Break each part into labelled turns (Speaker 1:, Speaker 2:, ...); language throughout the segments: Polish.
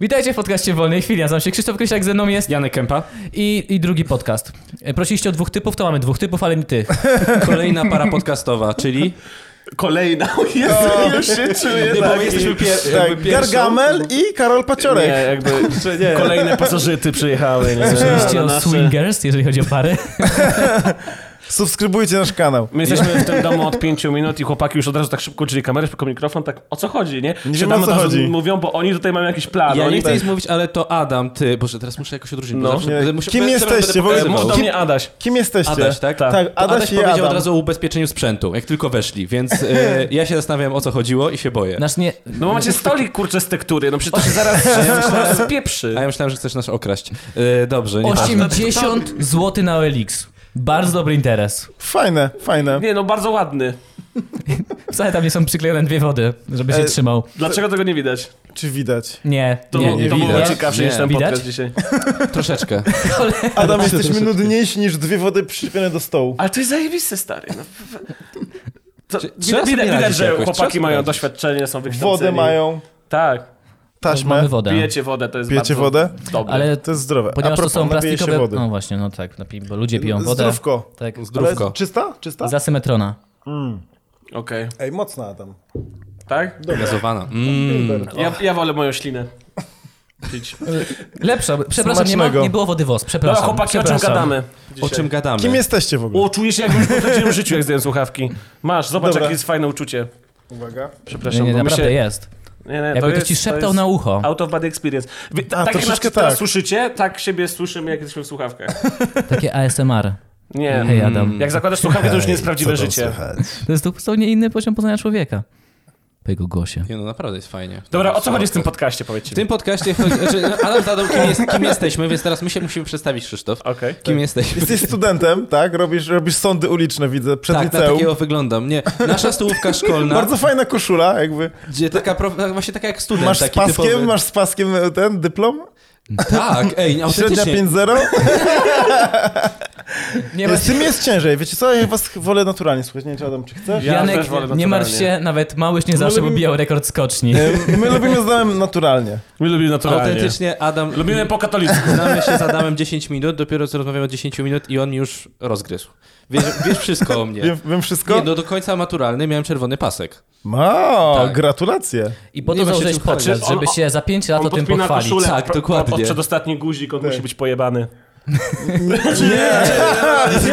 Speaker 1: Witajcie w podcaście Wolnej Chwili, nazywam się Krzysztof Krysiak, ze mną jest
Speaker 2: Janek Kępa.
Speaker 1: i, i drugi podcast. E, Prosiliście o dwóch typów, to mamy dwóch typów, ale nie ty.
Speaker 2: Kolejna para podcastowa, czyli...
Speaker 3: Kolejna, o Jezu, już się czuję
Speaker 2: Nie, bo
Speaker 3: taki-
Speaker 2: my jesteśmy pier- jakby
Speaker 3: Tak,
Speaker 2: pierwszą-
Speaker 3: Gargamel i Karol Paciorek.
Speaker 2: jakby... Czy nie.
Speaker 4: Kolejne pasożyty przyjechały. Nie?
Speaker 1: Słyszeliście o
Speaker 3: nasze-
Speaker 1: swingers, jeżeli chodzi o pary.
Speaker 3: Subskrybujcie nasz kanał.
Speaker 4: My jesteśmy w tym domu od pięciu minut i chłopaki już od razu tak szybko uczyli kamerę, szybko mikrofon, tak o co chodzi, nie?
Speaker 3: wiem,
Speaker 4: Siadamy,
Speaker 3: o co
Speaker 4: od razu
Speaker 3: chodzi.
Speaker 4: Mówią, bo oni tutaj mają jakiś plan.
Speaker 2: Ja
Speaker 4: oni...
Speaker 2: nie chcę nic mówić, ale to Adam, ty... Boże, teraz muszę jakoś
Speaker 4: No.
Speaker 2: odróżnić. No. Zawsze,
Speaker 3: Nie.
Speaker 2: muszę-
Speaker 3: Kim
Speaker 2: teraz
Speaker 3: jesteście w
Speaker 2: będę
Speaker 3: ogóle?
Speaker 2: pokazywał.
Speaker 4: E, Mów do
Speaker 3: Kim-
Speaker 4: mnie Adaś.
Speaker 3: Kim jesteście?
Speaker 2: E, Adaś, tak?
Speaker 4: Tak.
Speaker 3: Tak,
Speaker 2: To Adaś,
Speaker 3: Adaś i
Speaker 2: powiedział
Speaker 3: Adam.
Speaker 2: od razu o ubezpieczeniu sprzętu, jak tylko weszli, więc e, ja się zastanawiam, o co chodziło i się boję.
Speaker 1: Nasz nie...
Speaker 4: No bo macie stolik, kurczę, z tektury, no przecież to się zaraz, zaraz spieprzy.
Speaker 2: A ja myślałem, że chcesz nas okraść. E, dobrze, nie ważne.
Speaker 1: 80 zł na OLX. Bardzo dobry interes.
Speaker 3: Fajne, fajne.
Speaker 4: Nie, no bardzo ładny.
Speaker 1: Wcale tam nie są przyklejone dwie wody, żeby się
Speaker 3: E,
Speaker 1: trzymał.
Speaker 4: Dlaczego tego nie widać?
Speaker 3: Czy widać?
Speaker 1: Nie,
Speaker 4: To,
Speaker 1: nie,
Speaker 4: to
Speaker 3: nie
Speaker 4: było
Speaker 3: widać.
Speaker 4: ciekawsze
Speaker 2: Nie.
Speaker 4: niż ten
Speaker 1: Widać?
Speaker 4: podcast dzisiaj.
Speaker 2: Troszeczkę.
Speaker 3: Adam, jesteśmy nudniejsi niż dwie wody przyczepione do stołu.
Speaker 4: Ale to jest zajebiste, stary. No. To,
Speaker 2: Czy-
Speaker 4: widać,
Speaker 2: trzeba sobie
Speaker 4: widać,
Speaker 2: radzić
Speaker 4: że
Speaker 2: jakoś, trzeba
Speaker 4: chłopaki
Speaker 2: sobie
Speaker 4: mają
Speaker 2: radzić.
Speaker 4: doświadczenie, są wykształceni.
Speaker 3: Wodę mają,
Speaker 4: Tak,
Speaker 1: Mamy
Speaker 3: taśmę.
Speaker 1: wodę.
Speaker 4: pijecie wodę, to jest
Speaker 3: Pijecie
Speaker 4: bardzo
Speaker 3: wodę?
Speaker 4: dobre.
Speaker 1: Tak. Ale
Speaker 3: To jest zdrowe.
Speaker 1: ponieważ
Speaker 3: A propos,
Speaker 1: to są
Speaker 3: napije
Speaker 1: plastikowe...
Speaker 3: się wody.
Speaker 1: No właśnie, no tak, napij- bo ludzie piją wodę.
Speaker 3: Zdrówko.
Speaker 1: Tak,
Speaker 2: Zdrówko.
Speaker 3: Ale czysta? Czysta?
Speaker 1: z asymetrona.
Speaker 4: Okej,
Speaker 3: Ej, mocna Adam.
Speaker 4: tak?
Speaker 2: Gazowana. Mm.
Speaker 4: Ja, ja wolę moją ślinę. Pić.
Speaker 1: Lepsza, przepraszam, nie, ma,
Speaker 3: Smacznego.
Speaker 1: nie było wody WOS,
Speaker 4: Dobra,
Speaker 1: przepraszam.
Speaker 4: chłopaki, o czym
Speaker 1: przepraszam.
Speaker 4: gadamy?
Speaker 2: O
Speaker 4: dzisiaj?
Speaker 2: czym gadamy?
Speaker 3: Kim jesteście w ogóle?
Speaker 4: O, czujesz się jakbyś był w prawdziwym życiu, jak zdjąłem słuchawki. Masz, zobacz,
Speaker 3: Dobra.
Speaker 4: jakie jest fajne uczucie.
Speaker 3: Uwaga.
Speaker 1: Nie,
Speaker 4: Przepraszam,
Speaker 1: nie,
Speaker 4: bo my
Speaker 1: naprawdę
Speaker 4: się...
Speaker 1: jest.
Speaker 4: Nie, nie,
Speaker 1: Jakby ktoś ci
Speaker 4: jest-
Speaker 1: szeptał
Speaker 4: jest
Speaker 1: na ucho.
Speaker 4: Out of body experience. Wy,
Speaker 3: A,
Speaker 4: ta, tak jak nas
Speaker 3: troszeczkę
Speaker 4: teraz
Speaker 3: tak.
Speaker 4: słyszycie, tak siebie słyszymy, jak jesteśmy w słuchawkach.
Speaker 1: Takie ASMR.
Speaker 4: Nie.
Speaker 1: Hej Adam.
Speaker 4: Jak zakładasz słuchawki, to już nie jest prawdziwe
Speaker 3: Co tam
Speaker 4: życie.
Speaker 3: słychać?
Speaker 1: To jest zupełnie inny poziom poznania człowieka. Po jego głosie.
Speaker 2: Nie, no naprawdę jest fajnie.
Speaker 4: Dobra, o co chodzi w tym podcaście, powiedzcie
Speaker 2: W
Speaker 4: mi.
Speaker 2: tym podcaście chodzi, znaczy, no, Adam zadał, kim, jest, kim jesteśmy, więc teraz my się musimy przedstawić, Krzysztof.
Speaker 4: Okej.
Speaker 2: Kim jesteśmy?
Speaker 3: Jesteś studentem, tak? Robisz, robisz sądy uliczne, widzę, przed
Speaker 2: Tak, na
Speaker 3: liceum.
Speaker 2: takiego wyglądam. Nie, nasza stołówka szkolna,
Speaker 3: Bardzo fajna koszula, jakby.
Speaker 2: gdzie taka, pro- tak właśnie taka jak student.
Speaker 3: Masz z
Speaker 2: taki
Speaker 3: paskiem,
Speaker 2: typowy.
Speaker 3: masz z paskiem e, ten dyplom?
Speaker 2: Tak, ej,
Speaker 3: Średnia
Speaker 2: autentycznie.
Speaker 3: 5-0?
Speaker 1: Nie
Speaker 3: Z tym jest ciężej, wiecie co? Ja was wolę naturalnie słuchać, nie wiem, czy Adam, czy chcesz?
Speaker 4: Ja
Speaker 1: Janek,
Speaker 4: też wolę
Speaker 1: nie
Speaker 4: naturalnie. No,
Speaker 1: martw się, nawet małyś nie zawsze
Speaker 3: Lubimy-
Speaker 1: pobijał rekord skoczni.
Speaker 3: E, My lubimy z Adamem naturalnie.
Speaker 4: My lubimy naturalnie.
Speaker 2: Autentycznie Adam.
Speaker 4: Lubimy po katolicku.
Speaker 2: Znamy się z Adamem 10 minut, dopiero co rozmawiamy od 10 minut i on mi już rozgryzł. Wiesz, wiesz wszystko o mnie.
Speaker 3: Wiem, wiem wszystko?
Speaker 2: Nie, no do końca maturalny miałem czerwony pasek.
Speaker 3: Ma,
Speaker 2: Tak.
Speaker 3: gratulacje.
Speaker 1: I po
Speaker 2: nie
Speaker 1: to
Speaker 2: ma się
Speaker 1: założyłeś
Speaker 2: czym chwalić.
Speaker 1: podcast,
Speaker 4: On-
Speaker 1: żeby się za 5 lat o tym
Speaker 4: podpina
Speaker 1: pochwalić.
Speaker 4: koszulę,
Speaker 2: Tak,
Speaker 4: pro-
Speaker 2: dokładnie.
Speaker 4: Pod przedostatni guzik,
Speaker 3: Tak.
Speaker 4: on musi być pojebany. Znaczy,
Speaker 3: Nie, nie,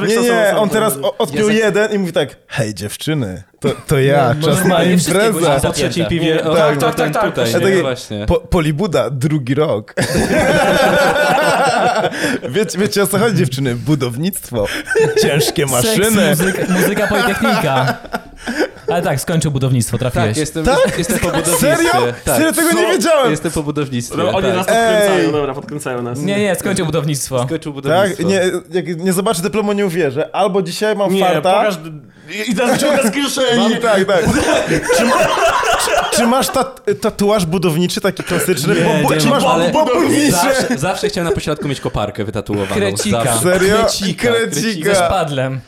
Speaker 4: wykształcony są.
Speaker 3: on teraz o- odpił jeden i mówi tak, hej dziewczyny, to, to ja,
Speaker 2: No,
Speaker 3: czas na
Speaker 1: normalnie wszystkie
Speaker 3: imprezę.
Speaker 1: guzik
Speaker 2: A po
Speaker 1: zapięte.
Speaker 2: trzecim piwie.
Speaker 4: Nie,
Speaker 2: o,
Speaker 4: tak,
Speaker 2: no
Speaker 4: tak,
Speaker 2: ten
Speaker 4: tak,
Speaker 2: tutaj,
Speaker 4: tak.
Speaker 2: nie,
Speaker 3: Ja
Speaker 2: no
Speaker 3: taki-
Speaker 2: właśnie.
Speaker 3: Po, Polibuda, drugi rok. wiecie, wiecie o co chodzi dziewczyny? Budownictwo, ciężkie maszyny.
Speaker 1: Seks, muzyka, muzyka Politechnika. Ale tak, skończył budownictwo, trafiłeś.
Speaker 2: Tak, jestem,
Speaker 3: Tak?
Speaker 2: jestem po budownictwie.
Speaker 3: Serio?
Speaker 2: Tak.
Speaker 3: Serio tego nie
Speaker 4: Co?
Speaker 3: wiedziałem.
Speaker 2: Jestem po budownictwie.
Speaker 4: Dobra, No, oni
Speaker 2: tak.
Speaker 4: nas podkręcają,
Speaker 3: Ej.
Speaker 4: dobra, podkręcają nas.
Speaker 1: Nie, nie, skończył budownictwo.
Speaker 3: Tak,
Speaker 2: Skończył budownictwo.
Speaker 3: nie, jak nie zobaczę dyplomu, nie uwierzę. Albo dzisiaj mam
Speaker 4: nie
Speaker 3: farta.
Speaker 4: pokaż... I teraz wyciąga z kieszeni.
Speaker 3: Mam, tak, tak. Czy, ma, czy, czy masz tat, tatuaż budowniczy taki klasyczny?
Speaker 2: Nie,
Speaker 3: bo,
Speaker 2: nie
Speaker 3: czy
Speaker 2: mam,
Speaker 3: masz
Speaker 2: ale
Speaker 3: bo, budowniczy?
Speaker 2: zawsze, zawsze chciałem na pośrodku mieć koparkę wytatuowaną.
Speaker 1: Krecika.
Speaker 2: Zawsze.
Speaker 3: Serio?
Speaker 2: Krecika, krecika.
Speaker 3: Krecika.
Speaker 1: Padlem.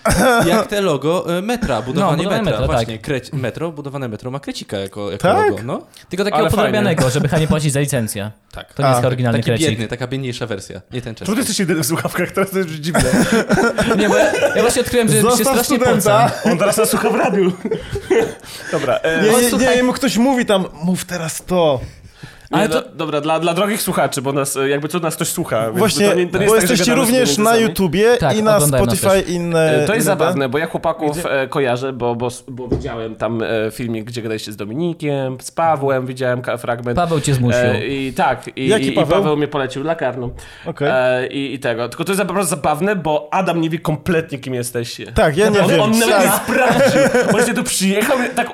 Speaker 2: Jak te logo e, metra, budowanie
Speaker 1: budowanie
Speaker 2: metra.
Speaker 1: metra,
Speaker 2: Właśnie, kreci- metro, budowane metro ma krecika jako, jako
Speaker 3: Tak?
Speaker 2: logo. No?
Speaker 1: Tylko takiego
Speaker 4: Ale fajnie.
Speaker 1: podrabianego, żeby chyba nie płacić za licencję.
Speaker 2: Tak.
Speaker 1: To nie jest
Speaker 3: A,
Speaker 1: oryginalny
Speaker 2: Taki
Speaker 1: krecik.
Speaker 2: biedny, taka biedniejsza wersja. Nie ten
Speaker 4: Bo
Speaker 2: czas.
Speaker 4: ty jesteś jedyny w słuchawkach, teraz to jest dziwne.
Speaker 1: Nie, bo ja, ja właśnie odkryłem, że się
Speaker 3: Zostaw
Speaker 1: strasznie poca.
Speaker 3: studenta.
Speaker 4: On teraz nas słucha w radiu. Dobra. E,
Speaker 3: Nie,
Speaker 1: O,
Speaker 3: nie, nie,
Speaker 1: słuchaj.
Speaker 3: jemu ktoś mówi tam, mów teraz to.
Speaker 4: ale
Speaker 1: Ale
Speaker 4: to...
Speaker 1: to-
Speaker 4: dobra, dla, dla drogich słuchaczy, bo nas, e, jakby co, nas ktoś słucha. więc
Speaker 3: Właśnie,
Speaker 4: to nie- to nie jest
Speaker 3: bo
Speaker 4: tak, że
Speaker 3: jesteście
Speaker 4: gadamy z tymi
Speaker 3: również na
Speaker 4: widzami.
Speaker 3: YouTubie
Speaker 1: Tak,
Speaker 3: i na
Speaker 1: oglądają nas
Speaker 3: Spotify i inne...
Speaker 4: To jest
Speaker 3: inne-
Speaker 4: zabawne, bo ja chłopaków e, kojarzę, bo, bo, bo widziałem tam e, filmik, gdzie gadaliście z Dominikiem, z Pawłem, widziałem ka- fragment.
Speaker 1: Paweł cię zmusił.
Speaker 4: E, I tak, i,
Speaker 3: Jaki
Speaker 4: i,
Speaker 3: Paweł?
Speaker 4: i Paweł mnie polecił lakarną.
Speaker 3: Okej.
Speaker 4: E, i, I tego. Tylko to jest po prostu zabawne, bo Adam nie wie kompletnie, kim jesteście.
Speaker 3: Tak, ja nie
Speaker 4: on,
Speaker 3: wiem.
Speaker 4: On nawet nie
Speaker 3: Tak.
Speaker 4: sprawdził. Właśnie tu przyjechał i tak...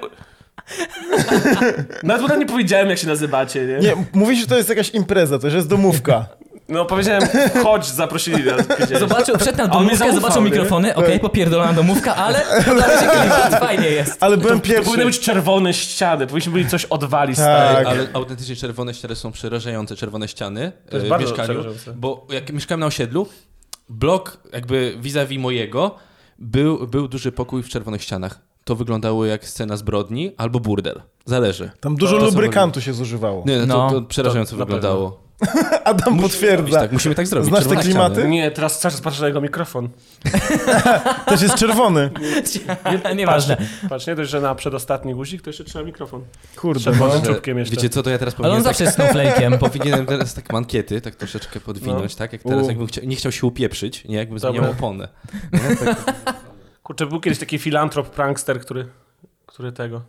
Speaker 4: Nawet potem nie powiedziałem, jak się nazywacie, nie?
Speaker 3: Nie, mówi się, że to jest jakaś impreza, to że jest domówka.
Speaker 4: No powiedziałem, chodź, zaprosili nas. powiedzieli.
Speaker 1: Zobaczył, wszedł na
Speaker 4: A on mnie
Speaker 1: domówkę,
Speaker 4: zaufał,
Speaker 1: zobaczył
Speaker 4: nie?
Speaker 1: mikrofony, okej, popierdolona domówka, ale ale się klimat, fajnie jest.
Speaker 3: Ale byłem pierwszy.
Speaker 4: Powinny być czerwone ściany, powinniśmy byli coś odwali, stary.
Speaker 3: Tak.
Speaker 2: Ale autentycznie czerwone ściany są przerażające, czerwone ściany
Speaker 4: To jest
Speaker 2: e, w
Speaker 4: bardzo
Speaker 2: mieszkaniu.
Speaker 4: przerażające.
Speaker 2: Bo jak mieszkałem na osiedlu, blok jakby vis-a-vis mojego, był, był duży pokój w czerwonych ścianach. To wyglądało jak scena zbrodni albo burdel. Zależy.
Speaker 3: Tam dużo
Speaker 2: To są
Speaker 3: lubrykantu się zużywało.
Speaker 2: Nie, no, to,
Speaker 1: No,
Speaker 2: to przerażająco
Speaker 4: to na
Speaker 2: wyglądało.
Speaker 3: Adam
Speaker 2: Robić
Speaker 3: potwierdza.
Speaker 2: Tak, musimy tak zrobić.
Speaker 3: Znasz te
Speaker 2: czerwone
Speaker 3: klimaty?
Speaker 2: ściany.
Speaker 4: Nie, teraz cały czas patrzę na jego mikrofon.
Speaker 3: Też jest czerwony.
Speaker 1: Nieważne.
Speaker 4: Patrz, nie dość, że na przedostatni guzik, to jeszcze trzeba mikrofon.
Speaker 3: Kurde.
Speaker 1: no,
Speaker 4: Czerwonym
Speaker 2: Może-
Speaker 4: czubkiem jeszcze.
Speaker 2: Wiecie co, to ja teraz
Speaker 1: Ale on
Speaker 2: powinienem, tak,
Speaker 1: zawsze jest snowflake'em.
Speaker 2: powinienem teraz tak mankiety, tak troszeczkę podwinąć, tak? Jak teraz
Speaker 4: No. U.
Speaker 2: jakbym chciał, nie chciał się upieprzyć, nie? Jakbym zmieniał
Speaker 4: Dobra.
Speaker 2: oponę.
Speaker 4: Kurczę, był kiedyś taki filantrop, prankster, który, który tego...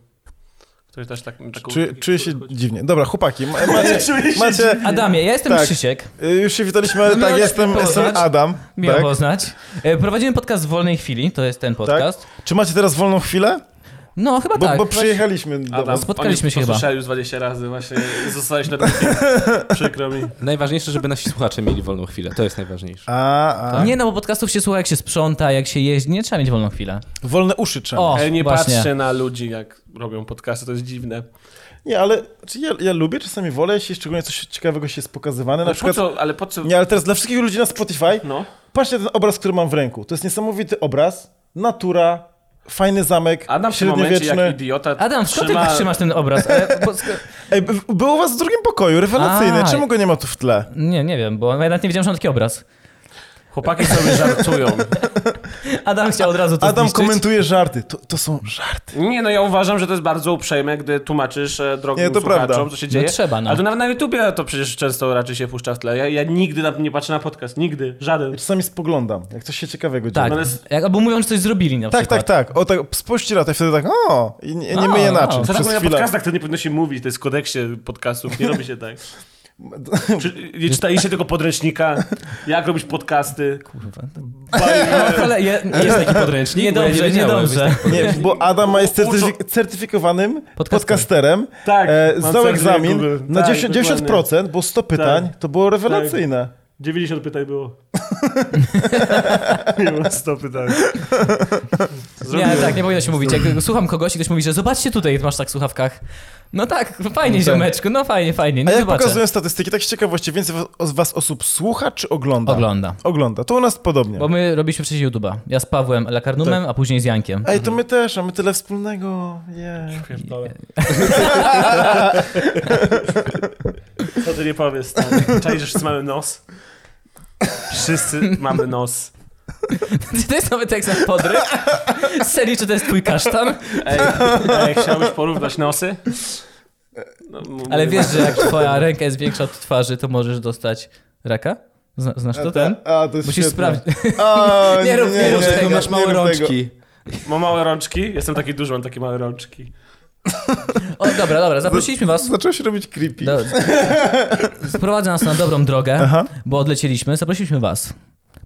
Speaker 4: Który też tak... tak
Speaker 3: Czuję, czuję się dziwnie. Dobra, chłopaki, ma- macie, macie
Speaker 1: Adamie, ja jestem
Speaker 3: Tak.
Speaker 1: Krzysiek.
Speaker 3: y, już się witaliśmy, ale
Speaker 1: Miło
Speaker 3: tak,
Speaker 1: cię
Speaker 3: jestem, jestem
Speaker 1: poznać.
Speaker 3: Adam.
Speaker 1: Miło
Speaker 3: Tak.
Speaker 1: poznać. E, Prowadzimy podcast w wolnej chwili, to jest ten podcast.
Speaker 3: Czy macie teraz wolną chwilę?
Speaker 1: No, chyba
Speaker 3: Tak. Bo,
Speaker 1: tak.
Speaker 3: bo przyjechaliśmy do
Speaker 4: Adam,
Speaker 3: was.
Speaker 1: Spotkaliśmy
Speaker 4: oni
Speaker 1: się
Speaker 4: to
Speaker 1: chyba.
Speaker 4: słyszałem już 20 razy właśnie, zostałeś na Przykro mi.
Speaker 2: Najważniejsze, żeby nasi słuchacze mieli wolną chwilę. To jest najważniejsze.
Speaker 3: A, a.
Speaker 1: Nie, no bo podcastów się słucha, jak się sprząta, jak się jeździ. Nie trzeba mieć wolną chwilę.
Speaker 3: Wolne uszy trzeba.
Speaker 1: O,
Speaker 4: Ale E, nie
Speaker 1: właśnie. No,
Speaker 4: patrzę na ludzi, jak robią podcasty, to jest dziwne.
Speaker 3: Nie, ale czy ja, ja lubię, czasami wolę, jeśli szczególnie coś ciekawego się jest pokazywane. Na
Speaker 4: Ale po
Speaker 3: przykład,
Speaker 4: co, ale po co...
Speaker 3: nie, ale teraz dla wszystkich ludzi na Spotify,
Speaker 4: No.
Speaker 3: patrzcie na ten obraz, który mam w ręku. To jest niesamowity obraz, natura, fajny zamek,
Speaker 4: Adam w tym momencie
Speaker 3: średniowieczny.
Speaker 4: jak idiota
Speaker 1: Adam, skąd
Speaker 4: trzyma...
Speaker 1: ty tak trzymasz ten obraz? E, bo, sk-
Speaker 3: Ej, b- był u was w drugim pokoju, rewelacyjny.
Speaker 1: A.
Speaker 3: Czemu go nie ma tu w tle?
Speaker 1: nie, nie wiem, bo ja nawet nie wiedziałem, że mam taki obraz.
Speaker 4: Chłopaki sobie żartują.
Speaker 1: Adam chciał od razu to
Speaker 3: Adam
Speaker 1: zniszczyć.
Speaker 3: komentuje żarty. To, to są żarty.
Speaker 4: Nie, no ja uważam, że to jest bardzo uprzejme, gdy tłumaczysz e, drogim
Speaker 3: Nie, to
Speaker 4: słuchaczom,
Speaker 3: prawda.
Speaker 4: co się
Speaker 1: No
Speaker 4: dzieje.
Speaker 1: trzeba, no.
Speaker 4: Ale to nawet na YouTubie to przecież często raczej się puszcza w tle. Ja, ja nigdy na, nie patrzę na podcast, nigdy, żaden.
Speaker 3: Czasami spoglądam, jak coś się ciekawego dzieje.
Speaker 1: Tak,
Speaker 4: No ale s-
Speaker 1: jak, albo mówią, że coś zrobili na
Speaker 3: Tak,
Speaker 1: przykład.
Speaker 3: tak, tak. O, tak spójrzcie na to i wtedy tak, o, i nie, nie
Speaker 1: A,
Speaker 3: myję
Speaker 1: a.
Speaker 3: naczyń
Speaker 1: Co
Speaker 4: Co
Speaker 3: przez
Speaker 4: tak na
Speaker 3: chwilę.
Speaker 4: podcastach to nie powinno się mówić, to jest w kodeksie podcastów, nie robi się tak. Czy, nie czytaliście tego podręcznika, jak robić podcasty.
Speaker 1: Kurwa,
Speaker 3: tak,
Speaker 4: Baj-
Speaker 1: Ale je,
Speaker 2: Jest
Speaker 1: jest
Speaker 2: taki podręcznik? Bo ja
Speaker 1: niedobrze,
Speaker 2: nie wiedziałem,
Speaker 1: niedobrze.
Speaker 3: Nie, bo Adam jest
Speaker 4: Uczą-
Speaker 3: certyfi- certyfikowanym
Speaker 1: Podcasterem.
Speaker 3: podcasterem.
Speaker 4: Tak,
Speaker 3: E,
Speaker 4: mam
Speaker 3: zdał
Speaker 4: certyfikat
Speaker 3: egzamin
Speaker 4: Google.
Speaker 3: na
Speaker 4: Tak,
Speaker 3: 10,
Speaker 4: dokładnie. Tak.
Speaker 3: 90%, bo 100 pytań. To było rewelacyjne.
Speaker 1: Tak.
Speaker 4: 90 pytań było. nie było 100 pytań.
Speaker 1: Nie, tak, nie powinno się mówić. Jak słucham kogoś i ktoś mówi, że zobaczcie tutaj, masz tak w słuchawkach. No tak, fajnie ziomeczku, no fajnie, fajnie,
Speaker 3: A
Speaker 1: nie
Speaker 3: jak
Speaker 1: zobaczę.
Speaker 3: pokazują statystyki, tak z ciekawości, więcej was- z was osób słucha czy ogląda?
Speaker 1: Ogląda.
Speaker 3: Ogląda. To u nas podobnie.
Speaker 1: Bo my robiliśmy wcześniej YouTube'a. Ja z Pawłem Lakarnumem,
Speaker 3: Tak.
Speaker 1: a później z Jankiem.
Speaker 3: Ej, to my też, a my tyle wspólnego. Yeah.
Speaker 4: Co ty nie powiesz, stary? Czaisz, że wszyscy mamy nos? Wszyscy mamy nos.
Speaker 1: Czy to jest nowy tekst na podryw? Z serii, czy to jest twój kasztan?
Speaker 4: Ej, ej chciałbyś porównać nosy? No, m-
Speaker 1: Ale
Speaker 4: mówię-
Speaker 1: wiesz, że jak twoja ręka jest większa od twarzy, to możesz dostać raka? Zna, znasz to ten?
Speaker 3: A, tak. to jest
Speaker 1: Musisz
Speaker 3: świetne.
Speaker 1: sprawdzić.
Speaker 3: O,
Speaker 1: Nie rób- nie rób
Speaker 2: Boże,
Speaker 1: tego,
Speaker 2: jak masz
Speaker 3: nie
Speaker 2: małe
Speaker 3: rób
Speaker 2: rączki.
Speaker 4: Mam małe rączki? Jestem taki duży, mam takie małe rączki.
Speaker 1: O, dobra, dobra, zaprosiliśmy was.
Speaker 3: Zaczęło się robić creepy.
Speaker 1: Do, sprowadza nas na dobrą drogę, bo odlecieliśmy. Zaprosiliśmy was.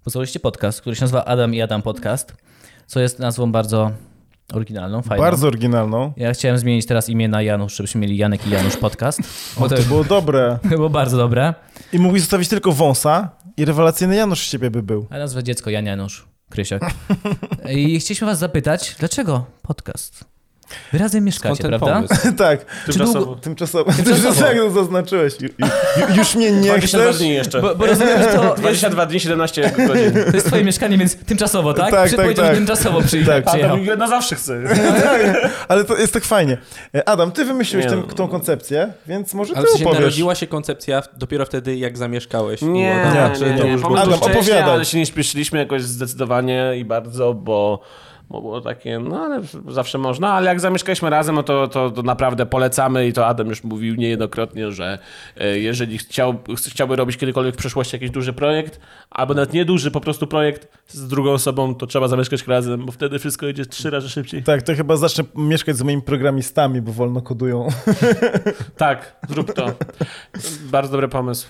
Speaker 1: Posłuchaliście podcast, który się nazywa Adam i Adam Podcast, co jest nazwą bardzo oryginalną, fajną.
Speaker 3: Bardzo oryginalną.
Speaker 1: Ja chciałem zmienić teraz imię na Janusz, żebyśmy mieli Janek i Janusz Podcast, bo to
Speaker 3: To było dobre.
Speaker 1: było bardzo dobre.
Speaker 3: I mógłbyś zostawić tylko wąsa i rewelacyjny Janusz z ciebie by był.
Speaker 1: A nazwa dziecko Jan Janusz, Krysiak. I chcieliśmy was zapytać, dlaczego podcast? Wy razem mieszkacie,
Speaker 2: Skąd ten
Speaker 1: prawda?
Speaker 2: pomysł?
Speaker 3: tak.
Speaker 4: Tymczasowo.
Speaker 3: Tymczasowo.
Speaker 1: Tymczasowo.
Speaker 3: Tymczasowo. Jak zaznaczyłeś. Ju- ju- Już mnie nie
Speaker 4: 22
Speaker 3: chcesz.
Speaker 4: dni jeszcze.
Speaker 1: Bo, bo rozumiem, że to jest,
Speaker 4: 22 dni, 17 godzin.
Speaker 1: to jest twoje mieszkanie, więc tymczasowo, tak?
Speaker 3: Tak,
Speaker 1: Przy-
Speaker 3: tak,
Speaker 1: powiedział, że
Speaker 3: tak.
Speaker 1: tymczasowo przyjechał.
Speaker 3: Tak.
Speaker 4: A to
Speaker 1: przyjechał.
Speaker 4: mi na zawsze chcę.
Speaker 3: Ale to jest tak fajnie. E, Adam, ty wymyśliłeś
Speaker 4: Nie
Speaker 3: tę-
Speaker 4: no.
Speaker 3: tą koncepcję, więc może
Speaker 2: Ale
Speaker 3: ty
Speaker 2: w sensie
Speaker 3: opowiesz.
Speaker 2: narodziła się koncepcja w- dopiero wtedy, jak zamieszkałeś.
Speaker 4: Nie,
Speaker 2: To znaczy,
Speaker 4: nie,
Speaker 2: to
Speaker 4: nie.
Speaker 2: już
Speaker 4: Pomysł
Speaker 3: Adam,
Speaker 4: był wcześniej,
Speaker 3: opowiadaj.
Speaker 4: Ale się nie śpieszyliśmy jakoś zdecydowanie i bardzo, bo bo było takie, no ale zawsze można, ale jak zamieszkaliśmy razem, no to, to, to naprawdę polecamy i to Adam już mówił niejednokrotnie, że e, jeżeli chciał, ch- chciałby robić kiedykolwiek w przyszłości jakiś duży projekt, albo nawet nieduży po prostu projekt z drugą osobą, to trzeba zamieszkać razem, bo wtedy wszystko idzie trzy razy szybciej.
Speaker 3: Tak, to chyba zacznę mieszkać z moimi programistami, bo wolno kodują.
Speaker 4: Tak, zrób to. Bardzo dobry pomysł.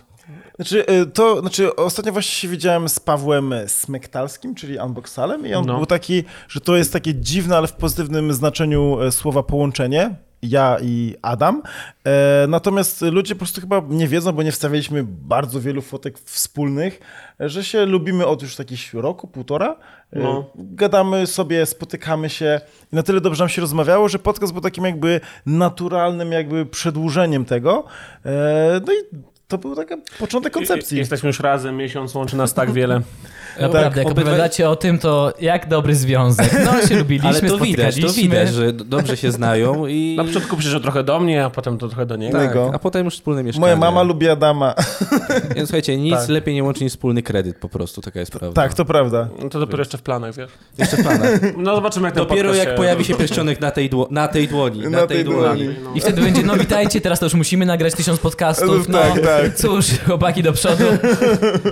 Speaker 3: Znaczy, e, to, znaczy, ostatnio właśnie się widziałem z Pawłem Smektalskim, czyli Unboxalem i on
Speaker 4: No.
Speaker 3: był taki, że to jest takie dziwne, ale w pozytywnym znaczeniu e, słowa połączenie, ja i Adam. E, Natomiast ludzie po prostu chyba nie wiedzą, bo nie wstawialiśmy bardzo wielu fotek wspólnych, e, że się lubimy od już jakichś roku, półtora. E,
Speaker 4: No.
Speaker 3: Gadamy sobie, spotykamy się i na tyle dobrze nam się rozmawiało, że podcast był takim jakby naturalnym jakby przedłużeniem tego. E, No i to był taki początek koncepcji.
Speaker 4: Jesteśmy już razem, miesiąc łączy nas tak wiele.
Speaker 1: Naprawdę, jak
Speaker 2: obydwaj-
Speaker 1: opowiadacie o tym, to jak dobry związek. No się lubiliśmy,
Speaker 2: Ale to widać, to
Speaker 1: spotykaliśmy.
Speaker 2: widać, że d- dobrze się znają i...
Speaker 4: Na początku przyszedł trochę do mnie, a potem to trochę do niego.
Speaker 2: tak,
Speaker 3: Tego.
Speaker 2: a potem już wspólne mieszkanie.
Speaker 3: Moja mama lubi Adama.
Speaker 2: Więc słuchajcie, nic lepiej nie łączy niż wspólny kredyt po prostu, taka jest prawda.
Speaker 3: tak, to prawda.
Speaker 4: No to dopiero jeszcze w planach, wiesz?
Speaker 2: Jeszcze w planach.
Speaker 4: No zobaczymy, jak ten
Speaker 2: Dopiero
Speaker 4: podcast
Speaker 2: jak pojawi się pierścionek na tej, dło- na tej dłoni. Na,
Speaker 3: Na
Speaker 2: tej
Speaker 3: tej
Speaker 2: dłoni.
Speaker 3: dłoni.
Speaker 1: I wtedy będzie, no witajcie, teraz to już musimy nagrać tysiąc podcastów. No,
Speaker 3: Tak, tak.
Speaker 1: Cóż, chłopaki do przodu.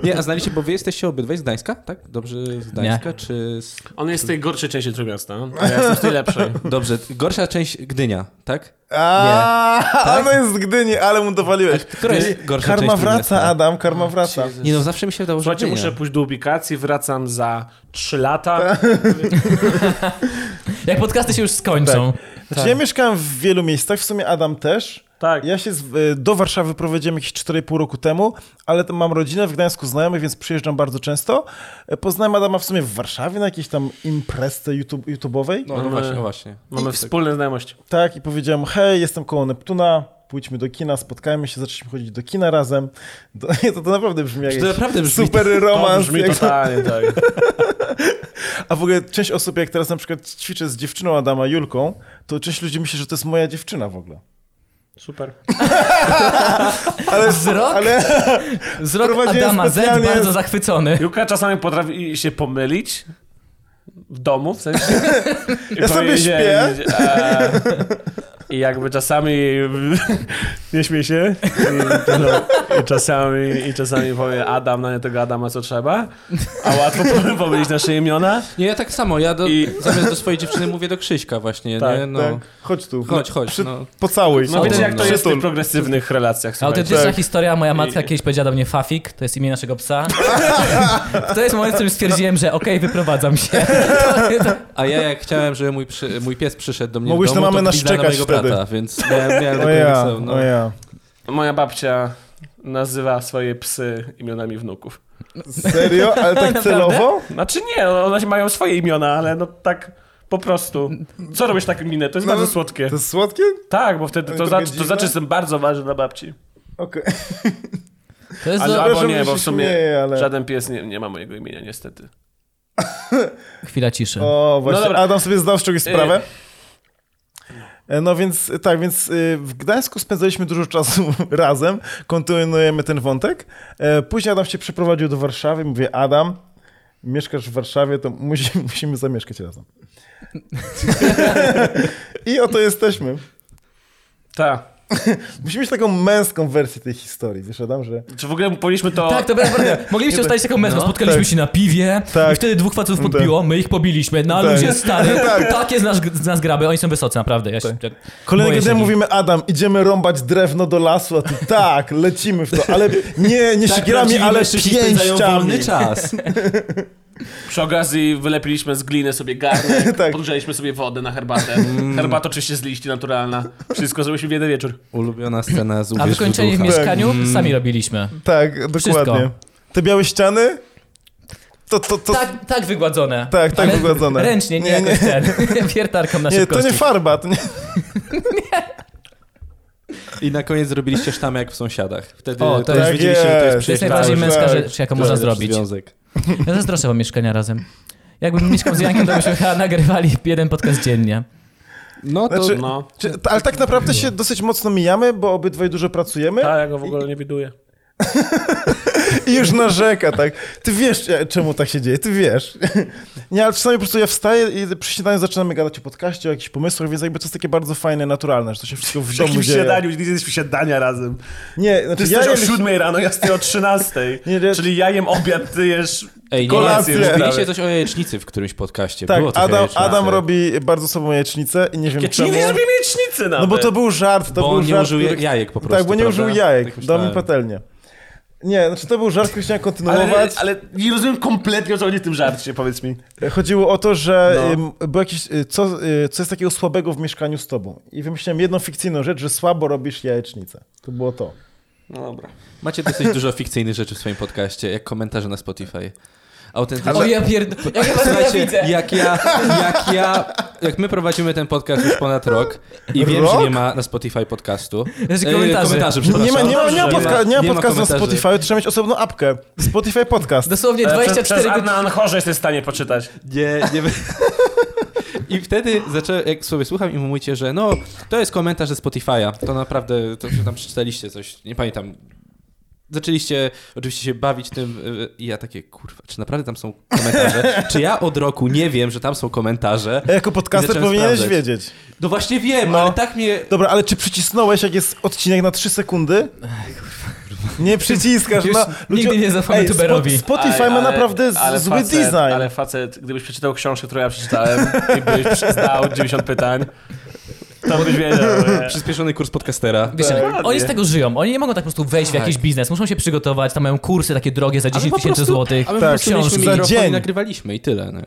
Speaker 2: Nie, a znaliście, bo wy jesteście obydwaj z Gdańska, tak? Dobrze z Gdańska, czy z...
Speaker 4: On jest z tej gorszej części Trójmiasta, no. a ja jestem z tej lepszej.
Speaker 2: Dobrze, gorsza część Gdynia, tak?
Speaker 3: A, ono jest z Gdyni, ale mu dowaliłeś.
Speaker 2: Która jest gorsza
Speaker 3: Karma
Speaker 2: część
Speaker 3: wraca,
Speaker 2: Trójmiasta?
Speaker 3: Adam, karma wraca.
Speaker 2: Nie no, zawsze mi się wydało, że
Speaker 4: Słuchajcie,
Speaker 2: Gdynia.
Speaker 4: muszę pójść do ubikacji, wracam za 3 lata.
Speaker 1: Jak podcasty się już skończą.
Speaker 2: tak.
Speaker 3: Znaczy, ja mieszkałem w wielu miejscach, w sumie Adam też.
Speaker 4: Tak.
Speaker 3: Ja się z, y, do Warszawy prowadziłem jakieś 4,5 roku temu, ale tam mam rodzinę w Gdańsku znajomych, więc przyjeżdżam bardzo często. Y, Poznałem Adama w sumie w Warszawie na jakiejś tam imprezce YouTube, YouTube'owej.
Speaker 2: No, no właśnie, no właśnie.
Speaker 4: Mamy wspólne znajomości.
Speaker 3: Tak, i powiedziałem, hej, jestem koło Neptuna, pójdźmy do kina, spotkajmy się, zaczęliśmy chodzić do kina razem. Do, nie, to, to naprawdę brzmi jak
Speaker 2: To naprawdę brzmi
Speaker 3: super
Speaker 4: To
Speaker 3: romans.
Speaker 4: brzmi
Speaker 3: jak,
Speaker 4: totalnie tak.
Speaker 3: a w ogóle część osób, jak teraz na przykład ćwiczę z dziewczyną Adama, Julką, to część ludzi myśli, że to jest moja dziewczyna w ogóle.
Speaker 4: Super.
Speaker 3: Ale,
Speaker 1: Wzrok?
Speaker 3: ale
Speaker 1: Wzrok
Speaker 3: Prowadziłem
Speaker 1: Adama Z
Speaker 3: specjalnie-
Speaker 1: bardzo zachwycony.
Speaker 4: Juka czasami potrafi się pomylić w domu, w sensie. I
Speaker 3: Ja sobie
Speaker 4: powiedzieć,
Speaker 3: śpię.
Speaker 4: e, I jakby czasami nie śmiej się. I, no, i, czasami, I czasami powie Adam, no nie tego Adama co trzeba. A łatwo powiem pomylić nasze imiona.
Speaker 2: Nie, ja tak samo, ja do,
Speaker 4: I-
Speaker 2: zamiast do swojej dziewczyny mówię do Krzyśka właśnie,
Speaker 4: Tak,
Speaker 2: nie? No.
Speaker 3: tak, chodź tu.
Speaker 2: Chodź, chodź,
Speaker 3: Przy,
Speaker 2: no.
Speaker 3: Pocałuj.
Speaker 4: No wiecie, jak to
Speaker 3: Przytul.
Speaker 4: jest w tych progresywnych relacjach. słuchajcie.
Speaker 1: Autentyczna
Speaker 3: tak.
Speaker 1: historia. Moja matka kiedyś powiedziała do mnie Fafik, to jest imię naszego psa. to jest moment, w którym stwierdziłem, że okej, wyprowadzam się.
Speaker 2: A ja jak chciałem, żeby mój, przy, mój pies przyszedł do mnie
Speaker 3: Mogłeś na
Speaker 2: w domu,
Speaker 3: mamę
Speaker 2: to
Speaker 3: naszczekać
Speaker 2: na mojego
Speaker 3: wtedy.
Speaker 2: brata, więc miałem, miałem
Speaker 3: O
Speaker 2: taką
Speaker 3: ja,
Speaker 2: wesołą, no.
Speaker 3: o ja. Tak.
Speaker 4: Moja babcia nazywa swoje psy imionami wnuków.
Speaker 3: Serio? Ale tak celowo?
Speaker 4: Znaczy nie, no, one mają swoje imiona, ale no tak po prostu. Co robisz taką minę? To jest
Speaker 3: No,
Speaker 4: bardzo
Speaker 3: no,
Speaker 4: słodkie.
Speaker 3: To jest słodkie?
Speaker 4: Tak, bo wtedy
Speaker 3: Ale
Speaker 4: to,
Speaker 3: to
Speaker 4: za,
Speaker 3: będzie
Speaker 4: to
Speaker 3: dziwne?
Speaker 4: znaczy, że jestem bardzo ważny dla babci.
Speaker 3: Okej.
Speaker 1: To jest
Speaker 4: Ale,
Speaker 1: do...
Speaker 3: Przepraszam,
Speaker 4: albo nie,
Speaker 3: że
Speaker 4: bo
Speaker 3: się
Speaker 4: w sumie
Speaker 3: śmieję, ale-
Speaker 4: żaden pies nie, nie ma mojego imienia, niestety.
Speaker 1: Chwila ciszy.
Speaker 3: O, właśnie.
Speaker 4: dobra.
Speaker 3: Adam sobie zdał z czegoś sprawę. E, No więc e, tak, więc e, w Gdańsku spędzaliśmy dużo czasu razem, kontynuujemy ten wątek. E, Później Adam się przeprowadził do Warszawy, mówię Adam, mieszkasz w Warszawie, to musi, musimy zamieszkać razem. I oto jesteśmy.
Speaker 4: Tak.
Speaker 3: Musimy mieć taką męską wersję tej historii, wiesz Adam, że...
Speaker 4: Czy w ogóle powinniśmy to...
Speaker 1: Tak, to prawda. Moglibyście ustalić taką męską. Spotkaliśmy
Speaker 3: Tak.
Speaker 1: się na piwie
Speaker 3: Tak.
Speaker 1: i wtedy dwóch facetów
Speaker 3: Tak.
Speaker 1: podbiło, my ich pobiliśmy. Na
Speaker 3: Tak.
Speaker 1: luzie, stary. Takie z nas, z nas graby. Oni są wysocy, naprawdę. Ja się, tak.
Speaker 3: Kolejnego
Speaker 1: boję
Speaker 3: dnia
Speaker 1: się nich.
Speaker 3: mówimy, Adam, idziemy rąbać drewno do lasu, a ty tak, lecimy w to, ale nie, nie siekierami,
Speaker 2: Tak, prawdziwi
Speaker 3: ale
Speaker 2: mężczyźni spędzają
Speaker 3: pięściami.
Speaker 2: wolny czas.
Speaker 4: Przy okazji wylepiliśmy z gliny sobie garnek,
Speaker 3: Tak.
Speaker 4: podgrzeliśmy sobie wodę na herbatę.
Speaker 3: Mm.
Speaker 4: Herbata oczywiście z liści naturalna. Wszystko zrobiliśmy w jeden wieczór.
Speaker 2: Ulubiona scena z
Speaker 1: A
Speaker 2: Uwierz
Speaker 1: wykończenie w
Speaker 2: ducha.
Speaker 1: mieszkaniu sami robiliśmy.
Speaker 3: Tak, dokładnie. Te białe ściany? To, to, to,
Speaker 1: Tak, tak wygładzone.
Speaker 3: Tak, tak
Speaker 1: Ale
Speaker 3: wygładzone.
Speaker 1: Ręcznie, nie,
Speaker 3: Nie, nie.
Speaker 1: jakoś ten. Wiertarką na
Speaker 3: nie, to
Speaker 1: szybkości.
Speaker 3: nie farba, to nie...
Speaker 2: I na koniec zrobiliście sztamę jak w sąsiadach. Wtedy
Speaker 1: O,
Speaker 2: o,
Speaker 1: to
Speaker 2: to,
Speaker 1: jest-
Speaker 2: już wiedzieliście, że to
Speaker 3: Tak jest.
Speaker 2: jest
Speaker 1: To jest
Speaker 2: przyjaźń.
Speaker 1: najbardziej
Speaker 3: Tak,
Speaker 1: męska
Speaker 3: tak.
Speaker 1: rzecz, jaką
Speaker 2: To
Speaker 1: można
Speaker 2: jest
Speaker 1: zrobić.
Speaker 2: Związek.
Speaker 1: Ja zazdroszczę wam mieszkania razem. Jakbym mieszkał z Jankiem, to byśmy chyba nagrywali jeden podcast dziennie.
Speaker 2: No to...
Speaker 3: Znaczy,
Speaker 4: No.
Speaker 3: czy, ale tak naprawdę się dosyć mocno mijamy, bo obydwaj dużo pracujemy
Speaker 4: Tak, ja go w ogóle nie widuję.
Speaker 3: i już narzeka, tak. Ty wiesz, ja- czemu tak się dzieje, ty wiesz. Nie, ale czasami po prostu ja wstaję i przy śniadaniu zaczynamy gadać o podcaście, o jakichś pomysłach, więc jakby to jest takie bardzo fajne, naturalne, że to się wszystko w domu dzieje.
Speaker 4: nie jesteśmy śniadania razem.
Speaker 3: Nie, znaczy
Speaker 4: Ty
Speaker 3: ja
Speaker 4: jesteś o
Speaker 3: jem-
Speaker 4: 7 rano, ja stoję o 13.
Speaker 3: Nie, nie.
Speaker 4: Czyli ja jem obiad, ty jesz
Speaker 2: Ej, nie,
Speaker 3: kolację.
Speaker 2: nie,
Speaker 4: Prawie.
Speaker 2: mówiliście coś o jajecznicy w którymś podcaście.
Speaker 3: Tak,
Speaker 2: Było trochę
Speaker 3: Adam,
Speaker 2: jajecznicy.
Speaker 3: Adam robi bardzo sobą jajecznicę i nie wiem
Speaker 4: Czyli
Speaker 3: czemu.
Speaker 4: nie zrobimy jecznicy nawet.
Speaker 3: No bo to był żart, to
Speaker 2: Bo
Speaker 3: był
Speaker 2: on nie
Speaker 3: żart,
Speaker 2: użył
Speaker 3: który-
Speaker 2: jajek po prostu,
Speaker 3: Tak, bo nie
Speaker 2: prawda?
Speaker 3: użył jajek,
Speaker 2: Tak
Speaker 3: dał mi
Speaker 2: myślałem.
Speaker 3: patelnię. Nie, znaczy to był żart, który chciałem
Speaker 4: ale,
Speaker 3: kontynuować.
Speaker 4: ale nie rozumiem kompletnie o co chodzi w tym żarcie, powiedz mi.
Speaker 3: Chodziło o to, że
Speaker 4: No.
Speaker 3: ym, było jakieś, y, co, y, co jest takiego słabego w mieszkaniu z tobą. I wymyśliłem jedną fikcyjną rzecz, że słabo robisz jajecznicę. To było to.
Speaker 4: No dobra.
Speaker 2: Macie dosyć dużo fikcyjnych rzeczy w swoim podcaście, jak komentarze na Spotify. Autentycznie.
Speaker 1: O ja pierdolę. Ja chyba to
Speaker 2: Słuchajcie,
Speaker 1: widzę.
Speaker 2: jak ja, jak ja jak my prowadzimy ten podcast już ponad rok i wiem,
Speaker 3: Rok?
Speaker 2: że nie ma na Spotify podcastu.
Speaker 1: Znaczy
Speaker 2: E,
Speaker 1: komentarzy.
Speaker 2: przepraszam.
Speaker 3: Nie ma, nie ma, nie ma,
Speaker 4: Dobrze,
Speaker 3: podca- nie ma podcastu na
Speaker 2: komentarzy.
Speaker 3: Spotify, trzeba mieć osobną apkę. Spotify podcast.
Speaker 1: Dosłownie
Speaker 4: Ale
Speaker 1: 24
Speaker 4: E, przez, przez
Speaker 1: godziny.
Speaker 4: Anna Anchorze jesteś w stanie poczytać.
Speaker 2: Nie, nie. by- I wtedy zacząłem, jak sobie słucham i mówicie, że no, to jest komentarz ze Spotify'a. To naprawdę, to że tam przeczytaliście coś, nie pamiętam. Zaczęliście oczywiście się bawić tym y, i ja takie, kurwa, czy naprawdę tam są komentarze? czy ja od roku nie wiem, że tam są komentarze?
Speaker 3: A Jako podcaster
Speaker 2: Zacząłem
Speaker 3: powinieneś
Speaker 2: sprawdzać.
Speaker 3: wiedzieć.
Speaker 2: No właśnie wiem,
Speaker 3: No.
Speaker 2: ale tak mnie...
Speaker 3: Dobra, ale czy przycisnąłeś, jak jest odcinek na 3 sekundy? Nie przyciskasz.
Speaker 1: Już
Speaker 3: No,
Speaker 1: nigdy nie zaufamy
Speaker 3: Ej,
Speaker 1: tuberowi.
Speaker 3: Spot- Spotify ma naprawdę z-
Speaker 4: ale
Speaker 3: zły
Speaker 4: facet,
Speaker 3: design.
Speaker 4: Ale facet, gdybyś przeczytał książkę, którą ja przeczytałem i byś znał 90 pytań, to byś wiedział. że-
Speaker 2: Przyspieszony kurs podcastera.
Speaker 1: Wiesz, oni
Speaker 4: Dokładnie.
Speaker 1: z tego żyją. Oni nie mogą tak po prostu wejść w jakiś biznes. Muszą się przygotować, tam mają kursy takie drogie za 10
Speaker 2: po
Speaker 1: tysięcy
Speaker 2: prostu-
Speaker 1: złotych.
Speaker 2: A my
Speaker 3: Tak,
Speaker 2: po prostu mieliśmy
Speaker 1: książki.
Speaker 3: Za
Speaker 2: mikrofon
Speaker 3: dzień.
Speaker 2: i nagrywaliśmy i tyle. No.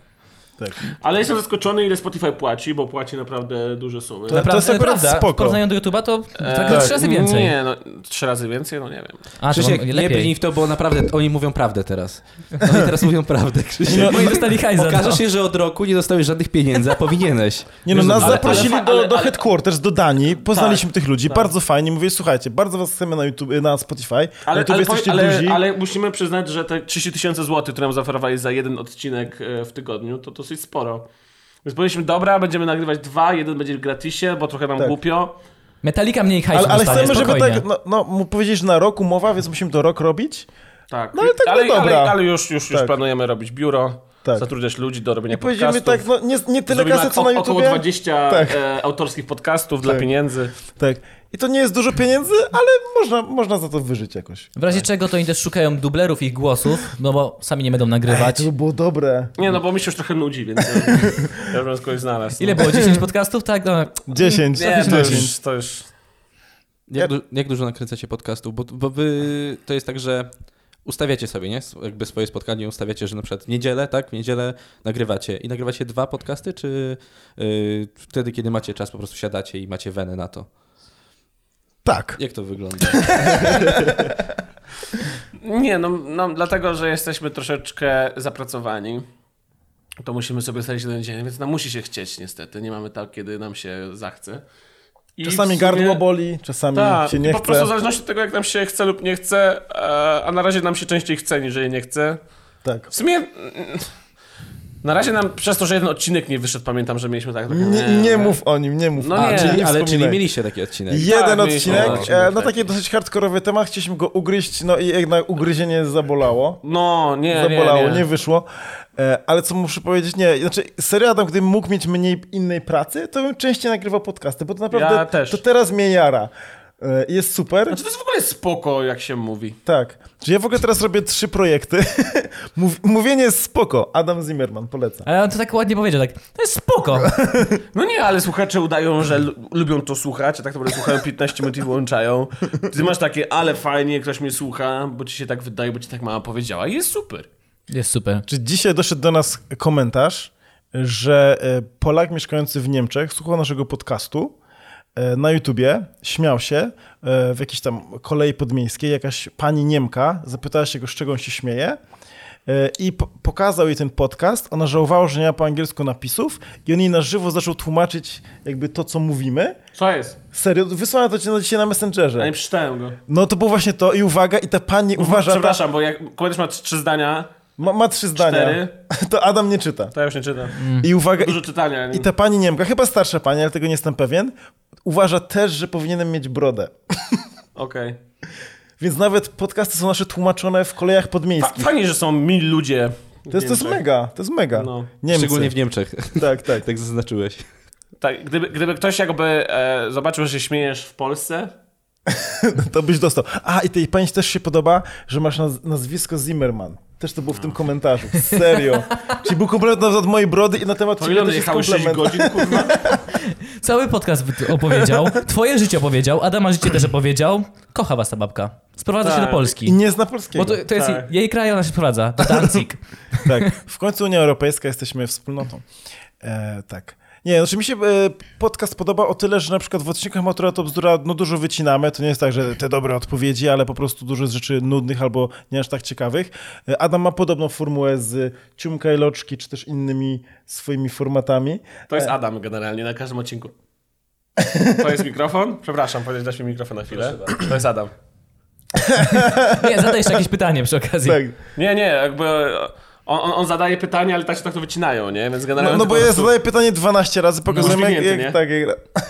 Speaker 4: Ale jestem zaskoczony, ile Spotify płaci, bo płaci naprawdę duże sumy.
Speaker 3: To-
Speaker 1: Naprawdę,
Speaker 3: jest akurat
Speaker 1: prawda.
Speaker 3: spoko.
Speaker 1: W porównaniu do YouTube'a to tak
Speaker 4: Eee,
Speaker 1: trzy razy więcej.
Speaker 4: Nie, no, trzy razy więcej? No nie wiem.
Speaker 1: A, to
Speaker 2: Krzysiek,
Speaker 1: mam
Speaker 2: nie brnij
Speaker 1: lepiej.
Speaker 2: w to, bo naprawdę oni mówią prawdę teraz. Oni teraz mówią prawdę, Krzysiek.
Speaker 1: Moi No dostali hajs za to.
Speaker 2: Okaże się, że od roku nie dostałeś żadnych pieniędzy, a powinieneś.
Speaker 3: Nie no, nas
Speaker 4: ale-
Speaker 3: zaprosili
Speaker 4: ale-
Speaker 3: do,
Speaker 4: ale- Tak,
Speaker 3: do
Speaker 4: ale-
Speaker 3: headquarters, do Danii, poznaliśmy tych ludzi, bardzo fajnie, mówię, słuchajcie, bardzo was chcemy na YouTube, na Spotify, na
Speaker 4: Ale,
Speaker 3: YouTube
Speaker 4: ale,
Speaker 3: jesteście
Speaker 4: ale,
Speaker 3: duzi.
Speaker 4: ale, musimy przyznać, że te 30 tysięcy złotych, które nam zaoferowali za jeden odcinek e, w tygodniu, to dosyć sporo. Więc powiedzieliśmy, dobra, będziemy nagrywać dwa, jeden będzie w gratisie, bo trochę nam
Speaker 3: Tak.
Speaker 4: głupio.
Speaker 1: Metalika mniej hajsu
Speaker 3: Ale, ale
Speaker 1: dostanie,
Speaker 3: chcemy, żeby
Speaker 1: spokojnie.
Speaker 3: tak, no, no mu powiedzieć, że na rok umowa, więc musimy to rok robić.
Speaker 4: Tak.
Speaker 3: No ale tak, no
Speaker 4: ale,
Speaker 3: dobra.
Speaker 4: ale, ale już, już, już
Speaker 3: Tak.
Speaker 4: planujemy robić biuro,
Speaker 3: Tak.
Speaker 4: zatrudniać ludzi do robienia
Speaker 3: I powiedziemy
Speaker 4: podcastów.
Speaker 3: tak, no nie, nie tyle
Speaker 4: Zrobimy
Speaker 3: kasy, co
Speaker 4: oko-
Speaker 3: na
Speaker 4: około
Speaker 3: YouTubie.
Speaker 4: 20
Speaker 3: Tak.
Speaker 4: e, autorskich podcastów dla
Speaker 3: Tak.
Speaker 4: pieniędzy.
Speaker 3: Tak. I to nie jest dużo pieniędzy, ale można, można za to wyżyć jakoś.
Speaker 1: W razie czego to oni też szukają dublerów ich głosów, no bo sami nie będą nagrywać.
Speaker 3: To by było dobre.
Speaker 4: Nie, no bo mi się już trochę nudzi, więc e, ja już bym z kogoś znalazł.
Speaker 1: Ile
Speaker 4: no.
Speaker 1: było? 10 podcastów? Tak, no.
Speaker 3: 10.
Speaker 4: Nie, no. to
Speaker 3: 10.
Speaker 4: już, to już...
Speaker 2: Jak, du- jak dużo nakręcacie podcastów? Bo, bo wy to jest tak, że ustawiacie sobie, nie? Jakby swoje spotkanie ustawiacie, że na przykład w niedzielę, tak? W niedzielę nagrywacie. I nagrywacie dwa podcasty, czy yy, wtedy, kiedy macie czas, po prostu siadacie i macie wenę na to?
Speaker 3: Tak.
Speaker 2: Jak to wygląda?
Speaker 4: Nie, no, no dlatego, że jesteśmy troszeczkę zapracowani, to musimy sobie ustalić jeden dzień, więc nam musi się chcieć niestety. Nie mamy tak, kiedy nam się zachce. I
Speaker 3: Czasami
Speaker 4: w sumie-
Speaker 3: gardło boli, czasami
Speaker 4: Tak,
Speaker 3: się
Speaker 4: i
Speaker 3: nie
Speaker 4: po
Speaker 3: chce.
Speaker 4: prostu w zależności od tego, jak nam się chce lub nie chce, e, a na razie nam się częściej chce, niż nie chce.
Speaker 3: Tak.
Speaker 4: W sumie... mm, Na razie nam przez to, że jeden odcinek nie wyszedł, pamiętam, że mieliśmy tak... takie,
Speaker 3: Nie, nie mów o nim, nie mów
Speaker 4: No
Speaker 3: o nim.
Speaker 2: A,
Speaker 4: nie,
Speaker 2: czyli,
Speaker 4: nie
Speaker 2: ale czyli
Speaker 3: wspominaj.
Speaker 2: mieliście taki odcinek.
Speaker 4: Tak,
Speaker 3: Jeden
Speaker 4: mieliśmy
Speaker 3: odcinek,
Speaker 4: jeden
Speaker 3: e,
Speaker 4: odcinek,
Speaker 3: no
Speaker 4: tak.
Speaker 3: taki dosyć hardkorowy temat, chcieliśmy go ugryźć, no i jednak ugryzienie zabolało.
Speaker 4: No, nie,
Speaker 3: Zabolało,
Speaker 4: nie,
Speaker 3: nie,
Speaker 4: nie.
Speaker 3: wyszło. E, Ale co muszę powiedzieć, nie, znaczy serio Adam, gdybym mógł mieć mniej innej pracy, to bym częściej nagrywał podcasty, bo to naprawdę,
Speaker 4: Ja też.
Speaker 3: to teraz mnie jara. E, Jest super.
Speaker 4: Znaczy to jest w ogóle spoko, jak się mówi.
Speaker 3: Tak. Czyli ja w ogóle teraz robię trzy projekty. Mów- Mówienie jest spoko. Adam Zimmerman, polecam.
Speaker 1: Ale on to tak ładnie powiedział, tak. To jest spoko.
Speaker 4: No nie, ale słuchacze udają, że lu- lubią to słuchać, a tak naprawdę słuchają 15 minut i wyłączają. Ty masz takie, ale fajnie, ktoś mnie słucha, bo ci się tak wydaje, bo ci tak mama powiedziała i jest super.
Speaker 1: Jest super.
Speaker 3: Czy dzisiaj doszedł do nas komentarz, że e, Polak mieszkający w Niemczech słuchał naszego podcastu e, na YouTubie, śmiał się e, w jakiejś tam kolei podmiejskiej. Jakaś pani Niemka zapytała się go, z czego on się śmieje. e, I po- pokazał jej ten podcast. Ona żałowała, że nie ma po angielsku napisów, i on jej na żywo zaczął tłumaczyć, jakby to, co mówimy.
Speaker 4: Co jest?
Speaker 3: Serio, wysłałem to ci na dzisiaj na Messengerze.
Speaker 4: Ja nie przeczytałem go.
Speaker 3: No to było właśnie to i uwaga, i ta pani uważa,
Speaker 4: Mhm,
Speaker 3: ta,
Speaker 4: Przepraszam, bo jak komentarz ma tr- trzy zdania,
Speaker 3: ma, ma trzy zdania,
Speaker 4: Cztery.
Speaker 3: to Adam nie czyta.
Speaker 4: to ja już nie czytam.
Speaker 3: I uwaga,
Speaker 4: Dużo
Speaker 3: i,
Speaker 4: czytania. nie-
Speaker 3: Mm. i ta pani Niemka, chyba starsza pani, ale tego nie jestem pewien, uważa też, że powinienem mieć brodę.
Speaker 4: Okej.
Speaker 3: Więc nawet podcasty są nasze tłumaczone w kolejach
Speaker 4: Fa-
Speaker 3: podmiejskich.
Speaker 4: Fajnie, że są mili ludzie.
Speaker 3: To jest, to jest mega, to jest mega.
Speaker 4: No.
Speaker 3: Niemcy.
Speaker 2: Szczególnie w Niemczech.
Speaker 3: Tak, tak.
Speaker 2: Tak zaznaczyłeś.
Speaker 4: Tak, gdyby, gdyby ktoś jakby e, zobaczył, że się śmiejesz w Polsce,
Speaker 3: To byś dostał. A, i tej pani też się podoba, że masz naz- nazwisko Zimmerman. Też to było
Speaker 4: No.
Speaker 3: w tym komentarzu. Serio. Czyli był komplement na temat mojej brody i na temat
Speaker 4: to
Speaker 3: ciebie
Speaker 4: ile
Speaker 3: też jest
Speaker 4: jechało 6
Speaker 3: komplement.
Speaker 4: godzin, kurwa?
Speaker 1: Cały podcast wy- opowiedział. Twoje życie opowiedział. Adama życie też opowiedział. Kocha was ta babka. Sprowadza się
Speaker 4: Tak.
Speaker 1: do
Speaker 3: I
Speaker 1: Polski.
Speaker 3: nie zna polskiego.
Speaker 1: Bo to, to jest
Speaker 4: Tak.
Speaker 1: jej kraj, ona się sprowadza. Do Danzig.
Speaker 3: Tak, w końcu Unia Europejska jesteśmy wspólnotą. E, tak. Nie, znaczy mi się e, podcast podoba o tyle, że na przykład w odcinkach Matura to bzdura, no dużo wycinamy, to nie jest tak, że te dobre odpowiedzi, ale po prostu dużo z rzeczy nudnych albo nie aż tak ciekawych. E, Adam ma podobną formułę z Ciumka i Loczki, czy też innymi swoimi formatami.
Speaker 4: To jest Adam generalnie na każdym odcinku. To jest mikrofon? Przepraszam, powiedz, dasz mi mikrofon na chwilę. To jest Adam.
Speaker 1: Nie, zadaj jeszcze jakieś pytanie przy okazji.
Speaker 3: Tak.
Speaker 4: Nie, nie, jakby on, on, on zadaje pytania, ale tak się tak to wycinają, nie? Więc generalnie
Speaker 3: No, no
Speaker 4: to
Speaker 3: bo
Speaker 4: po
Speaker 3: ja
Speaker 4: prostu-
Speaker 3: zadaję pytanie 12 razy, pokazuję
Speaker 4: No,
Speaker 3: jak,
Speaker 4: zdziwnięty,
Speaker 3: jak,
Speaker 4: nie?
Speaker 3: tak,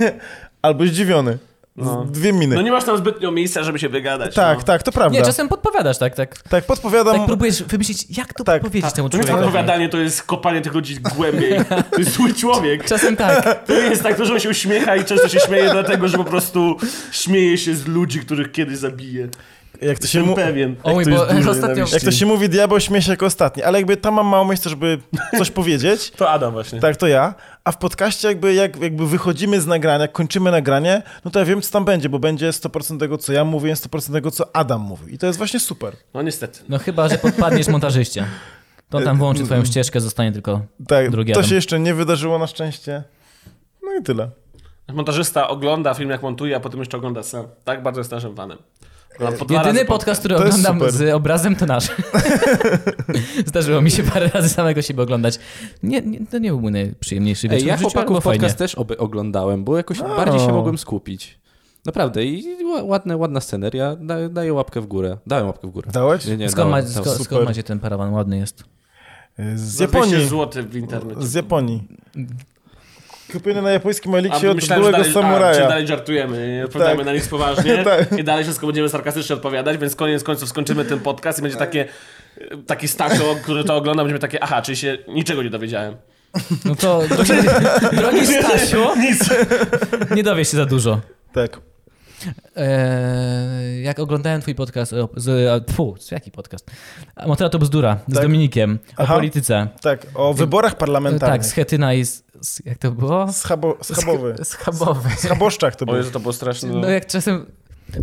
Speaker 3: jak... Albo zdziwiony. Z Dwie miny.
Speaker 4: No nie masz tam zbytnio miejsca, żeby się wygadać.
Speaker 3: tak,
Speaker 4: no.
Speaker 3: tak, to prawda.
Speaker 1: Nie, czasem podpowiadasz, tak, tak.
Speaker 3: Tak, podpowiadam.
Speaker 1: Tak próbujesz wymyślić, jak to
Speaker 3: Tak.
Speaker 1: powiedzieć temu
Speaker 4: To nie jest
Speaker 1: człowiekowi.
Speaker 4: odpowiadanie, to jest kopanie tych ludzi głębiej. To jest zły człowiek.
Speaker 1: Czasem tak.
Speaker 4: To nie jest tak, to, że on się uśmiecha i często się śmieje dlatego, że po prostu śmieje się z ludzi, których kiedyś zabije.
Speaker 3: jak to się
Speaker 4: Jestem
Speaker 3: mu...
Speaker 4: pewien.
Speaker 1: O mój
Speaker 4: to jest
Speaker 1: Boże,
Speaker 4: dużo
Speaker 1: ostatnio-
Speaker 4: nienawiści.
Speaker 3: Jak to się mówi, diabeł śmie się jako ostatni, ale jakby tam mam mało miejsca, żeby coś powiedzieć.
Speaker 4: To Adam właśnie.
Speaker 3: Tak, to ja. A w podcaście jakby, jak, jakby wychodzimy z nagrania, kończymy nagranie, no to ja wiem, co tam będzie, bo będzie 100% tego, co ja mówię, 100% tego, co Adam mówi. I to jest właśnie super.
Speaker 4: No niestety.
Speaker 1: No chyba, że podpadniesz montażyście. To tam wyłączy twoją
Speaker 3: Mm.
Speaker 1: ścieżkę, zostanie tylko
Speaker 3: Tak,
Speaker 1: drugi
Speaker 3: to
Speaker 1: Adam.
Speaker 3: się jeszcze nie wydarzyło na szczęście. No i tyle.
Speaker 4: Montażysta ogląda film, jak montuje, a potem jeszcze ogląda sam. Tak bardzo jest naszym fanem. No, po dwa
Speaker 1: Jedyny
Speaker 4: razy po-
Speaker 1: podcast, który
Speaker 3: To jest
Speaker 1: oglądam
Speaker 3: super.
Speaker 1: z obrazem, to nasz. Zdarzyło mi się parę razy samego siebie oglądać. Nie, nie, to nie był mój najprzyjemniejszy
Speaker 2: Ej,
Speaker 1: wieczór w
Speaker 2: ja
Speaker 1: życiu, ale
Speaker 2: chłopaków
Speaker 1: było fajnie. No.
Speaker 2: podcast też oby oglądałem, bo jakoś bardziej się mogłem skupić. Naprawdę, i ła- ładne, ładna sceneria. Da, daję łapkę w górę. Dałem łapkę w górę.
Speaker 3: Dałeś?
Speaker 2: Nie, no, nie,
Speaker 1: Skąd, ma,
Speaker 2: dałem, dałem.
Speaker 1: sko, skąd
Speaker 3: super.
Speaker 1: macie ten parawan? Ładny jest.
Speaker 3: Z
Speaker 4: za 200
Speaker 3: Japonii.
Speaker 4: zł w internecie.
Speaker 3: Z Japonii. Kupiony na japońskim
Speaker 4: A
Speaker 3: eliksie od
Speaker 4: myślałem, że
Speaker 3: byłego
Speaker 4: dalej, a, czy
Speaker 3: samuraja.
Speaker 4: dalej żartujemy, nie odpowiadamy
Speaker 3: Tak.
Speaker 4: na nic poważnie
Speaker 3: Tak.
Speaker 4: i dalej wszystko będziemy sarkastycznie odpowiadać, więc koniec końców skończymy ten podcast i będzie takie, taki stakto, który to ogląda, będziemy takie, aha, czyli się niczego nie dowiedziałem.
Speaker 1: No to, drogi, drogi Stasiu,
Speaker 4: Nic.
Speaker 1: nie dowiesz się za dużo.
Speaker 3: Tak.
Speaker 1: Eee, jak oglądałem twój podcast, o, z, a, tfu, z- jaki podcast? A, Motora to bzdura, z Dominikiem, o
Speaker 3: Tak. Aha.
Speaker 1: polityce.
Speaker 3: Tak, o wyborach
Speaker 1: E, Tak, z
Speaker 3: parlamentarnych.
Speaker 1: Chetyna i z, z, jak to było?
Speaker 3: Schabo, schabowy.
Speaker 1: Schabowy.
Speaker 3: Schaboszczak to
Speaker 4: O
Speaker 3: był.
Speaker 4: Jezu, to było straszne.
Speaker 1: No jak czasem...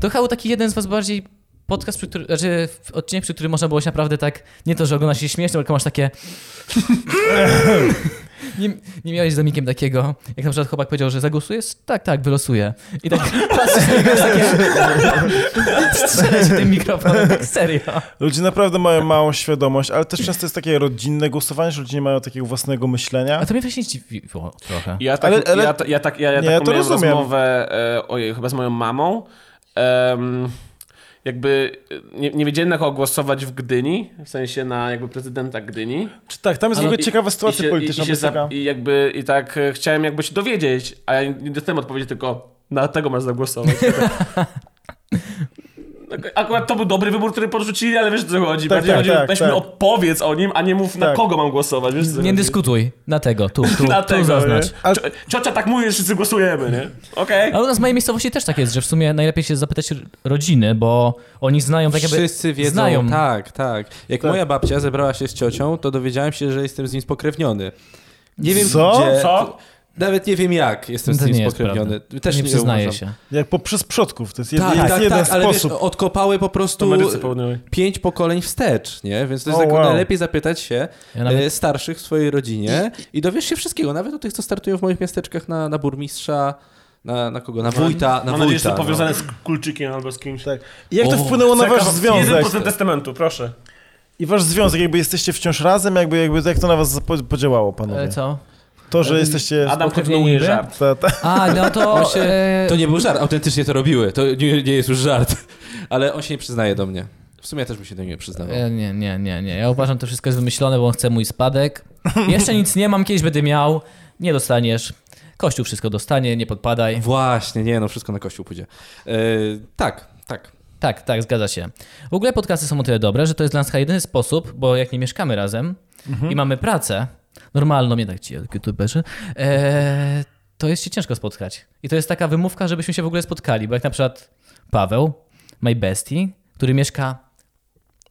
Speaker 1: To chyba był taki jeden z was bardziej podcast, przy który, znaczy w- odcinek, przy którym można było się naprawdę tak, nie to, że ogląda się śmiesznie, tylko masz takie... Nie, nie miałeś z Dominikiem takiego, jak na przykład chłopak powiedział, że zagłosujesz? Tak, tak, wylosuję. I tak patrzysz na niego jest takie... Strzela się tym mikrofonem, tak serio.
Speaker 3: Ludzie naprawdę mają małą świadomość, ale też często jest takie rodzinne głosowanie, że ludzie nie mają takiego własnego myślenia.
Speaker 1: A to mnie właśnie zdziwiło trochę.
Speaker 4: Ja, tak,
Speaker 3: Ale- ale-
Speaker 4: ja, ta, ja, tak, ja, ja
Speaker 3: Nie,
Speaker 4: taką
Speaker 3: to
Speaker 4: miałem
Speaker 3: rozumiem.
Speaker 4: rozmowę, e, ojej, chyba z moją mamą. Em, jakby e, nie, nie wiedziałem na kogo głosować w Gdyni, w sensie na jakby prezydenta Gdyni.
Speaker 3: Czy tak, tam jest w
Speaker 4: Ale
Speaker 3: ogóle
Speaker 4: i-
Speaker 3: ciekawa
Speaker 4: i
Speaker 3: sytuacja
Speaker 4: się- I,
Speaker 3: polityczna.
Speaker 4: i, się
Speaker 3: bo jest
Speaker 4: za,
Speaker 3: taka-
Speaker 4: I jakby i tak e, chciałem jakby się dowiedzieć, a ja nie dostałem odpowiedzi tylko na tego masz zagłosować. Ak- Akurat to był dobry wybór, który porzucili, ale wiesz o co chodzi.
Speaker 3: Tak,
Speaker 4: Bardziej
Speaker 3: tak,
Speaker 4: chodzi,
Speaker 3: tak,
Speaker 4: weźmy
Speaker 3: tak.
Speaker 4: opowiedz o nim, a nie mów na
Speaker 3: Tak.
Speaker 4: kogo mam głosować. Wiesz, o co
Speaker 1: Nie
Speaker 4: chodzi.
Speaker 1: dyskutuj. Na tego, tu, tu,
Speaker 4: Na
Speaker 1: tu
Speaker 4: tego,
Speaker 1: zaznacz.
Speaker 4: nie? Cio- Ciocia tak mówi, że wszyscy głosujemy, nie? Okej.
Speaker 1: Ale u nas w mojej miejscowości też tak jest, że w sumie najlepiej się zapytać r- rodziny, bo oni znają tak jakby...
Speaker 2: Wszyscy wiedzą.
Speaker 1: Znają.
Speaker 2: Tak, tak. Jak moja babcia zebrała się z ciocią, to dowiedziałem się, że jestem z nim spokrewniony. Nie wiem
Speaker 3: Co?
Speaker 2: gdzie.
Speaker 4: Co?
Speaker 2: Nawet nie wiem jak jestem
Speaker 1: To
Speaker 2: z nim
Speaker 1: nie jest
Speaker 2: spokrewniony.
Speaker 1: prawda.
Speaker 2: Też
Speaker 1: nie przyznaje
Speaker 2: uważam.
Speaker 1: się.
Speaker 3: Jak poprzez przodków, to jest jed,
Speaker 2: Tak,
Speaker 3: jest
Speaker 2: tak,
Speaker 3: jeden
Speaker 2: tak, ale wiesz,
Speaker 3: sposób.
Speaker 2: odkopały po prostu
Speaker 4: Ameryce Południowej.
Speaker 2: pięć pokoleń wstecz, nie? Więc to jest
Speaker 3: O,
Speaker 2: tak
Speaker 3: wow.
Speaker 2: najlepiej zapytać się
Speaker 1: Ja nawet-
Speaker 2: e, starszych w swojej rodzinie i dowiesz się wszystkiego, nawet o tych, co startują w moich miasteczkach na, na burmistrza, na, na kogo? Na wójta, na
Speaker 4: Mam nadzieję, że
Speaker 2: wójta.
Speaker 4: to
Speaker 2: no.
Speaker 4: powiązane z kulczykiem albo z kimś.
Speaker 3: tak. I jak to
Speaker 1: O,
Speaker 3: wpłynęło na wasz
Speaker 4: Jaka-
Speaker 3: związek?
Speaker 4: 1% testamentu, proszę.
Speaker 3: I wasz związek, jakby jesteście wciąż razem, jakby, jakby jak to na was zapo- podziałało,
Speaker 1: Ale
Speaker 3: panowie?
Speaker 1: co?
Speaker 3: To, że jesteście...
Speaker 4: Adam
Speaker 1: Spokrewnieni
Speaker 4: kontynuuje
Speaker 1: niby?
Speaker 4: żart.
Speaker 3: Ta, ta,
Speaker 1: A, no to...
Speaker 2: On się-
Speaker 1: e,
Speaker 2: To nie był żart, autentycznie to robiły. To nie, nie jest już żart. Ale on się nie przyznaje do mnie. W sumie ja też mi się do niego przyznawał.
Speaker 1: e, Nie, nie, nie, nie. Ja uważam, to wszystko jest wymyślone, bo on chce mój spadek. Jeszcze nic nie mam, kiedyś będę miał. Nie dostaniesz. Kościół wszystko dostanie, nie podpadaj.
Speaker 2: Właśnie, nie, no wszystko na kościół pójdzie. E, tak, tak.
Speaker 1: Tak, tak, zgadza się. W ogóle podcasty są o tyle dobre, że to jest dla nas chyba jedyny sposób, bo jak nie mieszkamy razem i mamy pracę, normalną, nie tak ci youtuberzy, e, to jest się ciężko spotkać. I to jest taka wymówka, żebyśmy się w ogóle spotkali, bo jak na przykład Paweł, my bestie, który mieszka,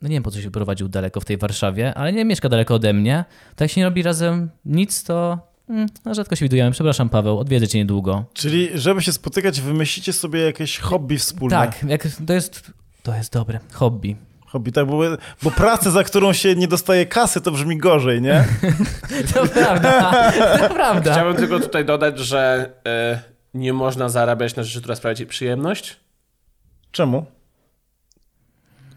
Speaker 1: no nie wiem po co się prowadził daleko w tej Warszawie, ale nie mieszka daleko ode mnie, to jak się nie robi razem nic, to mm, no, rzadko się widujemy. Przepraszam Paweł, odwiedzę cię niedługo.
Speaker 3: czyli, żeby się spotykać, wymyślicie sobie jakieś hobby wspólne.
Speaker 1: Tak, jak to jest. To jest dobre. Hobby.
Speaker 3: Hobbitach, bo, bo pracę, za którą się nie dostaje kasy, to brzmi gorzej, nie?
Speaker 1: To prawda, to
Speaker 2: Tak.
Speaker 1: prawda.
Speaker 4: Chciałbym tylko tutaj dodać, że e, nie można zarabiać na rzeczy, która sprawia ci przyjemność.
Speaker 3: Czemu?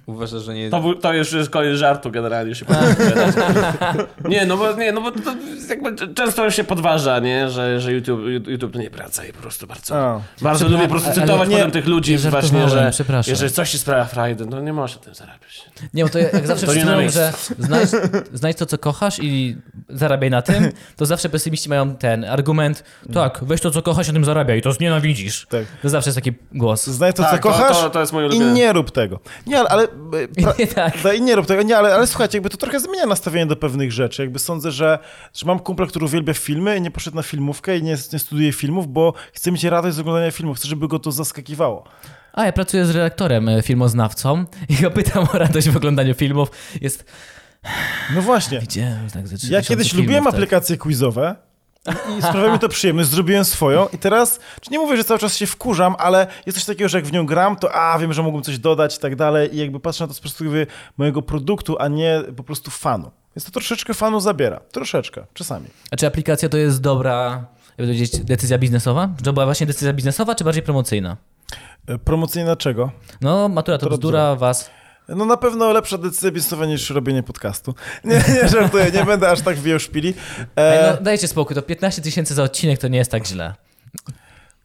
Speaker 2: Uważasz, że nie...
Speaker 4: To, był- to już jest koniec żartu generalnie się powiem. Nie, no bo, nie, no bo to jakby c- często już się podważa, nie? Że, że YouTube, YouTube to nie praca i po prostu bardzo.
Speaker 3: A.
Speaker 4: Bardzo lubię po prostu
Speaker 1: ale-
Speaker 4: cytować
Speaker 1: nie,
Speaker 4: potem tych ludzi
Speaker 1: nie
Speaker 4: właśnie,
Speaker 1: żartowałem,
Speaker 4: że
Speaker 1: przepraszam.
Speaker 4: jeżeli coś ci sprawia frajdę, to nie możesz na tym zarabiać.
Speaker 1: Nie, bo to ja- jak zawsze
Speaker 4: To nie na
Speaker 1: przyznam, że znajdź, znajdź to, co kochasz i zarabiaj na tym, to zawsze pesymiści mają ten argument, tak, weź to, co kochasz, na tym zarabiaj, to znienawidzisz.
Speaker 3: Tak.
Speaker 1: To zawsze jest taki głos.
Speaker 3: Znaj to,
Speaker 4: Tak,
Speaker 3: co
Speaker 4: to-
Speaker 3: kochasz
Speaker 4: to- to jest moje
Speaker 3: i
Speaker 4: ulubione.
Speaker 3: nie rób tego. Nie, ale... ale e, pra...
Speaker 1: I tak.
Speaker 3: Da, I nie rób tego. Nie, ale, ale słuchajcie, jakby to trochę zmienia nastawienie do pewnych rzeczy. Jakby sądzę, że, że mam kumpla, który uwielbia filmy i nie poszedł na filmówkę i nie, nie studiuje filmów, bo chce mieć radość z oglądania filmów. Chce, żeby go to zaskakiwało.
Speaker 1: A ja pracuję z redaktorem e, filmoznawcą i go pytam o radość w oglądaniu filmów. Jest.
Speaker 3: No właśnie.
Speaker 1: Widziałem już tak ze trzy
Speaker 3: Ja
Speaker 1: tysiące
Speaker 3: kiedyś
Speaker 1: filmów,
Speaker 3: lubiłem
Speaker 1: tak.
Speaker 3: aplikacje quizowe i- i sprawiało mi to przyjemność, zrobiłem swoją i teraz, czy nie mówię, że cały czas się wkurzam, ale jest coś takiego, że jak w nią gram, to a, wiem, że mógłbym coś dodać i tak dalej i jakby patrzę na to z perspektywy mojego produktu, a nie po prostu fanu. Więc to troszeczkę fanu zabiera. Troszeczkę, czasami.
Speaker 1: A czy aplikacja to jest dobra, jakby powiedzieć, decyzja biznesowa? Czy to była właśnie decyzja biznesowa, czy bardziej promocyjna?
Speaker 3: E, Promocyjna czego?
Speaker 1: No, matura to
Speaker 3: To
Speaker 1: bzdura was.
Speaker 3: No na pewno lepsza decyzja biznesowa niż robienie podcastu. Nie, nie żartuję, nie będę aż tak wieł szpili.
Speaker 1: Ej,
Speaker 3: E,
Speaker 1: no, dajcie spokój, to 15 tysięcy za odcinek to nie jest tak źle.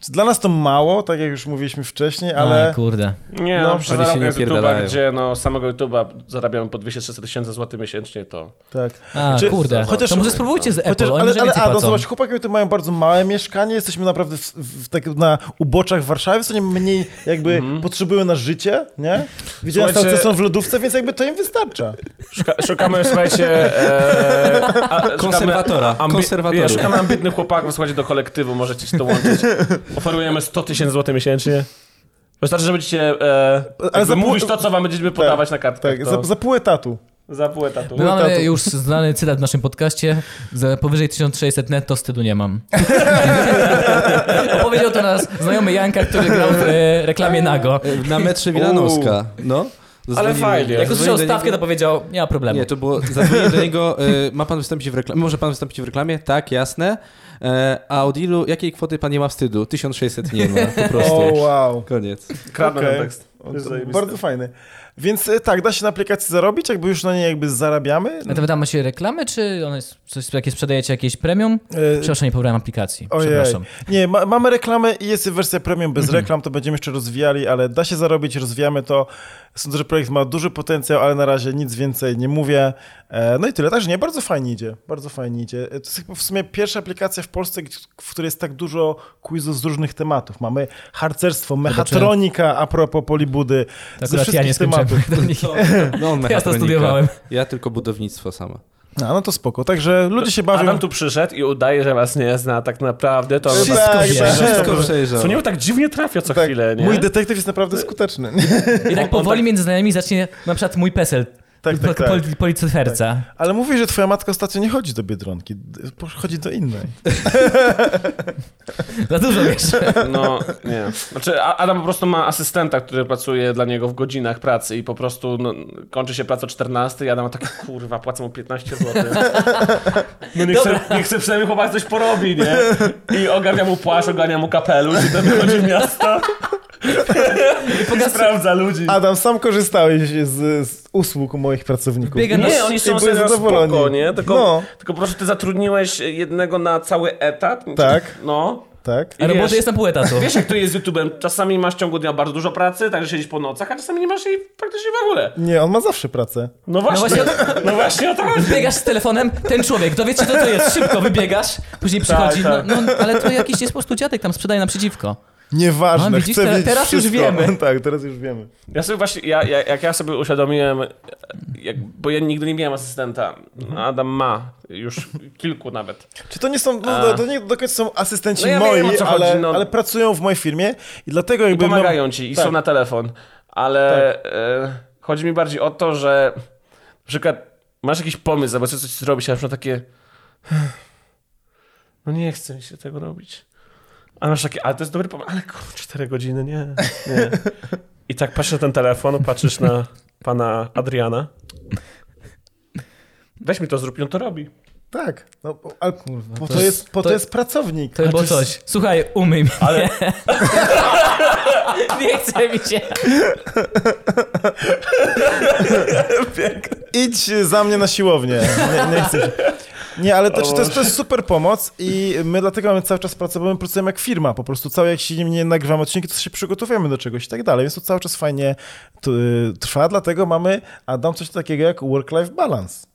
Speaker 3: Dla nas to mało, tak jak już mówiliśmy
Speaker 1: No,
Speaker 3: wcześniej, ale...
Speaker 1: Oj, kurde.
Speaker 4: Nie,
Speaker 3: No,
Speaker 4: no, no
Speaker 3: oni się
Speaker 4: przy
Speaker 2: nie
Speaker 4: zarobkach z YouTube'a,
Speaker 2: pierdalają.
Speaker 4: gdzie no, z samego YouTube'a zarabiamy po 200-300 tysięcy złotych miesięcznie, to
Speaker 3: Tak.
Speaker 1: A,
Speaker 3: Czy-
Speaker 1: kurde.
Speaker 3: chociaż-
Speaker 1: to może spróbujcie z Apple,
Speaker 3: Chociaż,
Speaker 1: oni
Speaker 3: ale,
Speaker 1: może
Speaker 3: ale
Speaker 1: więcej
Speaker 3: a, no
Speaker 1: płacą.
Speaker 3: zobacz, chłopaki to mają bardzo małe mieszkanie, jesteśmy naprawdę w, w, tak na uboczach Warszawy, co nie mniej jakby potrzebują na życie, nie? Widziałem
Speaker 4: Słuchajcie-
Speaker 3: Mhm. Słuchajcie... Tak, co są w lodówce, więc jakby to im wystarcza.
Speaker 4: Szuka, szukamy, słuchajcie, e, a, szukamy
Speaker 2: Konserwatora, konserwatora.
Speaker 4: Nie, szukamy ambitnych chłopaków, słuchajcie, do kolektywu, możecie się dołączyć. Oferujemy 100 tysięcy złotych miesięcznie. Wystarczy, że będziecie e, Ale
Speaker 3: za pół-
Speaker 4: mówić to, co wam będziemy podawać na kartkę. to,
Speaker 3: Tak, za, za pół No, etatu.
Speaker 4: za pół etatu.
Speaker 1: My mamy
Speaker 3: tatu.
Speaker 1: już znany cytat w naszym podcaście, że powyżej 1600 netto wstydu nie mam. Powiedział to nas znajomy Janka, który grał w e, reklamie Nago.
Speaker 2: Na metrze Wilanowska, no. Zadzwonili-
Speaker 4: fajnie.
Speaker 1: Jak usłyszał
Speaker 2: zadzwonili do
Speaker 1: stawkę, to
Speaker 2: niego-
Speaker 1: powiedział, nie ma problemu.
Speaker 2: Nie, to było, zadzwonię do niego, y, ma pan wystąpić w reklamie, może pan wystąpić w reklamie? Tak, jasne. E, a od ilu, jakiej kwoty pan nie ma wstydu? 1600 nie ma, po prostu.
Speaker 3: O, wow.
Speaker 2: Koniec.
Speaker 4: Kradnę
Speaker 3: Okej.
Speaker 4: ten tekst.
Speaker 3: O,
Speaker 4: Jest
Speaker 3: to
Speaker 4: zajebisty.
Speaker 3: Bardzo fajny. Więc e, tak, da się na aplikacji zarobić, jakby już na niej jakby zarabiamy.
Speaker 1: A to wydamy się reklamy, czy one jest, coś, jakie sprzedajecie jakieś premium?
Speaker 3: E,
Speaker 1: Przepraszam, nie pobrałem aplikacji.
Speaker 3: Ojej.
Speaker 1: Przepraszam.
Speaker 3: Nie, ma, mamy reklamę i jest wersja premium bez
Speaker 1: Mhm.
Speaker 3: reklam, to będziemy jeszcze rozwijali, ale da się zarobić, rozwijamy to. Sądzę, że projekt ma duży potencjał, ale na razie nic więcej nie mówię. E, no i tyle, także nie, bardzo fajnie idzie, bardzo fajnie idzie. E, To jest chyba w sumie pierwsza aplikacja w Polsce, gdzie- w której jest tak dużo quizów z różnych tematów. Mamy harcerstwo, mechatronika a propos Polibudy,
Speaker 1: To
Speaker 3: ze
Speaker 1: akurat ja nie
Speaker 3: wszystkich
Speaker 1: skończyłem.
Speaker 3: tematów.
Speaker 2: No, on
Speaker 1: Ja to
Speaker 2: mechatronika.
Speaker 1: studiowałem.
Speaker 2: Ja tylko budownictwo sama.
Speaker 3: No, no to spoko, także ludzie się bawią.
Speaker 4: Adam tu przyszedł i udaje, że was nie zna tak naprawdę. To
Speaker 3: Wszystko
Speaker 4: was-
Speaker 1: wie.
Speaker 2: Wszystko przejrzał.
Speaker 4: Co nie tak dziwnie trafia co
Speaker 3: Tak,
Speaker 4: chwilę, nie?
Speaker 3: Mój detektyw jest naprawdę skuteczny. No,
Speaker 1: I tak powoli między znajomymi zacznie na przykład mój PESEL.
Speaker 3: tak, tak, tak.
Speaker 1: Poli, policyferca.
Speaker 3: Ale mówi, że twoja matka ostatnio nie chodzi do Biedronki, d- po- chodzi do innej.
Speaker 1: Tak. Za dużo wiesz.
Speaker 4: No, nie. Znaczy, A- Adam po prostu ma asystenta, który pracuje dla niego w godzinach pracy i po prostu no, kończy się praca o 14 i Adam ma takie, kurwa, płacę mu 15 zł. No nie chcę, nie chcę przynajmniej chłopak coś porobi, nie? I ogarnia mu płaszcz, ogarnia mu kapelusz i tam wychodzi w miasto
Speaker 1: I
Speaker 4: i
Speaker 1: pokazuje-
Speaker 4: sprawdza ludzi.
Speaker 3: Adam, sam korzystałeś z, z usług moich pracowników.
Speaker 1: Biega na-
Speaker 4: Nie, oni
Speaker 3: I
Speaker 4: są
Speaker 3: były
Speaker 4: serio
Speaker 3: zadowoleni.
Speaker 4: spoko, nie? Tylko,
Speaker 3: No.
Speaker 4: tylko po prostu ty zatrudniłeś jednego na cały etat.
Speaker 3: Tak.
Speaker 4: No.
Speaker 3: Tak?
Speaker 1: A roboty
Speaker 4: wiesz-
Speaker 1: jest na pół etatu.
Speaker 4: Wiesz, jak to jest z YouTube'em? Czasami masz w ciągu dnia bardzo dużo pracy, także siedzisz po nocach, a czasami nie masz jej praktycznie w ogóle.
Speaker 3: Nie, on ma zawsze pracę.
Speaker 4: No właśnie, no właśnie, o to chodzi.
Speaker 1: Biegasz z telefonem, ten człowiek, dowiecie co to jest, szybko wybiegasz, później przychodzi,
Speaker 4: tak.
Speaker 1: No, no ale to jakiś jest po prostu dziadek tam sprzedaje naprzeciwko.
Speaker 3: Nieważne,
Speaker 1: No,
Speaker 3: no,
Speaker 1: widzisz,
Speaker 3: chcę
Speaker 1: te-
Speaker 3: wiedzieć
Speaker 1: teraz już
Speaker 3: wszystko.
Speaker 1: wiemy.
Speaker 3: tak, teraz już wiemy.
Speaker 4: Ja sobie właśnie, ja, ja, jak ja sobie uświadomiłem, jak, bo ja nigdy nie miałem asystenta, Adam ma już kilku nawet.
Speaker 3: Czy to nie są, no, no, to nie do końca są asystenci
Speaker 4: No ja
Speaker 3: moi,
Speaker 4: wiem, o co chodzi,
Speaker 3: ale,
Speaker 4: no.
Speaker 3: ale pracują w mojej firmie i dlatego
Speaker 4: I
Speaker 3: jakby...
Speaker 4: pomagają ci i
Speaker 3: tak.
Speaker 4: są na telefon, ale e, chodzi mi bardziej o to, że na przykład masz jakiś pomysł, zobacz coś zrobić, a na przykład takie no nie chce mi się tego robić. A masz takie, ale to jest dobry pomysł, ale kurczę, 4 godziny, nie, nie. I tak patrzysz na ten telefon, patrzysz na pana Adriana. Weź mi to zrób, i on to robi.
Speaker 3: Tak, no, bo- ale bo to,
Speaker 1: to
Speaker 3: jest, po to,
Speaker 1: to-
Speaker 3: jest pracownik.
Speaker 1: To by było
Speaker 3: Znaczy,
Speaker 1: coś. Słuchaj, umyj mnie. Ale... nie chce mi się.
Speaker 3: Idź za mnie na siłownię. Nie, nie chcę się. Nie, ale to, to, jest, to jest super pomoc i my dlatego mamy cały czas pracę, bo my pracujemy jak firma, po prostu cały jak się nie nagrywamy odcinki, to się przygotowujemy do czegoś i tak dalej, więc to cały czas fajnie t- trwa, dlatego mamy, Adam, coś takiego jak work-life balance.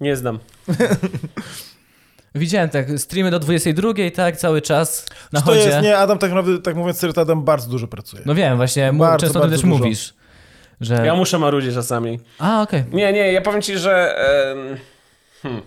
Speaker 4: Nie znam.
Speaker 1: Widziałem tak, streamy do 22, tak, cały czas na
Speaker 3: to
Speaker 1: chodzie.
Speaker 3: jest, nie, Adam tak naprawdę, tak mówiąc serio, to Adam bardzo dużo pracuje.
Speaker 1: No wiem, właśnie, mu,
Speaker 3: Bardzo,
Speaker 1: często o tym
Speaker 3: bardzo
Speaker 1: też
Speaker 3: dużo.
Speaker 1: mówisz. Że...
Speaker 4: Ja muszę marudzić czasami.
Speaker 1: A, okej.
Speaker 4: Nie, nie, ja powiem ci, że. em, hmm.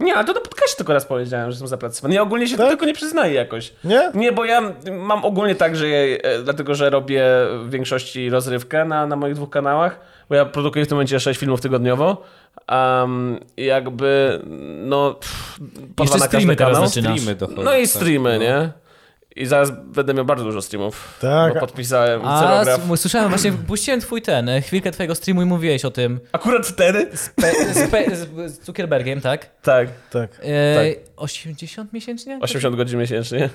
Speaker 4: Nie, ale to na podcaście tylko raz powiedziałem, że jestem zapracowany. Ja ogólnie się
Speaker 1: Tak?
Speaker 4: do tego nie przyznaję jakoś.
Speaker 3: Nie?
Speaker 4: Nie, bo ja mam ogólnie tak, że ja, e, dlatego, że robię w większości rozrywkę na, na moich dwóch kanałach, bo ja produkuję w tym momencie 6 filmów tygodniowo. Um, jakby, no, pff, po
Speaker 1: Jeszcze
Speaker 4: dwa na każdy
Speaker 1: streamy teraz
Speaker 4: kanał.
Speaker 1: zaczynasz.
Speaker 2: Streamy dochodzą.
Speaker 4: No i
Speaker 2: tak.
Speaker 4: streamy,
Speaker 2: No.
Speaker 4: nie? I zaraz będę miał bardzo dużo streamów.
Speaker 3: Tak.
Speaker 4: Bo podpisałem
Speaker 1: A,
Speaker 4: celograf.
Speaker 1: s- słyszałem, właśnie puściłem twój ten, e, chwilkę twojego streamu i mówiłeś o tym.
Speaker 4: Akurat wtedy?
Speaker 1: Pe- z, pe- z- z Zuckerbergiem, tak?
Speaker 4: Tak.
Speaker 3: Tak.
Speaker 1: E, 80 miesięcznie?
Speaker 4: 80 godzin miesięcznie.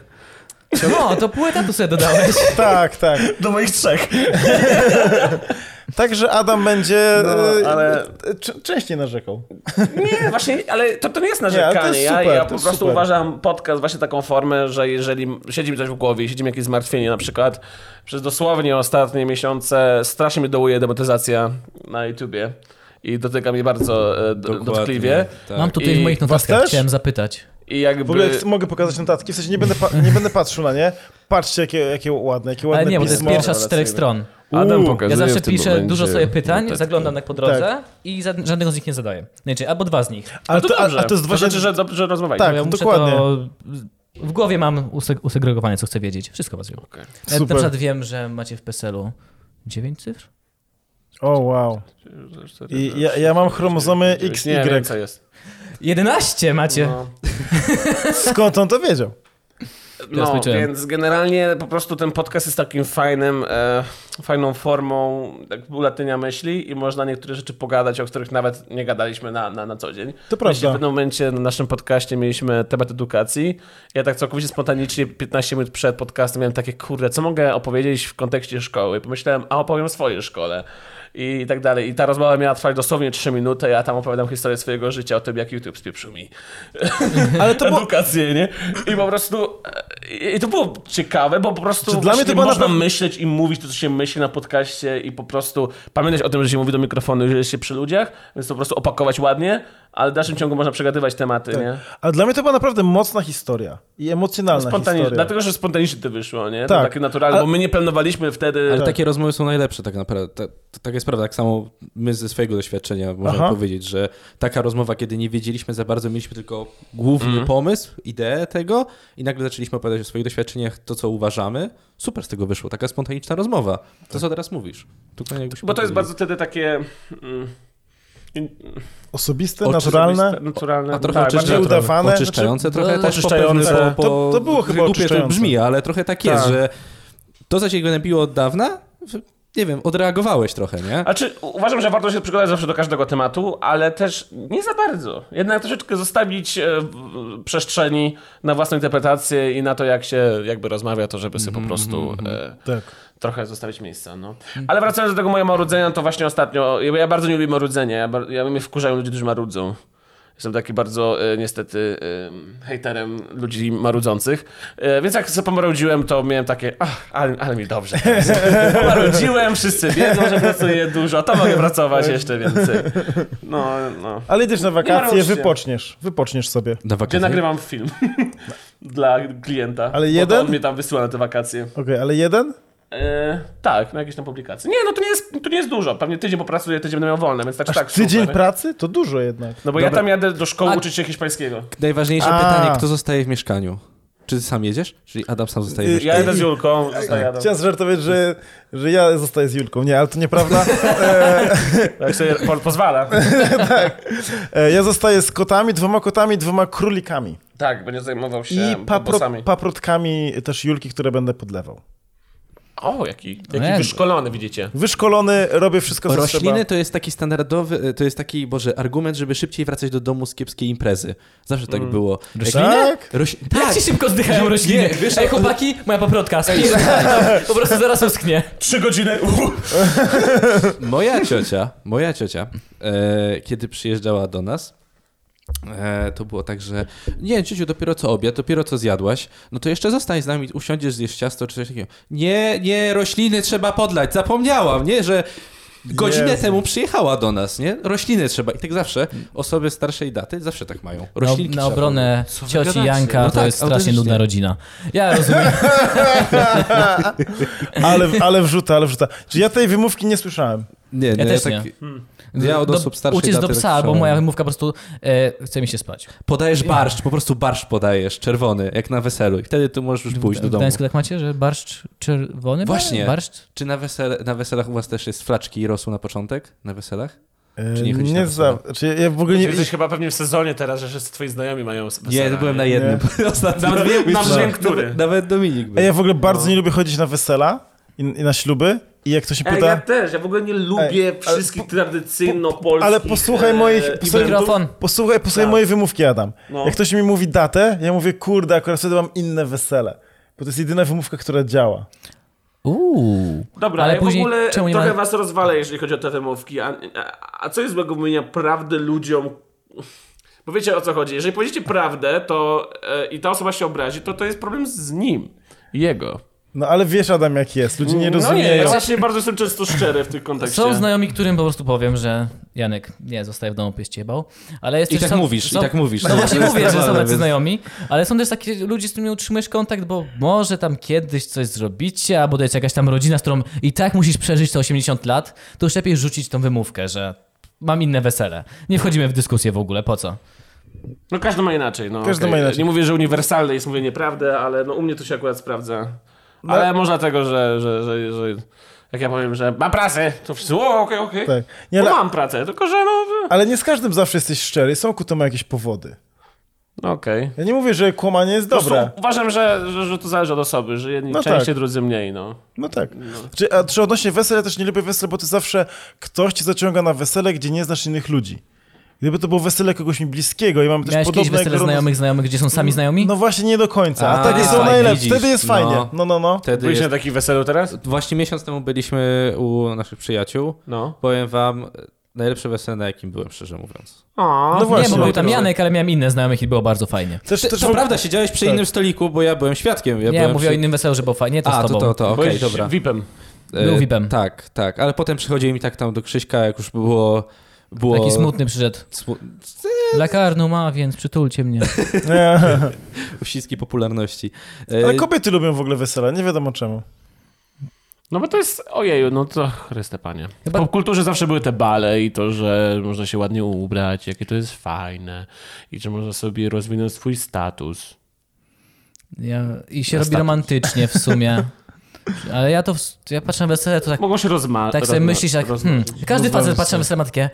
Speaker 1: No, to pół etatu sobie dodałeś.
Speaker 3: Tak, tak.
Speaker 4: Do moich trzech.
Speaker 3: Także Adam będzie
Speaker 4: No,
Speaker 3: e,
Speaker 4: ale-
Speaker 3: e, czę- częściej narzekał.
Speaker 4: Nie, właśnie, ale to, to nie jest
Speaker 3: to jest
Speaker 4: narzekanie. ja,
Speaker 3: super,
Speaker 4: ja
Speaker 3: to
Speaker 4: po
Speaker 3: jest
Speaker 4: prostu
Speaker 3: super.
Speaker 4: uważam podcast właśnie taką formę, że jeżeli siedzi mi coś w głowie, siedzi mi jakieś zmartwienie, na przykład przez dosłownie ostatnie miesiące strasznie mi dołuje demotyzacja na YouTubie i dotyka mnie bardzo e, d-
Speaker 2: Dokładnie,
Speaker 4: dotkliwie.
Speaker 2: tak.
Speaker 1: Mam tutaj w
Speaker 4: I
Speaker 1: moich
Speaker 3: was
Speaker 1: notatkach,
Speaker 3: też?
Speaker 1: chciałem zapytać.
Speaker 4: I
Speaker 3: W ogóle
Speaker 4: jakby...
Speaker 3: chcę- mogę pokazać notatki, w sensie nie będę, pa- nie będę patrzył na nie. Patrzcie, jakie, jakie ładne, jakie ładne
Speaker 1: Ale nie, bo to jest
Speaker 3: pismo.
Speaker 1: pierwsza z czterech stron.
Speaker 4: Adam
Speaker 3: Uuu,
Speaker 4: pokazuje
Speaker 1: Ja zawsze
Speaker 4: w tym
Speaker 1: piszę
Speaker 4: momencie
Speaker 1: dużo sobie pytań,
Speaker 4: notatki.
Speaker 1: zaglądam tak po drodze i za, żadnego z nich nie zadaję. Znaczy, albo dwa z nich.
Speaker 4: Ale
Speaker 3: Ale to, a, a to jest właśnie...
Speaker 4: znaczy, że dobrze rozmawiajcie.
Speaker 1: Bo
Speaker 3: Tak.
Speaker 1: ja muszę
Speaker 3: dokładnie.
Speaker 1: To, w głowie mam useg- usegregowane, co chcę wiedzieć. Wszystko was wiem.
Speaker 4: Okej.
Speaker 1: Nawet Na
Speaker 3: Super.
Speaker 1: przykład wiem, że macie w PESEL-u 9 cyfr?
Speaker 3: O, wow. I ja, ja mam chromozomy Y.
Speaker 4: Nie wiem, co
Speaker 3: XY.
Speaker 4: jest.
Speaker 1: 11 macie!
Speaker 4: No.
Speaker 3: Skąd on to wiedział?
Speaker 1: Teraz
Speaker 4: No,
Speaker 1: liczyłem.
Speaker 4: więc generalnie po prostu ten podcast jest takim fajnym, e, fajną formą tak, ulatynia myśli i można niektóre rzeczy pogadać, o których nawet nie gadaliśmy na, na, na co dzień.
Speaker 3: To prawda.
Speaker 4: Jeśli w pewnym momencie na naszym podcaście mieliśmy temat edukacji. Ja tak całkowicie spontanicznie 15 minut przed podcastem miałem takie, kurde, co mogę opowiedzieć w kontekście szkoły? Pomyślałem, a opowiem o swojej szkole. I tak dalej. I ta rozmowa miała trwać dosłownie 3 minuty, ja tam opowiadam historię swojego życia o tym, jak YouTube spieprzył mi
Speaker 3: Ale to było...
Speaker 4: edukację, nie? I po prostu... e, I i to było ciekawe, bo po prostu
Speaker 3: Czy
Speaker 4: dla
Speaker 3: dla mnie to była na
Speaker 4: można
Speaker 3: pewno-
Speaker 4: myśleć i mówić to, co się myśli na podcaście i po prostu pamiętać o tym, że się mówi do mikrofonu i że jest się przy ludziach, więc to po prostu opakować ładnie, ale w dalszym ciągu można przegadywać tematy,
Speaker 3: Tak.
Speaker 4: nie?
Speaker 3: Ale dla mnie to była naprawdę mocna historia. I emocjonalna
Speaker 4: Spontanicznie,
Speaker 3: historia.
Speaker 4: dlatego, że spontanicznie to wyszło, nie?
Speaker 3: Tak.
Speaker 4: To takie naturalne,
Speaker 3: Ale-
Speaker 4: bo my nie planowaliśmy wtedy...
Speaker 2: Ale takie rozmowy są najlepsze tak naprawdę. Ta, ta, tak jest prawda. Tak samo my ze swojego doświadczenia możemy
Speaker 3: Aha.
Speaker 2: powiedzieć, że taka rozmowa, kiedy nie wiedzieliśmy za bardzo, mieliśmy tylko główny
Speaker 4: Mhm.
Speaker 2: pomysł, ideę tego i nagle zaczęliśmy opowiadać o swoich doświadczeniach, to co uważamy. Super z tego wyszło. Taka spontaniczna rozmowa. To co teraz mówisz. Dokładnie jakbyś
Speaker 4: Bo to jest
Speaker 2: powiedział.
Speaker 4: bardzo wtedy takie... mm,
Speaker 3: Osobiste,
Speaker 2: Oczy
Speaker 3: naturalne.
Speaker 4: naturalne.
Speaker 2: A trochę
Speaker 4: tak,
Speaker 2: oczyszcza-
Speaker 4: bardziej-
Speaker 3: udawane.
Speaker 2: trochę oczyszczające,
Speaker 1: Znaczy,
Speaker 2: trochę
Speaker 1: to-
Speaker 2: też
Speaker 4: oczyszczające.
Speaker 2: oczyszczające. Po,
Speaker 3: no, To- to było chyba
Speaker 2: głupie to
Speaker 3: oczyszczające.
Speaker 2: brzmi, ale trochę tak jest,
Speaker 4: Tak.
Speaker 2: że to, co cię gnębiło od dawna, w- nie wiem, odreagowałeś trochę, nie?
Speaker 4: Znaczy, uważam, że warto się przygotować zawsze do każdego tematu, ale też nie za bardzo. Jednak troszeczkę zostawić e, w- przestrzeni na własną interpretację i na to, jak się jakby rozmawia, to żeby sobie po prostu e,
Speaker 3: Tak.
Speaker 4: trochę zostawić miejsca. No.
Speaker 3: Mhm.
Speaker 4: Ale wracając do tego mojego marudzenia, to właśnie ostatnio, ja, ja bardzo nie lubię marudzenia, ja, bar- ja mnie wkurzają ludzie, którzy marudzą. Jestem taki bardzo e, niestety e, hejterem ludzi marudzących. E, więc jak sobie pomarudziłem, to miałem takie, ach, ale, ale mi dobrze. teraz. Pomarudziłem, wszyscy wiedzą, że pracuję dużo, to mogę pracować jeszcze więcej. No, no.
Speaker 3: Ale idziesz na wakacje,
Speaker 4: marudźcie.
Speaker 3: wypoczniesz. Wypoczniesz sobie.
Speaker 2: Na
Speaker 4: Gdzie
Speaker 2: wakacje?
Speaker 4: nagrywam film dla klienta.
Speaker 3: No. Ale
Speaker 4: bo
Speaker 3: jeden?
Speaker 4: To on mnie tam wysyła na te wakacje.
Speaker 3: Okej, ale jeden?
Speaker 4: E, tak, na jakieś tam publikacje. Nie, no to nie jest, to nie jest dużo. Pewnie tydzień popracuję, tydzień będę miał wolne, więc tak, czy tak.
Speaker 3: Tydzień
Speaker 4: super.
Speaker 3: pracy? To dużo jednak.
Speaker 4: No bo ja tam jadę do szkoły uczyć się hiszpańskiego.
Speaker 2: Najważniejsze
Speaker 3: A.
Speaker 2: pytanie, kto zostaje w mieszkaniu? Czy ty sam jedziesz? Czyli Adam sam zostaje w
Speaker 3: Y,
Speaker 2: mieszkaniu?
Speaker 4: Ja jadę z Julką, jadę.
Speaker 3: Chciałem żartować, że, że ja zostaję z Julką. Nie, ale to nieprawda.
Speaker 4: Tak sobie po, pozwala.
Speaker 3: E, Ja zostaję z kotami, dwoma kotami, dwoma królikami.
Speaker 4: Tak, będzie zajmował się
Speaker 3: I papro,
Speaker 4: bobosami.
Speaker 3: paprotkami też Julki, które będę podlewał.
Speaker 4: O, jaki, jaki
Speaker 1: jakby.
Speaker 4: wyszkolony, widzicie.
Speaker 3: Wyszkolony, robię wszystko, co
Speaker 2: Rośliny
Speaker 3: trzeba.
Speaker 2: to jest taki standardowy, e, to jest taki, Boże, argument, żeby szybciej wracać do domu z kiepskiej imprezy. Zawsze tak było.
Speaker 1: Rośliny?
Speaker 3: Mm. Tak?
Speaker 2: Roś...
Speaker 1: Jak
Speaker 2: Tak,
Speaker 1: ci szybko zdychają rośliny?
Speaker 2: nie, wiesz-
Speaker 1: Ej, chłopaki, moja paprotka, spisz. Po prostu zaraz uschnie.
Speaker 3: Trzy godziny.
Speaker 2: moja ciocia, moja ciocia, e, kiedy przyjeżdżała do nas, e, to było tak, że nie, ciociu, dopiero co obiad, dopiero co zjadłaś, no to jeszcze zostań z nami, usiądziesz, zjesz ciasto czy coś takiego. Nie, nie, rośliny trzeba podlać, zapomniałam, nie, że godzinę
Speaker 3: Jezu.
Speaker 2: temu przyjechała do nas, nie? Rośliny trzeba i tak zawsze osoby starszej daty zawsze tak mają.
Speaker 1: na,
Speaker 2: Roślinki
Speaker 1: na
Speaker 2: trzeba
Speaker 1: obronę
Speaker 2: podlać. Co wy
Speaker 1: cioci
Speaker 2: gadacie?
Speaker 1: Janka
Speaker 2: No
Speaker 1: to
Speaker 2: tak,
Speaker 1: jest strasznie
Speaker 2: autentycznie.
Speaker 1: nudna rodzina. Ja rozumiem.
Speaker 3: Ale, ale wrzuta, ale wrzuta. Czy ja tej wymówki nie słyszałem?
Speaker 2: Nie, nie,
Speaker 1: też
Speaker 2: tak, Ja od osób starszej
Speaker 1: Uciec do
Speaker 2: daty tak
Speaker 1: psa, bo
Speaker 2: samo.
Speaker 1: moja wymówka po prostu e, chce mi się spać.
Speaker 2: Podajesz barszcz, po prostu barszcz podajesz, czerwony, jak na weselu i wtedy ty możesz już pójść do
Speaker 1: w
Speaker 2: domu.
Speaker 1: Gdańsku tak macie, że barszcz czerwony? był?
Speaker 2: Właśnie.
Speaker 1: Barszcz?
Speaker 2: Czy na, wesel, na weselach u was też jest flaczki i rosół na początek? Na weselach?
Speaker 3: E,
Speaker 2: Czy nie chodzisz na
Speaker 3: nie za,
Speaker 2: wesela?
Speaker 3: czy ja w ogóle
Speaker 4: Ty
Speaker 3: nie...
Speaker 4: jesteś chyba pewnie w sezonie teraz, że wszyscy twoi znajomi mają wesela,
Speaker 2: Nie, to byłem na jednym. Ostatnio.
Speaker 4: Nawet wiem-
Speaker 2: Myślę,
Speaker 4: nawet wiem,
Speaker 2: że-
Speaker 4: który.
Speaker 2: Nawet Dominik
Speaker 3: Ej,
Speaker 2: był.
Speaker 3: Ja w ogóle bardzo
Speaker 4: No.
Speaker 3: nie lubię chodzić na wesela i, i na śluby i jak ktoś się
Speaker 4: Ej,
Speaker 3: pyta...
Speaker 4: ja też, ja w ogóle nie lubię
Speaker 3: Ej, ale
Speaker 4: wszystkich tradycyjno-polskich...
Speaker 3: Ale posłuchaj
Speaker 4: e,
Speaker 3: moich.
Speaker 4: eventów.
Speaker 3: Posłuchaj,
Speaker 1: Mikrofon.
Speaker 3: posłuchaj, posłuchaj
Speaker 4: Tak.
Speaker 3: mojej wymówki, Adam.
Speaker 4: No.
Speaker 3: Jak ktoś mi mówi datę, ja mówię, kurde, akurat wtedy mam inne wesele. Bo to jest jedyna wymówka, która działa.
Speaker 1: Uuu.
Speaker 4: Dobra,
Speaker 1: ale
Speaker 4: ja
Speaker 1: później
Speaker 4: w ogóle
Speaker 1: czemu nie
Speaker 4: trochę
Speaker 1: ma...
Speaker 4: was rozwalę, jeżeli chodzi o te wymówki. A, a, a co jest złego w mówienia prawdy ludziom? Bo wiecie o co chodzi. Jeżeli powiecie prawdę to e, i ta osoba się obrazi, to to jest problem z nim. Jego.
Speaker 3: No ale wiesz, Adam, jak jest. Ludzie nie
Speaker 4: No nie,
Speaker 3: rozumieją.
Speaker 4: ja właśnie bardzo jestem często szczery w tych kontekście.
Speaker 1: Są znajomi, którym po prostu powiem, że Janek, nie, zostaje w domu, byś ciebał. Ale jest
Speaker 2: I
Speaker 1: też
Speaker 2: tak
Speaker 1: są,
Speaker 2: mówisz,
Speaker 1: są,
Speaker 2: i tak mówisz.
Speaker 1: No właśnie
Speaker 2: To jest
Speaker 1: mówię, że są
Speaker 2: normalne,
Speaker 1: tacy
Speaker 2: więc-
Speaker 1: znajomi, ale są też takie ludzie, z którymi utrzymujesz kontakt, bo może tam kiedyś coś zrobicie, albo to jest jakaś tam rodzina, z którą i tak musisz przeżyć te 80 lat, to już lepiej rzucić tą wymówkę, że mam inne wesele. Nie wchodzimy w dyskusję w ogóle, po co?
Speaker 4: No każdy ma inaczej. No,
Speaker 3: Każdy
Speaker 4: okej.
Speaker 3: ma inaczej.
Speaker 4: Nie mówię, że uniwersalne jest mówienie prawdy, ale no, u mnie to się akurat sprawdza.
Speaker 3: No-
Speaker 4: Ale może dlatego, że, że, że, że jak ja powiem, że mam pracę, to wszyscy, o, okej, okej.
Speaker 3: Tak. Nie,
Speaker 4: No
Speaker 3: ale,
Speaker 4: mam pracę, tylko że no... że-
Speaker 3: ale nie z każdym zawsze jesteś szczery. Są ku temu jakieś powody.
Speaker 4: No okej.
Speaker 3: Ja nie mówię, że kłamanie jest
Speaker 4: Po prostu
Speaker 3: dobre.
Speaker 4: Uważam, że, że, że to zależy od osoby, że jedni
Speaker 3: No
Speaker 4: częściej,
Speaker 3: tak.
Speaker 4: drudzy mniej, no.
Speaker 3: No tak. Czy, a czy odnośnie wesela, ja też nie lubię wesela, bo to zawsze ktoś cię zaciąga na wesele, gdzie nie znasz innych ludzi. Gdyby to było wesele kogoś mi bliskiego i mamy też
Speaker 1: Miałeś kiedyś
Speaker 3: podobne
Speaker 1: wesele
Speaker 3: grono-
Speaker 1: znajomych, znajomych, gdzie są sami znajomi?
Speaker 3: No właśnie nie do końca. A,
Speaker 2: A,
Speaker 3: tak
Speaker 2: jest
Speaker 3: są
Speaker 2: fajnie,
Speaker 3: najlepsze.
Speaker 2: widzisz,
Speaker 3: Wtedy jest
Speaker 2: no.
Speaker 3: fajnie. No, no, no.
Speaker 2: Wtedy
Speaker 4: Byliście
Speaker 2: jest...
Speaker 4: na takim weselu teraz?
Speaker 2: Właśnie miesiąc temu byliśmy u naszych przyjaciół.
Speaker 4: No.
Speaker 2: Powiem wam, e, najlepsze wesele, na jakim byłem, szczerze mówiąc.
Speaker 4: O,
Speaker 3: No
Speaker 1: nie,
Speaker 3: właśnie.
Speaker 1: bo był tam
Speaker 4: Dobrze.
Speaker 1: Janek, ale miałem inne znajomych i było bardzo fajnie.
Speaker 3: Też,
Speaker 2: Ty,
Speaker 3: też
Speaker 2: to
Speaker 3: w-
Speaker 2: prawda, siedziałeś przy
Speaker 3: Tak.
Speaker 2: innym stoliku, bo ja byłem świadkiem. Ja
Speaker 1: nie,
Speaker 2: byłem
Speaker 1: mówię
Speaker 2: przy...
Speaker 1: o innym weselu, że było fajnie, to
Speaker 2: A,
Speaker 1: z
Speaker 2: to
Speaker 1: tobą.
Speaker 2: to, to, okej,
Speaker 4: Byłeś
Speaker 2: dobra.
Speaker 4: VIP-em.
Speaker 2: E,
Speaker 1: Był VIP-em.
Speaker 2: Tak, tak, ale potem przychodziłem i tak tam do Krzyśka, jak już było... było...
Speaker 1: Taki smutny przyszedł.
Speaker 2: smu-
Speaker 1: Lekarnu ma, więc przytulcie mnie.
Speaker 3: Nie.
Speaker 2: uściski popularności. E,
Speaker 3: Ale kobiety lubią w ogóle wesela, nie wiadomo czemu.
Speaker 4: No bo to jest, ojeju, no to chryste panie.
Speaker 1: Chyba-
Speaker 4: W popkulturze zawsze były te bale i to, że można się ładnie ubrać, jakie to jest fajne i że można sobie rozwinąć swój status.
Speaker 1: Ja, I się robi romantycznie w sumie. Ale ja to, w- ja patrzę na wesele, to tak,
Speaker 4: Mogą się rozmawiać.
Speaker 1: tak sobie myślisz, tak, hmm, każdy facet patrzy na wesele ma takie,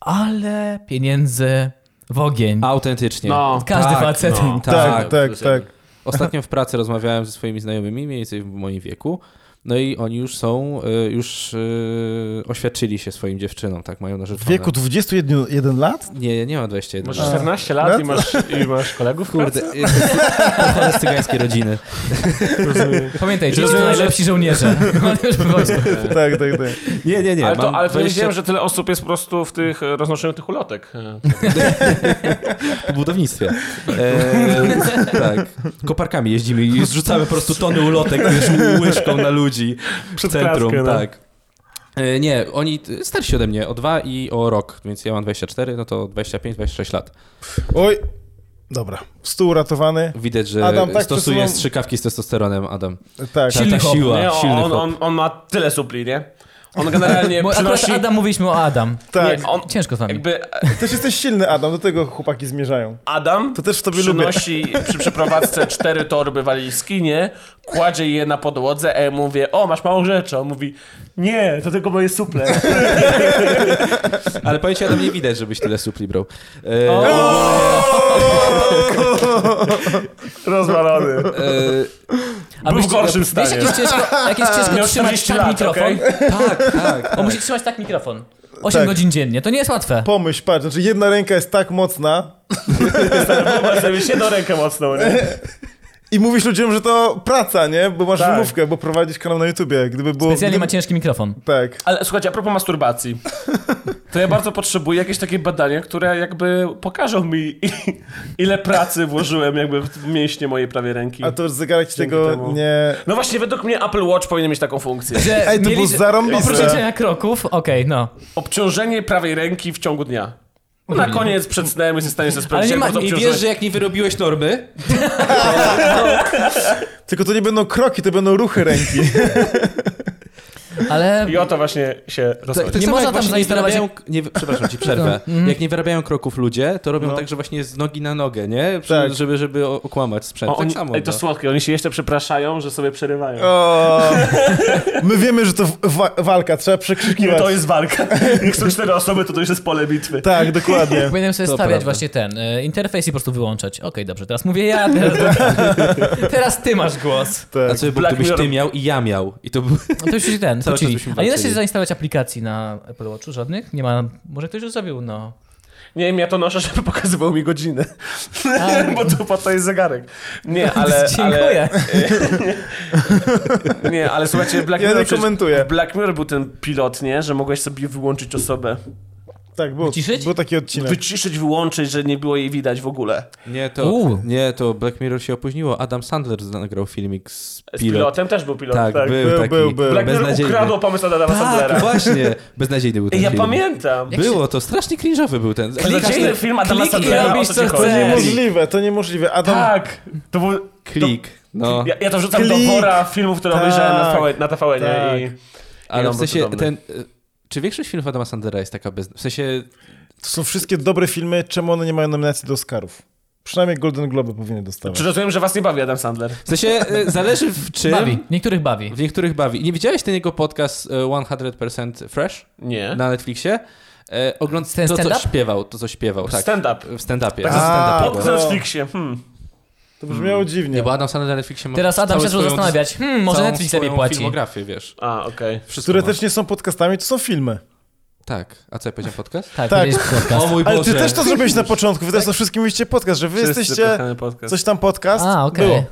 Speaker 1: ale pieniędzy w ogień.
Speaker 3: Mhm.
Speaker 2: Autentycznie.
Speaker 4: No,
Speaker 1: Każdy
Speaker 2: tak,
Speaker 1: facet.
Speaker 4: no.
Speaker 3: Tak,
Speaker 2: Tak.
Speaker 3: tak, tak.
Speaker 2: Ostatnio w pracy rozmawiałem ze swoimi znajomymi, mniej więcej w moim wieku. No i oni już są, y, już y, oświadczyli się swoim dziewczynom, tak mają
Speaker 3: W
Speaker 2: narzeczone.
Speaker 3: wieku 21 lat?
Speaker 2: Nie, nie mam 21.
Speaker 4: masz
Speaker 2: lat.
Speaker 4: 14
Speaker 3: No
Speaker 4: lat i masz, i masz kolegów?
Speaker 2: Kurde, y, pochodzę z cygańskiej rodziny.
Speaker 1: Pamiętaj, dzieci to
Speaker 4: Rozumiem, że-
Speaker 1: najlepsi żołnierze. On już po prostu.
Speaker 3: Tak, tak, tak.
Speaker 2: Nie, nie, nie.
Speaker 4: ale to,
Speaker 2: mam
Speaker 4: ale to
Speaker 2: 20
Speaker 4: nie wiem, że tyle osób jest po prostu w tych e, roznoszeniu tych ulotek. E,
Speaker 2: w budownictwie. E, tak. Koparkami jeździmy i zrzucamy po prostu tony ulotek wiesz, łyżką na ludzi w centrum.
Speaker 4: klatkę, no.
Speaker 2: tak. E, nie, oni t- starsi ode mnie o dwa i o rok, więc ja mam 24, no to 25-26 lat.
Speaker 3: Oj. Dobra. Stół uratowany.
Speaker 2: Widać, że
Speaker 3: Adam, tak
Speaker 2: stosuje
Speaker 3: przesuwam-
Speaker 2: strzykawki z testosteronem, Adam.
Speaker 3: Tak.
Speaker 1: Silny
Speaker 2: ta
Speaker 1: hop.
Speaker 2: siła,
Speaker 4: Nie, on,
Speaker 2: silny
Speaker 4: on,
Speaker 2: hop.
Speaker 4: on, on ma tyle supli, nie? On generalnie
Speaker 1: Bo akurat
Speaker 4: przynosi...
Speaker 1: Adam, mówiliśmy o Adam.
Speaker 3: Tak.
Speaker 4: Nie, on,
Speaker 1: Ciężko z nami.
Speaker 4: jakby e,
Speaker 3: Też jesteś silny, Adam, do tego chłopaki zmierzają.
Speaker 4: Adam
Speaker 3: To też w tobie lubię.
Speaker 4: przynosi przy przeprowadzce cztery torby walizki, nie? Kładzie je na podłodze, a ja mówię, o, masz małą rzeczy. On mówi, nie, to tylko moje suple.
Speaker 2: Ale pamięci Adam nie widać, żebyś tyle supli brał. E,
Speaker 4: Rozwalony.
Speaker 2: e,
Speaker 4: Był w
Speaker 1: myśli-
Speaker 4: gorszym stanie.
Speaker 1: Wiesz, jak jest ciężko, jak jest ciężko
Speaker 4: Miał
Speaker 1: trzymać
Speaker 4: 40
Speaker 1: tak
Speaker 4: lat,
Speaker 1: mikrofon?
Speaker 2: Tak, tak.
Speaker 1: On musi trzymać tak mikrofon. 8
Speaker 3: Tak.
Speaker 1: godzin dziennie, to nie jest łatwe.
Speaker 3: Pomyśl, patrz, znaczy jedna ręka jest tak mocna
Speaker 4: Wyobraź sobie, się do rękę mocną, nie?
Speaker 3: i mówisz ludziom, że to praca, nie? Bo masz
Speaker 4: Tak.
Speaker 3: wymówkę, bo prowadzisz kanał na YouTubie, gdyby było...
Speaker 1: Specjalnie ma
Speaker 3: gdyby...
Speaker 1: ciężki mikrofon.
Speaker 3: Tak.
Speaker 4: Ale słuchajcie, a propos masturbacji, to ja bardzo potrzebuję jakieś takie badania, które jakby pokażą mi, ile pracy włożyłem jakby w mięśnie mojej prawej ręki.
Speaker 3: A to już zegarek ci tego
Speaker 4: temu. E,
Speaker 3: nie...
Speaker 4: No właśnie, według mnie Apple Watch powinien mieć taką funkcję.
Speaker 1: Że
Speaker 3: Ej, to
Speaker 1: mieli-
Speaker 3: było zarąbiste.
Speaker 1: Oprócz liczenia kroków, okej, no.
Speaker 4: Obciążenie prawej ręki w ciągu dnia. No na koniec przed snem jesteś w stanie sobie sprawdzić,
Speaker 1: Ale
Speaker 4: jak
Speaker 1: nie ma-
Speaker 4: bardzo
Speaker 2: I
Speaker 4: obciążenie...
Speaker 2: wiesz, że jak nie wyrobiłeś normy,
Speaker 3: Tylko to nie będą kroki, to będą ruchy ręki.
Speaker 1: Ale
Speaker 4: I o to właśnie się
Speaker 2: To,
Speaker 4: rozchodzi.
Speaker 2: to
Speaker 1: Nie
Speaker 2: nie
Speaker 1: można
Speaker 2: można
Speaker 1: tam
Speaker 2: tam
Speaker 1: zainstalować-
Speaker 2: wyrabiają, nie, Przepraszam ci, przerwę.
Speaker 3: No. Mhm.
Speaker 2: Jak nie wyrabiają kroków ludzie, to robią tak, że właśnie z nogi na nogę, nie? Przy,
Speaker 3: Tak.
Speaker 2: Żeby, żeby o- okłamać sprzęt.
Speaker 4: O,
Speaker 2: tak
Speaker 4: oni,
Speaker 2: samo.
Speaker 4: ej, to
Speaker 2: no.
Speaker 4: słodkie, oni się jeszcze przepraszają, że sobie przerywają.
Speaker 3: O, my wiemy, że to wa- walka, trzeba przekrzykiwać.
Speaker 4: No to jest walka. Jak są cztery osoby, to to już jest pole bitwy.
Speaker 3: Tak, dokładnie.
Speaker 1: powinienem sobie stawiać
Speaker 2: prawda.
Speaker 1: właśnie ten e, interfejs i po prostu wyłączać. Okej, dobrze, teraz mówię ja, teraz, teraz ty masz głos.
Speaker 2: A
Speaker 3: Tak.
Speaker 2: co by było,
Speaker 4: Black
Speaker 2: gdybyś ty
Speaker 4: Mirror.
Speaker 2: miał i ja miał? I to był...
Speaker 1: No to już się ten,
Speaker 2: Cały czas
Speaker 1: wrócili.
Speaker 2: byśmy
Speaker 1: A nie da się
Speaker 2: walczyli.
Speaker 1: zainstalować aplikacji na Apple Watchu żadnych? Nie ma, może ktoś już zrobił, no.
Speaker 4: Nie wiem, ja to noszę, żeby pokazywał mi godzinę. Bo tu po to jest zegarek. Nie, ale...
Speaker 1: Dziękuję.
Speaker 4: Ale, nie, ale słuchajcie, Black
Speaker 3: Ja
Speaker 4: Mirror...
Speaker 3: nie
Speaker 4: przecież-
Speaker 3: komentuję.
Speaker 4: w Black Mirror był ten pilot, nie? Że mogłeś sobie wyłączyć osobę.
Speaker 3: Tak, był,
Speaker 1: Wyciszyć?
Speaker 3: był taki odcinek.
Speaker 4: Wyciszyć, wyłączyć, że nie było jej widać w ogóle.
Speaker 2: Nie, to,
Speaker 1: U.
Speaker 2: nie, to Black Mirror się opóźniło. Adam Sandler nagrał filmik z
Speaker 4: Z
Speaker 2: pilot.
Speaker 4: pilotem też był pilot,
Speaker 2: Tak,
Speaker 4: tak.
Speaker 2: był,
Speaker 3: Był,
Speaker 2: taki.
Speaker 3: był, był.
Speaker 4: Black Mirror
Speaker 2: Beznadziejny.
Speaker 4: ukradł pomysł Adama Sandlera.
Speaker 2: Tak, właśnie. Beznadziejny był ten
Speaker 4: Ej, ja
Speaker 2: film.
Speaker 4: pamiętam.
Speaker 1: Jak
Speaker 2: Było, to strasznie cringe'owy był ten.
Speaker 4: Beznadziejny film Adama
Speaker 1: klik i
Speaker 4: Sandlera.
Speaker 1: robisz,
Speaker 4: o
Speaker 1: co
Speaker 4: ci chodzi?
Speaker 3: To
Speaker 1: chcesz.
Speaker 3: niemożliwe, to niemożliwe. Adam,
Speaker 4: Tak, to był...
Speaker 2: Klik. No,
Speaker 4: Ja, ja to wrzucam
Speaker 3: Klik.
Speaker 4: do wora filmów, które
Speaker 3: Tak.
Speaker 4: obejrzałem na, TV, na TVN
Speaker 3: Tak.
Speaker 4: i...
Speaker 2: ale
Speaker 4: Adam
Speaker 2: w
Speaker 4: był
Speaker 2: sensie
Speaker 4: cudowny.
Speaker 2: ten... y, Czy większość filmów Adama Sandlera jest taka bez... W sensie...
Speaker 3: to są wszystkie dobre filmy, czemu one nie mają nominacji do Oscarów? Przynajmniej Golden Globe powinien dostawać.
Speaker 2: Znaczy,
Speaker 4: Czy rozumiem, że was nie bawi Adam Sandler?
Speaker 2: W sensie y, zależy w czym...
Speaker 1: Bawi, niektórych bawi.
Speaker 2: W niektórych bawi. Nie widziałeś ten jego podcast e, 100% Fresh
Speaker 4: Nie.
Speaker 2: na Netflixie? E, ogląd
Speaker 1: Ten
Speaker 2: to, co
Speaker 1: stand-up?
Speaker 2: śpiewał, to, co śpiewał. Tak,
Speaker 4: Stand-up.
Speaker 2: w stand-upie.
Speaker 4: Tak,
Speaker 2: w
Speaker 3: A,
Speaker 2: stand-upie
Speaker 4: Pod
Speaker 2: było.
Speaker 3: no.
Speaker 4: Netflixie, hmm.
Speaker 3: To brzmiało dziwnie.
Speaker 2: mm, Nie, bo Adam Sandler na Netflixie ma
Speaker 1: Teraz Adam
Speaker 2: całą
Speaker 1: się zaczął
Speaker 2: swoją-
Speaker 1: zastanawiać, hmm, może
Speaker 2: całą
Speaker 1: Netflix lepiej
Speaker 2: swoją
Speaker 1: płaci.
Speaker 2: filmografię, wiesz.
Speaker 4: A, okej.
Speaker 2: Wszystko
Speaker 3: Które
Speaker 2: ma.
Speaker 3: też nie są podcastami, to są filmy.
Speaker 2: Tak. A co ja powiedziałem podcast?
Speaker 1: Tak,
Speaker 3: Tak.
Speaker 1: to jest podcast.
Speaker 2: O mój
Speaker 3: Ale
Speaker 2: Boże.
Speaker 3: ty też to zrobiłeś na początku, wy też to wszystkim mówiliście podcast, że wy
Speaker 4: Wszyscy
Speaker 3: jesteście
Speaker 4: kochamy podcast.
Speaker 3: coś tam podcast.
Speaker 1: A, okej. Tak,
Speaker 3: Było.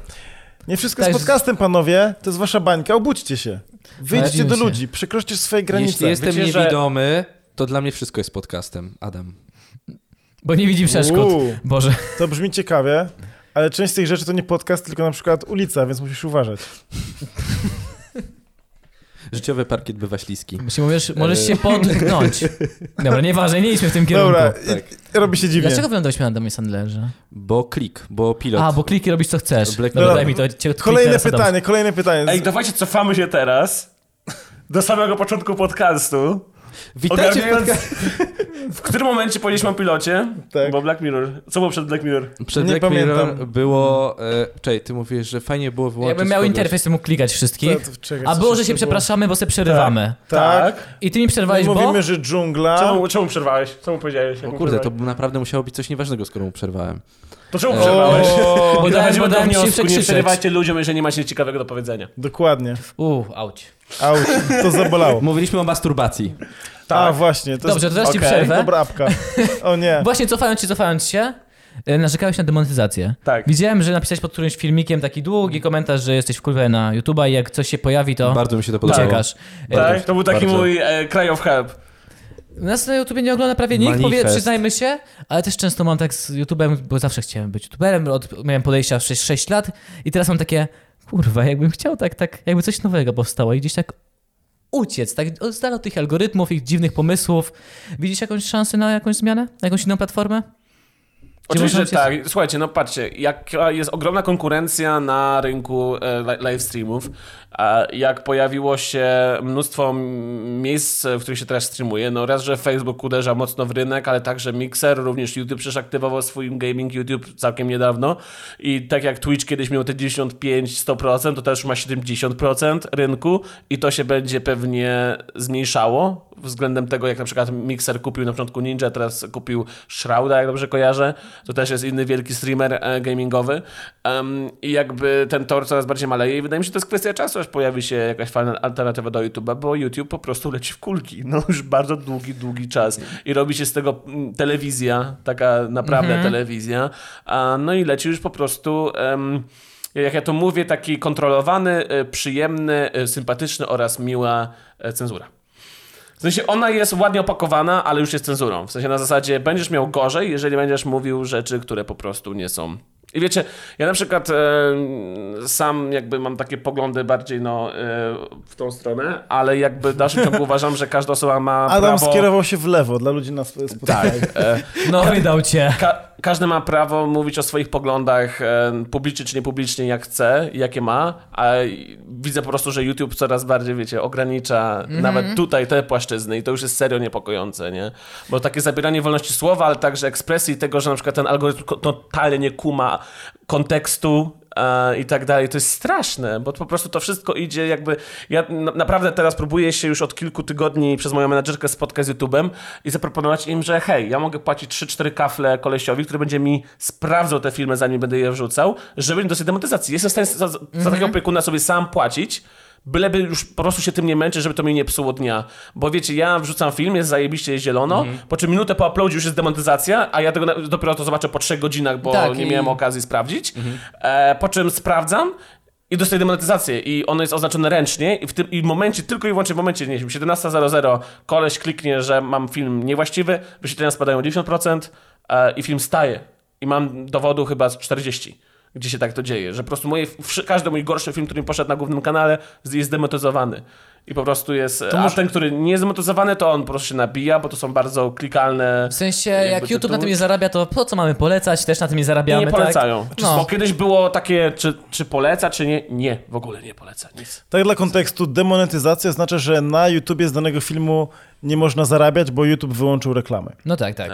Speaker 3: Nie wszystko
Speaker 1: Także-
Speaker 3: z podcastem, panowie, to jest wasza bańka, obudźcie się. Wyjdźcie
Speaker 1: Obudźmy
Speaker 3: do
Speaker 1: się.
Speaker 3: ludzi, przekroczcie swoje granice.
Speaker 2: Jeśli jestem
Speaker 4: Wiecie, że-
Speaker 2: niewidomy, to dla mnie wszystko jest podcastem, Adam.
Speaker 1: Bo nie widzi przeszkód.
Speaker 3: Uuu,
Speaker 1: Boże.
Speaker 3: to brzmi ciekawie, ale część z tych rzeczy to nie podcast, tylko na przykład ulica, więc musisz uważać.
Speaker 2: Życiowy parkiet bywa śliski.
Speaker 1: Jeśli mówisz, możesz się podgnąć. Dobra, nieważne, nie idźmy w tym kierunku.
Speaker 3: Dobra,
Speaker 2: tak.
Speaker 3: i- robi się dziwnie.
Speaker 1: Dlaczego wylądowaliśmy na Adamie Sandlerze?
Speaker 2: Bo klik, bo pilot.
Speaker 1: A, bo kliki robisz co chcesz.
Speaker 2: Black
Speaker 1: Dobra,
Speaker 3: Mirror.
Speaker 1: daj mi to. Cię klik
Speaker 3: Kolejne
Speaker 1: teraz, Adam.
Speaker 3: pytanie, kolejne pytanie.
Speaker 4: Ej, dawajcie, cofamy się teraz do samego początku podcastu.
Speaker 2: Witajcie w
Speaker 4: Ogarniając,
Speaker 2: podcast...
Speaker 4: w którym momencie powiedzieliśmy o pilocie,
Speaker 3: Tak.
Speaker 4: bo Black Mirror. Co było przed Black Mirror?
Speaker 2: Przed
Speaker 3: Nie
Speaker 2: Black Mirror
Speaker 3: pamiętam.
Speaker 2: było... E, czekaj, ty mówisz, że fajnie było wyłączyć...
Speaker 1: Jakbym miał
Speaker 2: kogoś.
Speaker 1: interfejs, to mógł klikać wszystkich.
Speaker 3: Co- czekaj,
Speaker 1: A
Speaker 3: co
Speaker 1: było, że
Speaker 3: jeszcze
Speaker 1: się
Speaker 3: było?
Speaker 1: przepraszamy, bo se przerywamy.
Speaker 3: Tak.
Speaker 1: I ty mi
Speaker 3: My
Speaker 1: przerwałeś, bo...
Speaker 3: mówimy, że dżungla.
Speaker 4: Czemu, czemu przerwałeś? Czemu powiedziałeś? jak
Speaker 2: O
Speaker 4: mu
Speaker 2: kurde, to
Speaker 4: przerwałeś?
Speaker 2: naprawdę musiało być coś nieważnego, skoro mu przerwałem.
Speaker 4: To czemu przerwałeś?
Speaker 3: O,
Speaker 1: Bo dałem,
Speaker 4: Dochodzimy
Speaker 1: bo
Speaker 4: do
Speaker 1: dałem ci się
Speaker 4: wniosku, nie
Speaker 1: przekrzyczeć.
Speaker 4: przerywajcie ludziom, jeżeli nie macie nic ciekawego do powiedzenia.
Speaker 3: Dokładnie.
Speaker 1: Uuu, auć.
Speaker 3: Auć, to zabolało.
Speaker 2: Mówiliśmy o masturbacji.
Speaker 4: Tak.
Speaker 3: A właśnie, to
Speaker 1: Dobrze, to
Speaker 3: jest
Speaker 1: teraz ci
Speaker 4: okej,
Speaker 1: przerwę.
Speaker 3: dobra apka. O nie.
Speaker 1: Właśnie cofając się, cofając się, e, narzekałeś na demonetyzację.
Speaker 4: Tak.
Speaker 1: Widziałem, że napisałeś pod którymś filmikiem taki długi komentarz, że jesteś w kurwę na YouTube'a i jak coś się pojawi, to
Speaker 2: Bardzo mi się to podobało.
Speaker 1: uciekasz. E,
Speaker 4: Tak? To był taki
Speaker 2: Bardzo.
Speaker 4: mój e, cry of help.
Speaker 1: Nas na YouTubie nie ogląda prawie nikt,
Speaker 2: Manifest.
Speaker 1: powie, przyznajmy się, ale też często mam tak z YouTubem, bo zawsze chciałem być YouTuberem, od, miałem podejścia 6, 6 lat i teraz mam takie, kurwa, jakbym chciał tak, tak, jakby coś nowego powstało i gdzieś tak uciec, tak od z dala od tych algorytmów, ich dziwnych pomysłów. Widzisz jakąś szansę na jakąś zmianę? Na jakąś inną platformę? Gdzie
Speaker 4: Oczywiście, że
Speaker 1: można
Speaker 4: tak. Słuchajcie, no patrzcie, jaka jest ogromna konkurencja na rynku e, li- live streamów. A Jak pojawiło się mnóstwo m- miejsc, w których się teraz streamuje. No raz, że Facebook uderza mocno w rynek, ale także Mixer, również YouTube przecież aktywował swój gaming YouTube całkiem niedawno. I tak jak Twitch kiedyś miał te 95-100%, to też ma 70% rynku i to się będzie pewnie zmniejszało względem tego, jak na przykład Mixer kupił na początku Ninja, teraz kupił Shrouda, jak dobrze kojarzę. To też jest inny wielki streamer e, gamingowy. Em, I jakby ten tor coraz bardziej maleje i wydaje mi się, że to jest kwestia czasu, aż pojawi się jakaś fajna alternatywa do YouTube'a, bo YouTube po prostu leci w kulki. No już bardzo długi, długi czas. I robi się z tego mm, telewizja, taka naprawdę telewizja. A, no i leci już po prostu... em, jak ja to mówię, taki kontrolowany, e, przyjemny, e, sympatyczny oraz miła e, cenzura. W sensie ona jest ładnie opakowana, ale już jest cenzurą. W sensie na zasadzie będziesz miał gorzej, jeżeli będziesz mówił rzeczy, które po prostu nie są. I wiecie, ja na przykład em, sam jakby mam takie poglądy bardziej no, e, w tą stronę, ale jakby w dalszym ciągu uważam, że każda osoba ma
Speaker 3: Adam
Speaker 4: prawo...
Speaker 3: skierował się w lewo dla ludzi na sp- Spotify.
Speaker 4: Tak. E,
Speaker 1: No, wydał cię.
Speaker 4: Ka- każdy ma prawo mówić o swoich poglądach e, publicznie czy niepublicznie, jak chce, jakie ma, a i- widzę po prostu, że YouTube coraz bardziej, wiecie, ogranicza nawet tutaj te płaszczyzny i to już jest serio niepokojące, nie? Bo takie zabieranie wolności słowa, ale także ekspresji tego, że na przykład ten algorytm ko- totalnie nie kuma kontekstu e, i tak dalej, to jest straszne, bo po prostu to wszystko idzie jakby... Ja na- naprawdę teraz próbuję się już od kilku tygodni przez moją menadżerkę spotkać z YouTube'em i zaproponować im, że hej, ja mogę płacić 3-4 kafle kolesiowi, który będzie mi sprawdzał te filmy, zanim będę je wrzucał, żeby nie dostać demonetyzacji. Jestem w stanie za, za takiego
Speaker 1: Mhm.
Speaker 4: opiekuna sobie sam płacić, Byleby już po prostu się tym nie męczyć, żeby to mi nie psuło dnia. Bo wiecie, ja wrzucam film, jest zajebiście jest zielono,
Speaker 1: Mhm.
Speaker 4: po czym minutę po uploadzie już jest demonetyzacja, a ja tego na- dopiero to zobaczę po trzech godzinach, bo
Speaker 1: Tak,
Speaker 4: nie
Speaker 1: i-
Speaker 4: miałem okazji sprawdzić. E, po czym sprawdzam i dostaję demonetyzację i ono jest oznaczone ręcznie i w tym i w momencie, tylko i wyłącznie w momencie, nie wiem, 17.00 koleś kliknie, że mam film niewłaściwy, wyświetlenia spadają o 90% e, i film staje. I mam dowodu chyba z 40 gdzie się tak to dzieje, że po prostu moje, wszy- każdy mój gorszy film, który mi poszedł na głównym kanale z- jest demotyzowany. I po prostu jest, e, a ten, który nie jest demotyzowany, to on po prostu się nabija, bo to są bardzo klikalne...
Speaker 1: W sensie, jak
Speaker 4: jakby
Speaker 1: YouTube na
Speaker 4: tytuły.
Speaker 1: tym nie zarabia, to po co mamy polecać? Też na tym nie
Speaker 4: I
Speaker 1: zarabiamy,
Speaker 4: nie polecają.
Speaker 1: tak?
Speaker 4: Czy,
Speaker 2: No.
Speaker 4: Bo kiedyś było takie, czy, czy poleca, czy nie? Nie, w ogóle nie poleca, nic.
Speaker 3: Tak dla kontekstu, demonetyzacja oznacza, że na YouTubie z danego filmu nie można zarabiać, bo YouTube wyłączył reklamy.
Speaker 1: No tak, tak.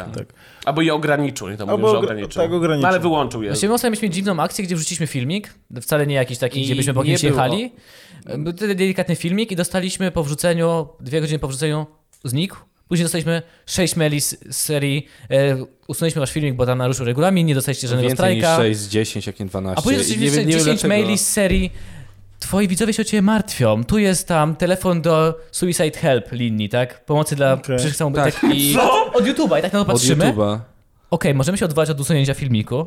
Speaker 4: Albo je ograniczył, nie to mówią,
Speaker 3: Albo
Speaker 4: że
Speaker 3: ogr-
Speaker 4: ograniczył.
Speaker 3: tak, ograniczył.
Speaker 4: No, ale wyłączył je.
Speaker 1: Właściwie mocno mieliśmy dziwną akcję, gdzie wrzuciliśmy filmik, wcale nie jakiś taki,
Speaker 4: I
Speaker 1: gdzie byśmy po kimś
Speaker 4: nie było.
Speaker 1: jechali. Był tyle delikatny filmik i dostaliśmy po wrzuceniu, dwie godziny po wrzuceniu, znikł. Później dostaliśmy sześć maili z, z serii, e, usunęliśmy wasz filmik, bo tam naruszył regulamin, nie dostaliście żadnego
Speaker 2: Więcej niż
Speaker 1: strajka.
Speaker 2: 6 z 10, jak nie 12.
Speaker 1: A później
Speaker 2: I nie
Speaker 1: dostaliśmy
Speaker 2: wiem- nie wiem
Speaker 1: 10
Speaker 2: dlaczego.
Speaker 1: maili z serii Twoi widzowie się o ciebie martwią. Tu jest tam telefon do Suicide Help linii, tak? Pomocy dla
Speaker 3: Okej.
Speaker 1: przyszłych samobójców.
Speaker 2: Tak, i
Speaker 1: Od YouTube'a i tak na to
Speaker 2: od
Speaker 1: patrzymy. Okej,
Speaker 2: YouTube'a.
Speaker 1: możemy się odwołać od usunięcia filmiku.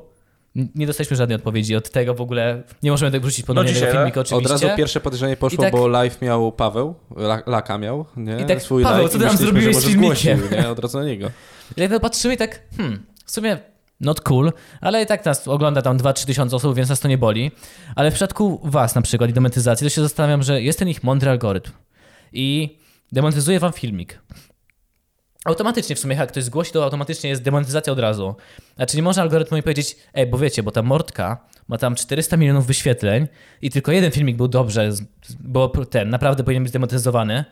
Speaker 1: N- Nie dostaliśmy żadnej odpowiedzi od tego w ogóle. Nie możemy tak wrzucić ponownie
Speaker 4: No dzisiaj,
Speaker 1: tego filmiku
Speaker 4: tak?
Speaker 1: oczywiście.
Speaker 2: Od razu pierwsze podejrzenie poszło,
Speaker 1: I tak-
Speaker 2: bo live miał Paweł, la- laka miał, nie?
Speaker 1: I tak,
Speaker 2: Swój
Speaker 1: Paweł,
Speaker 2: live
Speaker 1: co
Speaker 2: i
Speaker 1: ty nam
Speaker 2: myśleliśmy,
Speaker 1: zrobiłeś
Speaker 2: że
Speaker 1: z
Speaker 2: może
Speaker 1: filmikiem?
Speaker 2: zgłosił, nie? Od razu na niego.
Speaker 1: I tak na to patrzymy i tak, hmm, w sumie not cool, ale i tak nas ogląda tam 2-3 tysiące osób, więc nas to nie boli. Ale w przypadku was na przykład i demonetyzacji, to się zastanawiam, że jest ten ich mądry algorytm i demonetyzuje wam filmik. Automatycznie w sumie, jak ktoś zgłosi, to automatycznie jest demonetyzacja od razu. Znaczy nie może algorytm mi powiedzieć, ej, bo wiecie, bo ta Mortka ma tam 400 milionów wyświetleń i tylko jeden filmik był dobrze, z- z- bo ten naprawdę powinien być demonetyzowany,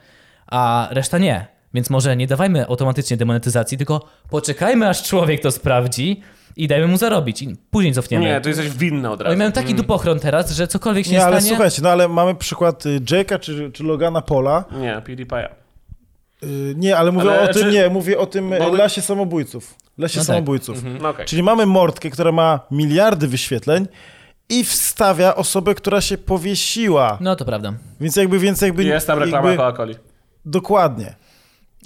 Speaker 1: a reszta nie. Więc może nie dawajmy automatycznie demonetyzacji, tylko poczekajmy, aż człowiek to sprawdzi i dajmy mu zarobić. I później cofniemy.
Speaker 4: Nie, to jesteś winny od
Speaker 1: Oni
Speaker 4: razu.
Speaker 1: mają No taki dupochron teraz, że cokolwiek się
Speaker 3: Mm. Nie, ale
Speaker 1: stanie...
Speaker 3: słuchajcie, no ale mamy przykład y, Jake'a czy, czy Logana Pola.
Speaker 4: Nie, PewDiePie'a.
Speaker 2: Mm.
Speaker 3: Y, Nie, ale mówię
Speaker 4: Ale
Speaker 3: o tym,
Speaker 4: czy-
Speaker 3: nie, mówię o tym y,
Speaker 4: Bo-
Speaker 3: Lesie Samobójców. Lesie
Speaker 1: No tak.
Speaker 3: Samobójców.
Speaker 4: No okej.
Speaker 3: Czyli mamy mordkę, która ma miliardy wyświetleń i wstawia osobę, która się powiesiła.
Speaker 1: No to prawda.
Speaker 3: Więc jakby, więc jakby...
Speaker 4: Jest tam reklama
Speaker 3: jakby-
Speaker 4: Coca-Coli
Speaker 3: Dokładnie.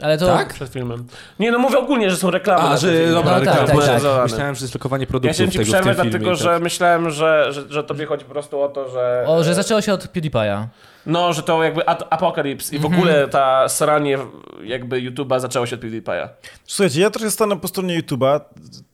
Speaker 1: Ale to...
Speaker 2: Tak?
Speaker 4: przed filmem. Nie, no mówię ogólnie, że są reklamy.
Speaker 2: A,
Speaker 4: na tym
Speaker 2: że
Speaker 4: filmie.
Speaker 2: dobra,
Speaker 1: No tak,
Speaker 2: reklama.
Speaker 1: tak, tak.
Speaker 2: Myślałem,
Speaker 4: Zaawansowane.
Speaker 2: Myślałem, że jest lokowanie
Speaker 4: Ja
Speaker 2: produktów
Speaker 4: chciałem ci
Speaker 2: tego, w
Speaker 4: przerwać,
Speaker 2: tym filmie. tak.
Speaker 4: dlatego
Speaker 2: i
Speaker 4: że myślałem, że, że, że tobie chodzi po prostu o to, że. e,
Speaker 1: O, że zaczęło się od PewDiePie'a.
Speaker 4: No, że to jakby at- apokalips i w
Speaker 2: Mhm.
Speaker 4: ogóle ta sranie jakby YouTube'a zaczęło się od PewDiePie'a.
Speaker 3: Słuchajcie, ja trochę stanę po stronie YouTube'a.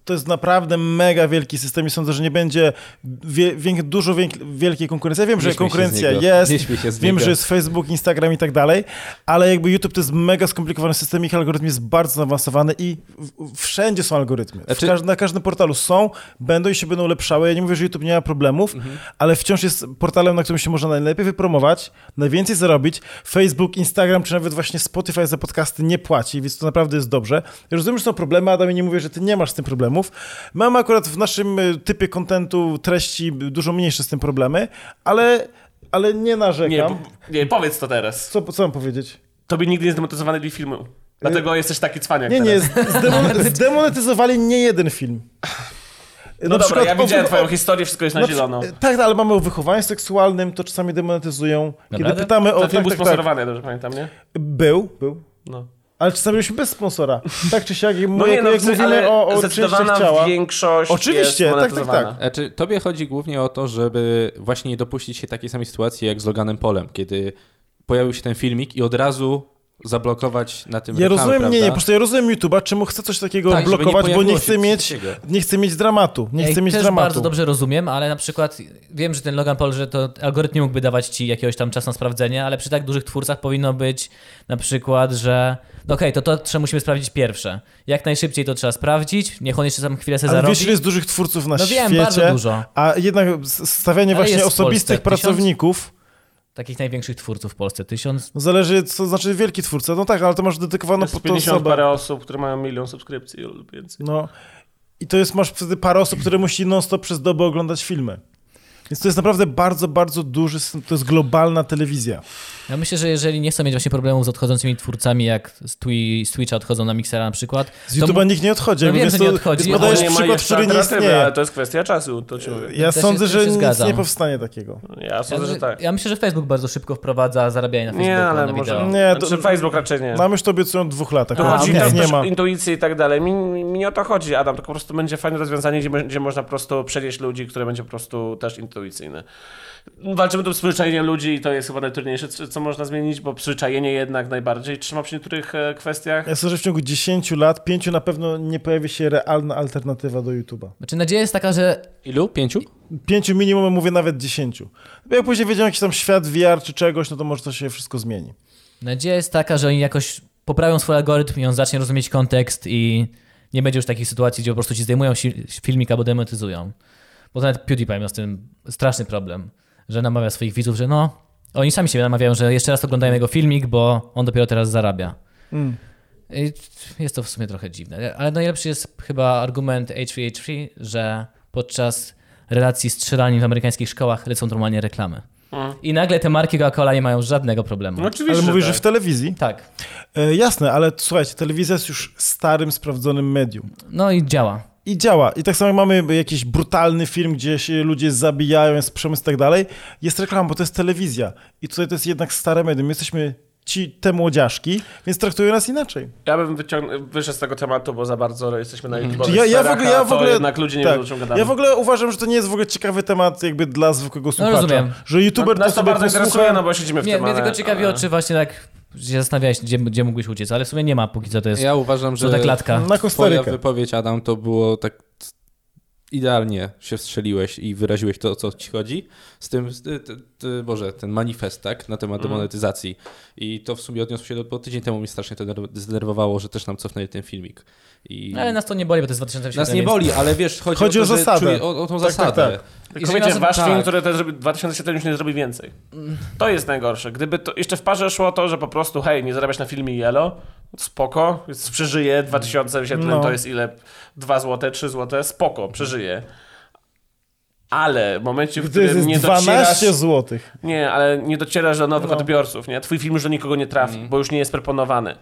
Speaker 3: To jest naprawdę mega wielki system i sądzę, że nie będzie wie, wiek- dużo wiek- wielkiej konkurencji. Ja wiem,
Speaker 2: śmiej
Speaker 3: że
Speaker 2: się
Speaker 3: konkurencja
Speaker 2: z niego.
Speaker 3: jest.
Speaker 2: Nie śmiej się z
Speaker 3: wiem,
Speaker 2: niego.
Speaker 3: że jest Facebook, Instagram i tak dalej, ale jakby YouTube to jest mega skomplikowany system, ich algorytm jest bardzo zaawansowany i w- wszędzie są algorytmy. W
Speaker 2: Znaczy-
Speaker 3: każd- na każdym portalu są, będą i się będą ulepszały. Ja nie mówię, że YouTube nie ma problemów, ale wciąż jest portalem, na którym się można najlepiej wypromować, najwięcej zarobić. Facebook, Instagram, czy nawet właśnie Spotify za podcasty nie płaci, więc to naprawdę jest dobrze. Ja rozumiem, że są problemy, Adam, i nie mówię, że ty nie masz z tym problemów. Mamy akurat w naszym y, typie kontentu treści dużo mniejsze z tym problemy, ale, ale nie narzekam.
Speaker 4: Nie, po- nie, powiedz to teraz.
Speaker 3: Co, co mam powiedzieć?
Speaker 4: Tobie nigdy nie zdemotyzowany do filmu. Dlatego jesteś taki cwaniak
Speaker 3: Nie, no nie,
Speaker 4: teraz.
Speaker 3: zdemon- zdemonetyzowali nie jeden film.
Speaker 4: No dobra, ja widziałem
Speaker 3: o-
Speaker 4: twoją historię, wszystko jest na,
Speaker 3: na przy-
Speaker 4: zielono.
Speaker 3: Tak, ale mamy o wychowaniu seksualnym, to czasami demonetyzują. Kiedy
Speaker 1: Naprawdę?
Speaker 3: pytamy o...
Speaker 4: To film
Speaker 3: Tak,
Speaker 4: był
Speaker 3: tak, tak.
Speaker 4: sponsorowany, dobrze pamiętam, nie?
Speaker 3: Był, był.
Speaker 4: No.
Speaker 3: Ale czasami byliśmy bez sponsora. Tak czy siak, jak,
Speaker 4: No nie,
Speaker 3: jak,
Speaker 4: no,
Speaker 3: jak
Speaker 4: w sensie,
Speaker 3: mówimy
Speaker 4: ale
Speaker 3: o, o części
Speaker 4: zdecydowana
Speaker 3: ciała.
Speaker 4: większość
Speaker 3: Oczywiście,
Speaker 4: jest
Speaker 3: tak, tak, tak.
Speaker 4: monetyzowana.
Speaker 2: Znaczy, tobie chodzi głównie o to, żeby właśnie nie dopuścić się takiej samej sytuacji jak z Loganem Polem, kiedy pojawił się ten filmik i od razu zablokować na tym
Speaker 3: Ja
Speaker 2: reklamy,
Speaker 3: rozumiem,
Speaker 2: prawda?
Speaker 3: nie, nie, po prostu ja rozumiem YouTube'a, czemu chce coś takiego
Speaker 2: Tak, żeby nie
Speaker 3: blokować, bo nie
Speaker 2: pojawiło
Speaker 3: chce
Speaker 2: się
Speaker 3: mieć,
Speaker 2: wszystkiego.
Speaker 3: nie chce mieć dramatu. Nie
Speaker 1: Ja
Speaker 3: chce
Speaker 1: ich
Speaker 3: mieć
Speaker 1: też
Speaker 3: dramatu.
Speaker 1: bardzo dobrze rozumiem, ale na przykład wiem, że ten Logan Paul, że to algorytm mógłby dawać ci jakiegoś tam czas na sprawdzenie, ale przy tak dużych twórcach powinno być na przykład, że no okej, to to trzeba musimy sprawdzić pierwsze. Jak najszybciej to trzeba sprawdzić, niech on jeszcze tam chwilę sobie
Speaker 3: Ale
Speaker 1: zarobi.
Speaker 3: wiesz, ile jest dużych twórców na
Speaker 1: No
Speaker 3: świecie.
Speaker 1: wiem, bardzo dużo.
Speaker 3: A jednak s- stawianie
Speaker 1: Ale
Speaker 3: właśnie
Speaker 1: jest w
Speaker 3: osobistych
Speaker 1: Polsce tysiąc?
Speaker 3: pracowników,
Speaker 1: Takich największych twórców w Polsce, tysiąc.
Speaker 3: no zależy co znaczy wielki twórca. No tak, ale to masz dedykowaną
Speaker 4: Jest
Speaker 3: pod tą
Speaker 4: 50
Speaker 3: osobę.
Speaker 4: parę osób, które mają milion subskrypcji lub więcej.
Speaker 3: No. I to jest, masz wtedy parę osób, które musi non-stop przez dobę oglądać filmy. Więc to jest naprawdę bardzo, bardzo duży, system, to jest globalna telewizja.
Speaker 1: Ja myślę, że jeżeli nie chcą mieć właśnie problemów z odchodzącymi twórcami, jak z, Twi- z Twitcha odchodzą na Mixera na przykład,
Speaker 3: Z
Speaker 1: to
Speaker 3: YouTube'a nikt nie odchodzi.
Speaker 1: No wiem,
Speaker 3: więc
Speaker 1: że
Speaker 3: to-
Speaker 1: nie odchodzi,
Speaker 3: więc
Speaker 1: ale
Speaker 3: Podajesz
Speaker 4: nie ma
Speaker 3: przykład,
Speaker 4: jeszcze
Speaker 3: który nie
Speaker 4: alternatywy,
Speaker 3: istnieje.
Speaker 4: Ale to jest kwestia czasu, to ci mówię.
Speaker 3: Ja
Speaker 1: To się-
Speaker 3: sądzę,
Speaker 1: to się
Speaker 3: że nic
Speaker 1: zgadzam.
Speaker 3: nie powstanie takiego.
Speaker 4: Ja sądzę,
Speaker 1: ja,
Speaker 4: że tak.
Speaker 1: ja myślę, że Facebook bardzo szybko wprowadza zarabianie na Facebooku,
Speaker 4: Nie, ale
Speaker 1: na
Speaker 4: może...
Speaker 1: wideo.
Speaker 3: Nie, to-
Speaker 4: Znaczy, Facebook raczej nie.
Speaker 3: Nam już to obiecują od dwóch latach.
Speaker 4: To
Speaker 1: A,
Speaker 4: chodzi
Speaker 1: okej.
Speaker 4: tam
Speaker 3: nic nie
Speaker 4: też
Speaker 3: ma.
Speaker 4: o intuicję i tak dalej. Mi, mi, mi nie o to chodzi, Adam, tylko po prostu będzie fajne rozwiązanie, gdzie, będzie można po prostu przenieść ludzi, które będzie po prostu też intuicyjne. Walczymy tu z przyzwyczajeniem ludzi i to jest chyba najtrudniejsze, co co można zmienić, bo przyzwyczajenie jednak najbardziej trzyma przy niektórych e, kwestiach.
Speaker 3: Ja sądzę, że w ciągu 10 lat, 5 na pewno nie pojawi się realna alternatywa do YouTube'a.
Speaker 1: Znaczy nadzieja jest taka, że
Speaker 2: Ilu? Pięciu?
Speaker 3: 5 minimum, mówię nawet 10. Bo jak później wiedziałem jakiś tam świat VR czy czegoś, no to może to się wszystko zmieni.
Speaker 1: Nadzieja jest taka, że oni jakoś poprawią swój algorytm i on zacznie rozumieć kontekst i nie będzie już takich sytuacji, gdzie po prostu ci zdejmują si- filmik albo demonetyzują. Bo nawet PewDiePie miał z tym straszny problem, że namawia swoich widzów, że no, oni sami siebie namawiają, że jeszcze raz oglądają jego filmik, bo on dopiero teraz zarabia. I jest to w sumie trochę dziwne. Ale najlepszy jest chyba argument H3H3, że podczas relacji strzelanin w amerykańskich szkołach lecą normalnie reklamy. I nagle te marki Coca-Cola nie mają żadnego problemu.
Speaker 4: No oczywiście,
Speaker 3: Ale mówisz, że
Speaker 4: tak.
Speaker 3: w telewizji?
Speaker 1: Tak.
Speaker 3: E, jasne, ale słuchajcie, telewizja jest już starym, sprawdzonym medium.
Speaker 1: No i działa.
Speaker 3: I działa. I tak samo jak mamy jakiś brutalny film, gdzie się ludzie zabijają, jest przemysł i tak dalej, jest reklama, bo to jest telewizja. I tutaj to jest jednak stare medium. Jesteśmy ci, te młodziaszki, więc traktują nas inaczej.
Speaker 4: Ja bym wyciąg- wyszedł z tego tematu, bo za bardzo jesteśmy
Speaker 1: Mhm.
Speaker 4: na
Speaker 3: Czy
Speaker 4: liczbowych
Speaker 3: Ja, ja, w
Speaker 4: sferach,
Speaker 3: ogóle, ja
Speaker 4: a
Speaker 3: w
Speaker 4: to
Speaker 3: ogóle,
Speaker 4: jednak ludzie nie
Speaker 3: tak.
Speaker 4: wiedzą, o czym gadamy.
Speaker 3: Ja w ogóle uważam, że to nie jest w ogóle ciekawy temat jakby dla zwykłego słuchacza.
Speaker 1: rozumiem.
Speaker 3: Że youtuber
Speaker 4: Nas to
Speaker 3: sobie
Speaker 4: bardzo interesuje,
Speaker 3: posłucha-
Speaker 4: no bo siedzimy w
Speaker 1: Mnie,
Speaker 4: tym,
Speaker 1: mnie
Speaker 4: ale-
Speaker 1: tylko ciekawiło,
Speaker 4: ale-
Speaker 1: czy właśnie tak się zastanawiałeś, gdzie, gdzie mógłbyś uciec, ale w sumie nie ma póki co, to tak jest
Speaker 2: Ja uważam, że
Speaker 1: złota klatka.
Speaker 3: Na
Speaker 2: twoja
Speaker 3: Kostarykę.
Speaker 2: wypowiedź, Adam, to było tak idealnie się wstrzeliłeś i wyraziłeś to, o co ci chodzi. Z tym, z, ty, ty, ty, Boże, ten manifest, tak, na
Speaker 3: Mhm.
Speaker 2: temat demonetyzacji. I to w sumie odniosło się do, bo tydzień temu mnie strasznie to nerw- zdenerwowało, że też nam cofnęli ten filmik. I
Speaker 4: No,
Speaker 1: Ale nas to nie boli, bo to jest 2007.
Speaker 2: nas nie
Speaker 1: więc-
Speaker 2: boli, ale wiesz, chodzi,
Speaker 3: Chodzi
Speaker 2: o,
Speaker 3: o
Speaker 2: to, że
Speaker 3: zasadę.
Speaker 2: czuję- o, o tą
Speaker 3: Tak, tak,
Speaker 2: zasadę.
Speaker 3: tak.
Speaker 4: Tylko
Speaker 1: Jeżeli
Speaker 4: wiecie,
Speaker 1: nas-
Speaker 4: wasz
Speaker 2: tak.
Speaker 4: film, który ten zrobi 2007 już nie zrobi więcej. To jest najgorsze. Gdyby to jeszcze w parze szło to, że po prostu hej, nie zarabiasz na filmie Yellow, spoko, przeżyje 2007
Speaker 3: No.
Speaker 4: to jest ile? 2 złote, 3 złote, spoko, przeżyje. Ale w momencie, w
Speaker 3: To jest
Speaker 4: którym nie
Speaker 3: 12
Speaker 4: docierasz...
Speaker 3: zł.
Speaker 4: Nie, ale nie docierasz do nowych odbiorców, nie? Twój film już do nikogo nie trafi, bo już nie jest proponowany.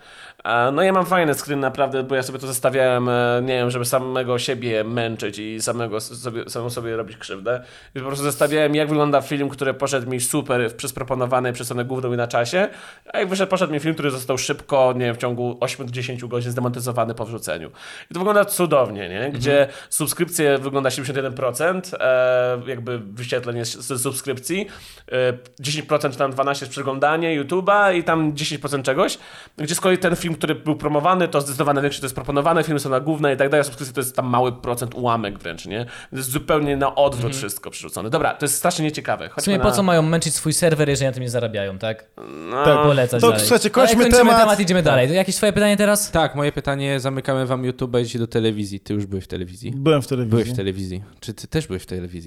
Speaker 4: A, No ja mam fajny screen naprawdę, bo ja sobie to zostawiałem, e, nie wiem, żeby samego siebie męczyć i samego s- sobie, samemu sobie robić krzywdę. I po prostu zostawiałem, jak wygląda film, który poszedł mi super w- przez proponowany, przez one główną i na czasie, a jak wyszedł, poszedł mi film, który został szybko, nie wiem, w ciągu 8-10 godzin zdemonetyzowany po wrzuceniu. I to wygląda cudownie,
Speaker 1: Mhm.
Speaker 4: nie? Gdzie subskrypcje wygląda 71%, e, jakby wyświetlenie z z subskrypcji, e, 10% czy tam 12% jest przeglądanie YouTube'a i tam 10% czegoś, gdzie z kolei ten film, który był promowany, to zdecydowanie większy, to jest proponowany, filmy są na główne i tak dalej, a subskrypcje to jest tam mały procent, ułamek wręcz, nie? To jest zupełnie na odwrót wszystko przerzucone. Dobra, to jest strasznie nieciekawe.
Speaker 1: Mhm. W sumie
Speaker 4: Chodźmy
Speaker 1: po co
Speaker 4: na...
Speaker 1: mają męczyć swój serwer, jeżeli na tym nie zarabiają, tak?
Speaker 4: No,
Speaker 3: Tak.
Speaker 1: Polecać
Speaker 3: To,
Speaker 1: dalej.
Speaker 3: słuchajcie,
Speaker 1: Ale
Speaker 3: kończmy
Speaker 1: kończymy
Speaker 3: temat.
Speaker 1: temat. idziemy dalej. Jakieś twoje pytanie teraz?
Speaker 2: Tak, moje pytanie, zamykamy wam YouTube, idźcie do telewizji. Ty już byłeś w telewizji?
Speaker 3: Byłem w telewizji.
Speaker 2: Byłeś w telewizji. Czy ty też byłeś w telewizji?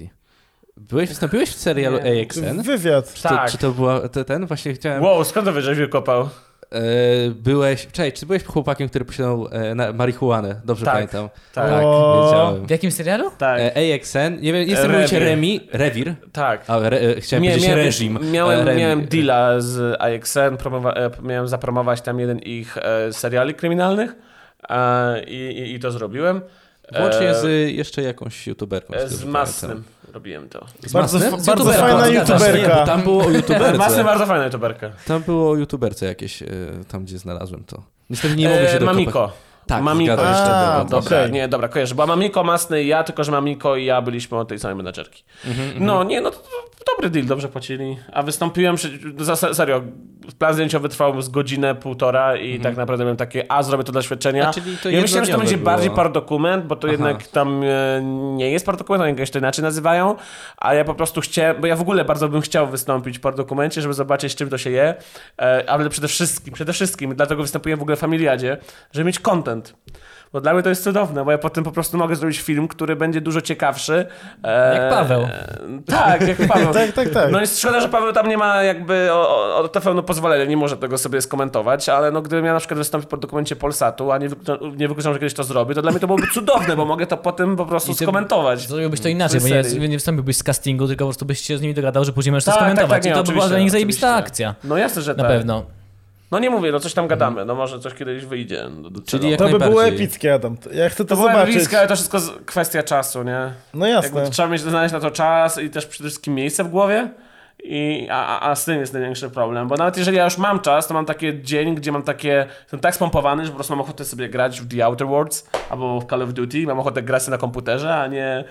Speaker 2: Byłeś, wystąpiłeś w serialu
Speaker 4: Nie.
Speaker 2: AXN?
Speaker 3: Wywiad.
Speaker 2: Czy,
Speaker 4: Tak.
Speaker 2: czy to była to ten? Właśnie chciałem...
Speaker 4: Wow, skąd to wiesz, że kopał?
Speaker 2: e, byłeś. Cześć, czy byłeś chłopakiem, który posiadał e, na, marihuanę? Dobrze
Speaker 4: Tak.
Speaker 2: pamiętam.
Speaker 1: No.
Speaker 4: Tak,
Speaker 3: O.
Speaker 2: wiedziałem.
Speaker 1: W jakim serialu?
Speaker 4: tak,
Speaker 2: E, AXN, nie wiem, jestem
Speaker 4: Rewir.
Speaker 2: mówicie Remi, Rewir.
Speaker 4: tak.
Speaker 2: A, re, e, chciałem
Speaker 4: Mia-
Speaker 2: powiedzieć
Speaker 4: miałem,
Speaker 2: reżim.
Speaker 4: Miałem,
Speaker 2: E, Remi.
Speaker 4: miałem deala z AXN, promowa- e, miałem zapromować tam jeden ich e, seriali kryminalnych e, i, i, i to zrobiłem. E,
Speaker 2: Włącznie z e, jeszcze jakąś youtuberką.
Speaker 4: e,
Speaker 2: dobrze
Speaker 4: z
Speaker 2: pamiętam.
Speaker 4: Masnym robiłem to.
Speaker 2: Z
Speaker 3: Bardzo-
Speaker 1: Masnym? Z
Speaker 3: bardzo
Speaker 1: youtuberką.
Speaker 3: fajna
Speaker 1: Zgadza się.
Speaker 3: youtuberka.
Speaker 2: Nie, bo Tam było o
Speaker 4: Z Masnym
Speaker 2: youtuberce.
Speaker 4: bardzo fajna youtuberka.
Speaker 2: Tam było o youtuberce jakieś, e, tam gdzie znalazłem to. Niestety nie mogę
Speaker 4: E,
Speaker 2: się dokopać.
Speaker 4: Mamiko.
Speaker 2: Tak,
Speaker 4: Mamiko
Speaker 2: zgadza się,
Speaker 4: jeszcze
Speaker 2: tak,
Speaker 4: była.
Speaker 3: tak,
Speaker 4: Dobra,
Speaker 3: okej.
Speaker 4: nie, dobra, kojarzę. Była Mamiko, Masny i ja, tylko że Mamiko i ja byliśmy od tej samej menadżerki.
Speaker 2: Mhm,
Speaker 4: No, nie, no to to dobry deal, dobrze płacili. A wystąpiłem, przy- za- serio, plan zdjęciowy trwał z godzinę, półtora i
Speaker 2: Mhm.
Speaker 4: tak naprawdę miałem takie, a zrobię to dla świadczenia.
Speaker 2: A, czyli to
Speaker 4: ja myślałem, że to
Speaker 2: jednodniowe
Speaker 4: będzie
Speaker 2: było.
Speaker 4: bardziej pardokument, bo to
Speaker 2: Aha.
Speaker 4: jednak tam e, nie jest pardokument, oni go jeszcze inaczej nazywają, a ja po prostu chciałem, bo ja w ogóle bardzo bym chciał wystąpić w pardokumencie, żeby zobaczyć, czym to się je, e, ale przede wszystkim, przede wszystkim, dlatego występuję w ogóle w Familiadzie, żeby mieć content. Bo dla mnie to jest cudowne, bo ja potem po prostu mogę zrobić film, który będzie dużo ciekawszy. e,
Speaker 1: Jak Paweł.
Speaker 4: e, Tak, jak Paweł.
Speaker 3: Tak, tak, tak.
Speaker 4: No jest szkoda, że Paweł tam nie ma jakby o, o, o to pełno pozwolenia, nie może tego sobie skomentować, ale no gdybym ja na przykład wystąpił po dokumencie Polsatu, a nie, wykluczam- nie wykluczam, że kiedyś to zrobię, to dla mnie to byłoby cudowne, bo mogę to potem po prostu
Speaker 1: I ty
Speaker 4: skomentować.
Speaker 1: Zrobiłbyś to inaczej, bo nie,
Speaker 4: serii.
Speaker 1: nie wystąpiłbyś z castingu, tylko po prostu byś się z nimi dogadał, że później możesz to
Speaker 4: Tak, tak,
Speaker 1: skomentować.
Speaker 4: tak, nie,
Speaker 1: I to by była
Speaker 4: oczywiście,
Speaker 1: dla nich zajebista
Speaker 4: oczywiście.
Speaker 1: akcja.
Speaker 4: No jasne, że
Speaker 1: Na
Speaker 4: tak.
Speaker 1: pewno.
Speaker 4: No nie mówię, no coś tam gadamy, no może coś kiedyś wyjdzie. no Do, do
Speaker 2: Czyli
Speaker 4: celu.
Speaker 2: jak
Speaker 3: To by było
Speaker 2: najbardziej.
Speaker 3: epickie, Adam. Ja chcę to,
Speaker 4: to była
Speaker 3: zobaczyć.
Speaker 4: bliska, ale to wszystko z- kwestia czasu, nie?
Speaker 3: No jasne.
Speaker 4: Jakby trzeba mieć znaleźć na to czas i też przede wszystkim miejsce w głowie. I, a, a- a z tym jest największy problem, bo nawet jeżeli ja już mam czas, to mam taki dzień, gdzie mam takie, jestem tak spompowany, że po prostu mam ochotę sobie grać w The Outer Worlds albo w Call of Duty, mam ochotę grać sobie na komputerze, a nie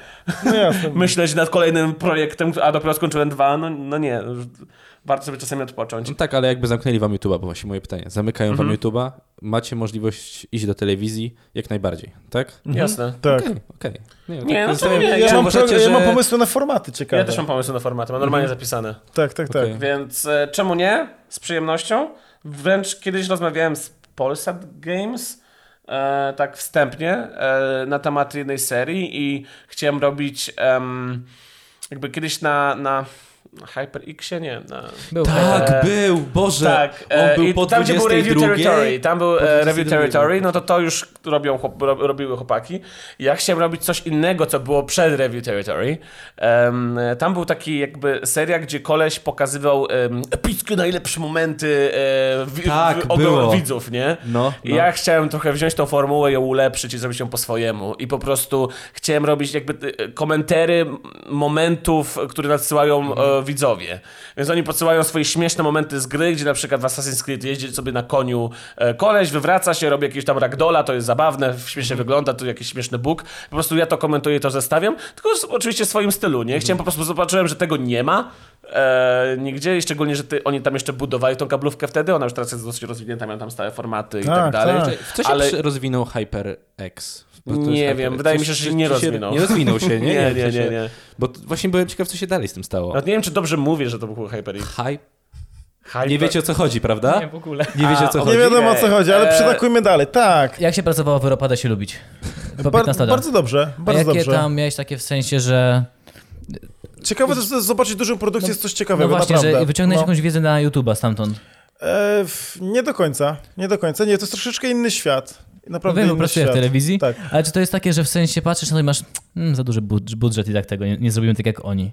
Speaker 3: No jasne.
Speaker 4: myśleć nad kolejnym projektem, a dopiero skończyłem dwa, no, no nie, warto sobie czasami odpocząć.
Speaker 2: No tak, ale jakby zamknęli wam YouTube'a, bo właśnie moje pytanie. Zamykają wam YouTube'a, macie możliwość iść do telewizji jak najbardziej, tak?
Speaker 4: Jasne.
Speaker 3: Tak.
Speaker 2: Okej, okej. Nie,
Speaker 4: Nie, no to
Speaker 2: zastanawiam-
Speaker 4: nie,
Speaker 3: Ja,
Speaker 4: ja
Speaker 2: Czy
Speaker 3: mam
Speaker 2: uważacie,
Speaker 3: pro- ja mam
Speaker 2: że-
Speaker 3: pomysły na formaty ciekawe.
Speaker 4: Ja też mam pomysły na formaty, mam normalnie zapisane.
Speaker 3: Tak, tak, tak.
Speaker 2: Okej.
Speaker 4: Więc e, czemu nie? Z przyjemnością. Wręcz kiedyś rozmawiałem z Polsat Games, e, tak wstępnie, e, na temat jednej serii i chciałem robić em, jakby kiedyś na, na HyperX-ie, nie, na...
Speaker 1: Był
Speaker 2: Tak,
Speaker 4: E,
Speaker 2: był, Boże.
Speaker 4: Tak,
Speaker 2: on
Speaker 4: e,
Speaker 2: był
Speaker 4: i
Speaker 2: po
Speaker 4: tam gdzie był Review
Speaker 2: 22.
Speaker 4: Territory, tam był e, Review
Speaker 2: 22.
Speaker 4: Territory, no to to już robią, chłop, ro, robiły chłopaki. Ja chciałem robić coś innego, co było przed Review Territory. Em, e, tam był taki jakby seria, gdzie koleś pokazywał um, epickie najlepsze momenty e, wi-
Speaker 2: Tak,
Speaker 4: w, ogro-
Speaker 2: było.
Speaker 4: widzów, nie?
Speaker 2: No,
Speaker 4: I
Speaker 2: no.
Speaker 4: Ja chciałem trochę wziąć tą formułę, ją ulepszyć i zrobić ją po swojemu. I po prostu chciałem robić jakby e, komentery m- momentów, które nadsyłają e, widzowie. Więc oni podsyłają swoje śmieszne momenty z gry, gdzie na przykład w Assassin's Creed jeździ sobie na koniu e, koleś, wywraca się, robi jakieś tam ragdola, to jest zabawne, śmiesznie wygląda, tu jakiś śmieszny bóg. Po prostu ja to komentuję, to zestawiam, tylko z, oczywiście w swoim stylu, nie? Chciałem po prostu, zobaczyłem, że tego nie ma e, nigdzie, i szczególnie, że ty, oni tam jeszcze budowali tą kablówkę wtedy, ona już teraz jest dosyć rozwinięta, mają tam stałe formaty i tak,
Speaker 3: Tak,
Speaker 4: dalej.
Speaker 3: tak.
Speaker 2: W co się
Speaker 4: Ale-
Speaker 2: przy- rozwinął HyperX? Bo to
Speaker 4: Nie
Speaker 2: jest
Speaker 4: wiem,
Speaker 2: HyperX.
Speaker 4: wydaje mi
Speaker 2: Coś-
Speaker 4: się, że
Speaker 2: coś
Speaker 4: nie
Speaker 2: się-
Speaker 4: rozwinął.
Speaker 2: Nie rozwinął się, nie?
Speaker 4: Nie, nie,
Speaker 2: w sensie-
Speaker 4: nie, nie.
Speaker 2: Bo t- właśnie byłem ciekaw, co się dalej z tym stało.
Speaker 4: Nawet nie wiem, czy dobrze mówię, że to był HyperX.
Speaker 2: Hype.
Speaker 4: Hyper...
Speaker 2: Nie wiecie o co chodzi, prawda?
Speaker 1: w ogóle.
Speaker 2: Nie wiecie o co
Speaker 4: A,
Speaker 2: chodzi.
Speaker 3: Nie wiadomo o co
Speaker 4: Ojej.
Speaker 3: chodzi, ale
Speaker 4: Eee.
Speaker 3: przytakujmy dalej. Tak.
Speaker 1: Jak się pracowało w Europie, da się lubić? Po 15
Speaker 3: Bar-
Speaker 1: lat.
Speaker 3: bardzo dobrze,
Speaker 1: A
Speaker 3: bardzo
Speaker 1: jakie
Speaker 3: dobrze.
Speaker 1: tam miałeś takie w sensie, że...
Speaker 3: Ciekawe też że zobaczyć dużą produkcję jest coś ciekawego,
Speaker 1: No właśnie,
Speaker 3: naprawdę.
Speaker 1: że wyciągnąłeś
Speaker 3: No.
Speaker 1: jakąś wiedzę na YouTube'a stamtąd.
Speaker 3: E, w- nie do końca, nie do końca. Nie, to jest troszeczkę inny świat.
Speaker 1: No
Speaker 3: Naprawdę
Speaker 1: wiem,
Speaker 3: inny
Speaker 1: pracuję
Speaker 3: świat.
Speaker 1: w telewizji,
Speaker 3: Tak.
Speaker 1: ale czy to jest takie, że w sensie patrzysz na to i masz mm, za duży bud- budżet i tak tego, nie, nie zrobimy tak jak oni.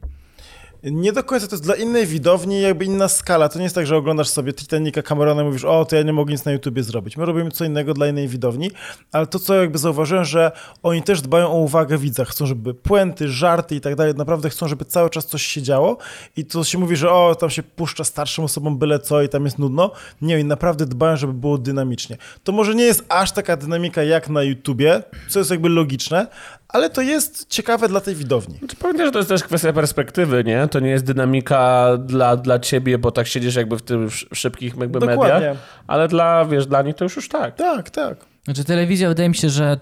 Speaker 3: Nie do końca, to jest dla innej widowni, jakby inna skala. To nie jest tak, że oglądasz sobie Titanica Camerona i mówisz, o, to ja nie mogę nic na YouTubie zrobić. My robimy co innego dla innej widowni, ale to, co jakby zauważyłem, że oni też dbają o uwagę widza. Chcą, żeby puenty, żarty i tak dalej, naprawdę chcą, żeby cały czas coś się działo i to się mówi, że o, tam się puszcza starszym osobom byle co i tam jest nudno. Nie, oni naprawdę dbają, żeby było dynamicznie. To może nie jest aż taka dynamika jak na YouTubie, co jest jakby logiczne, ale to jest ciekawe dla tej widowni.
Speaker 4: Czy pamiętasz, Znaczy, że to jest też kwestia perspektywy, nie? To nie jest dynamika dla, dla ciebie, bo tak siedzisz jakby w tym sz- szybkich jakby
Speaker 3: Dokładnie.
Speaker 4: mediach, ale dla, wiesz, dla nich to już już tak.
Speaker 3: Tak, tak.
Speaker 1: Znaczy telewizja, wydaje mi się, że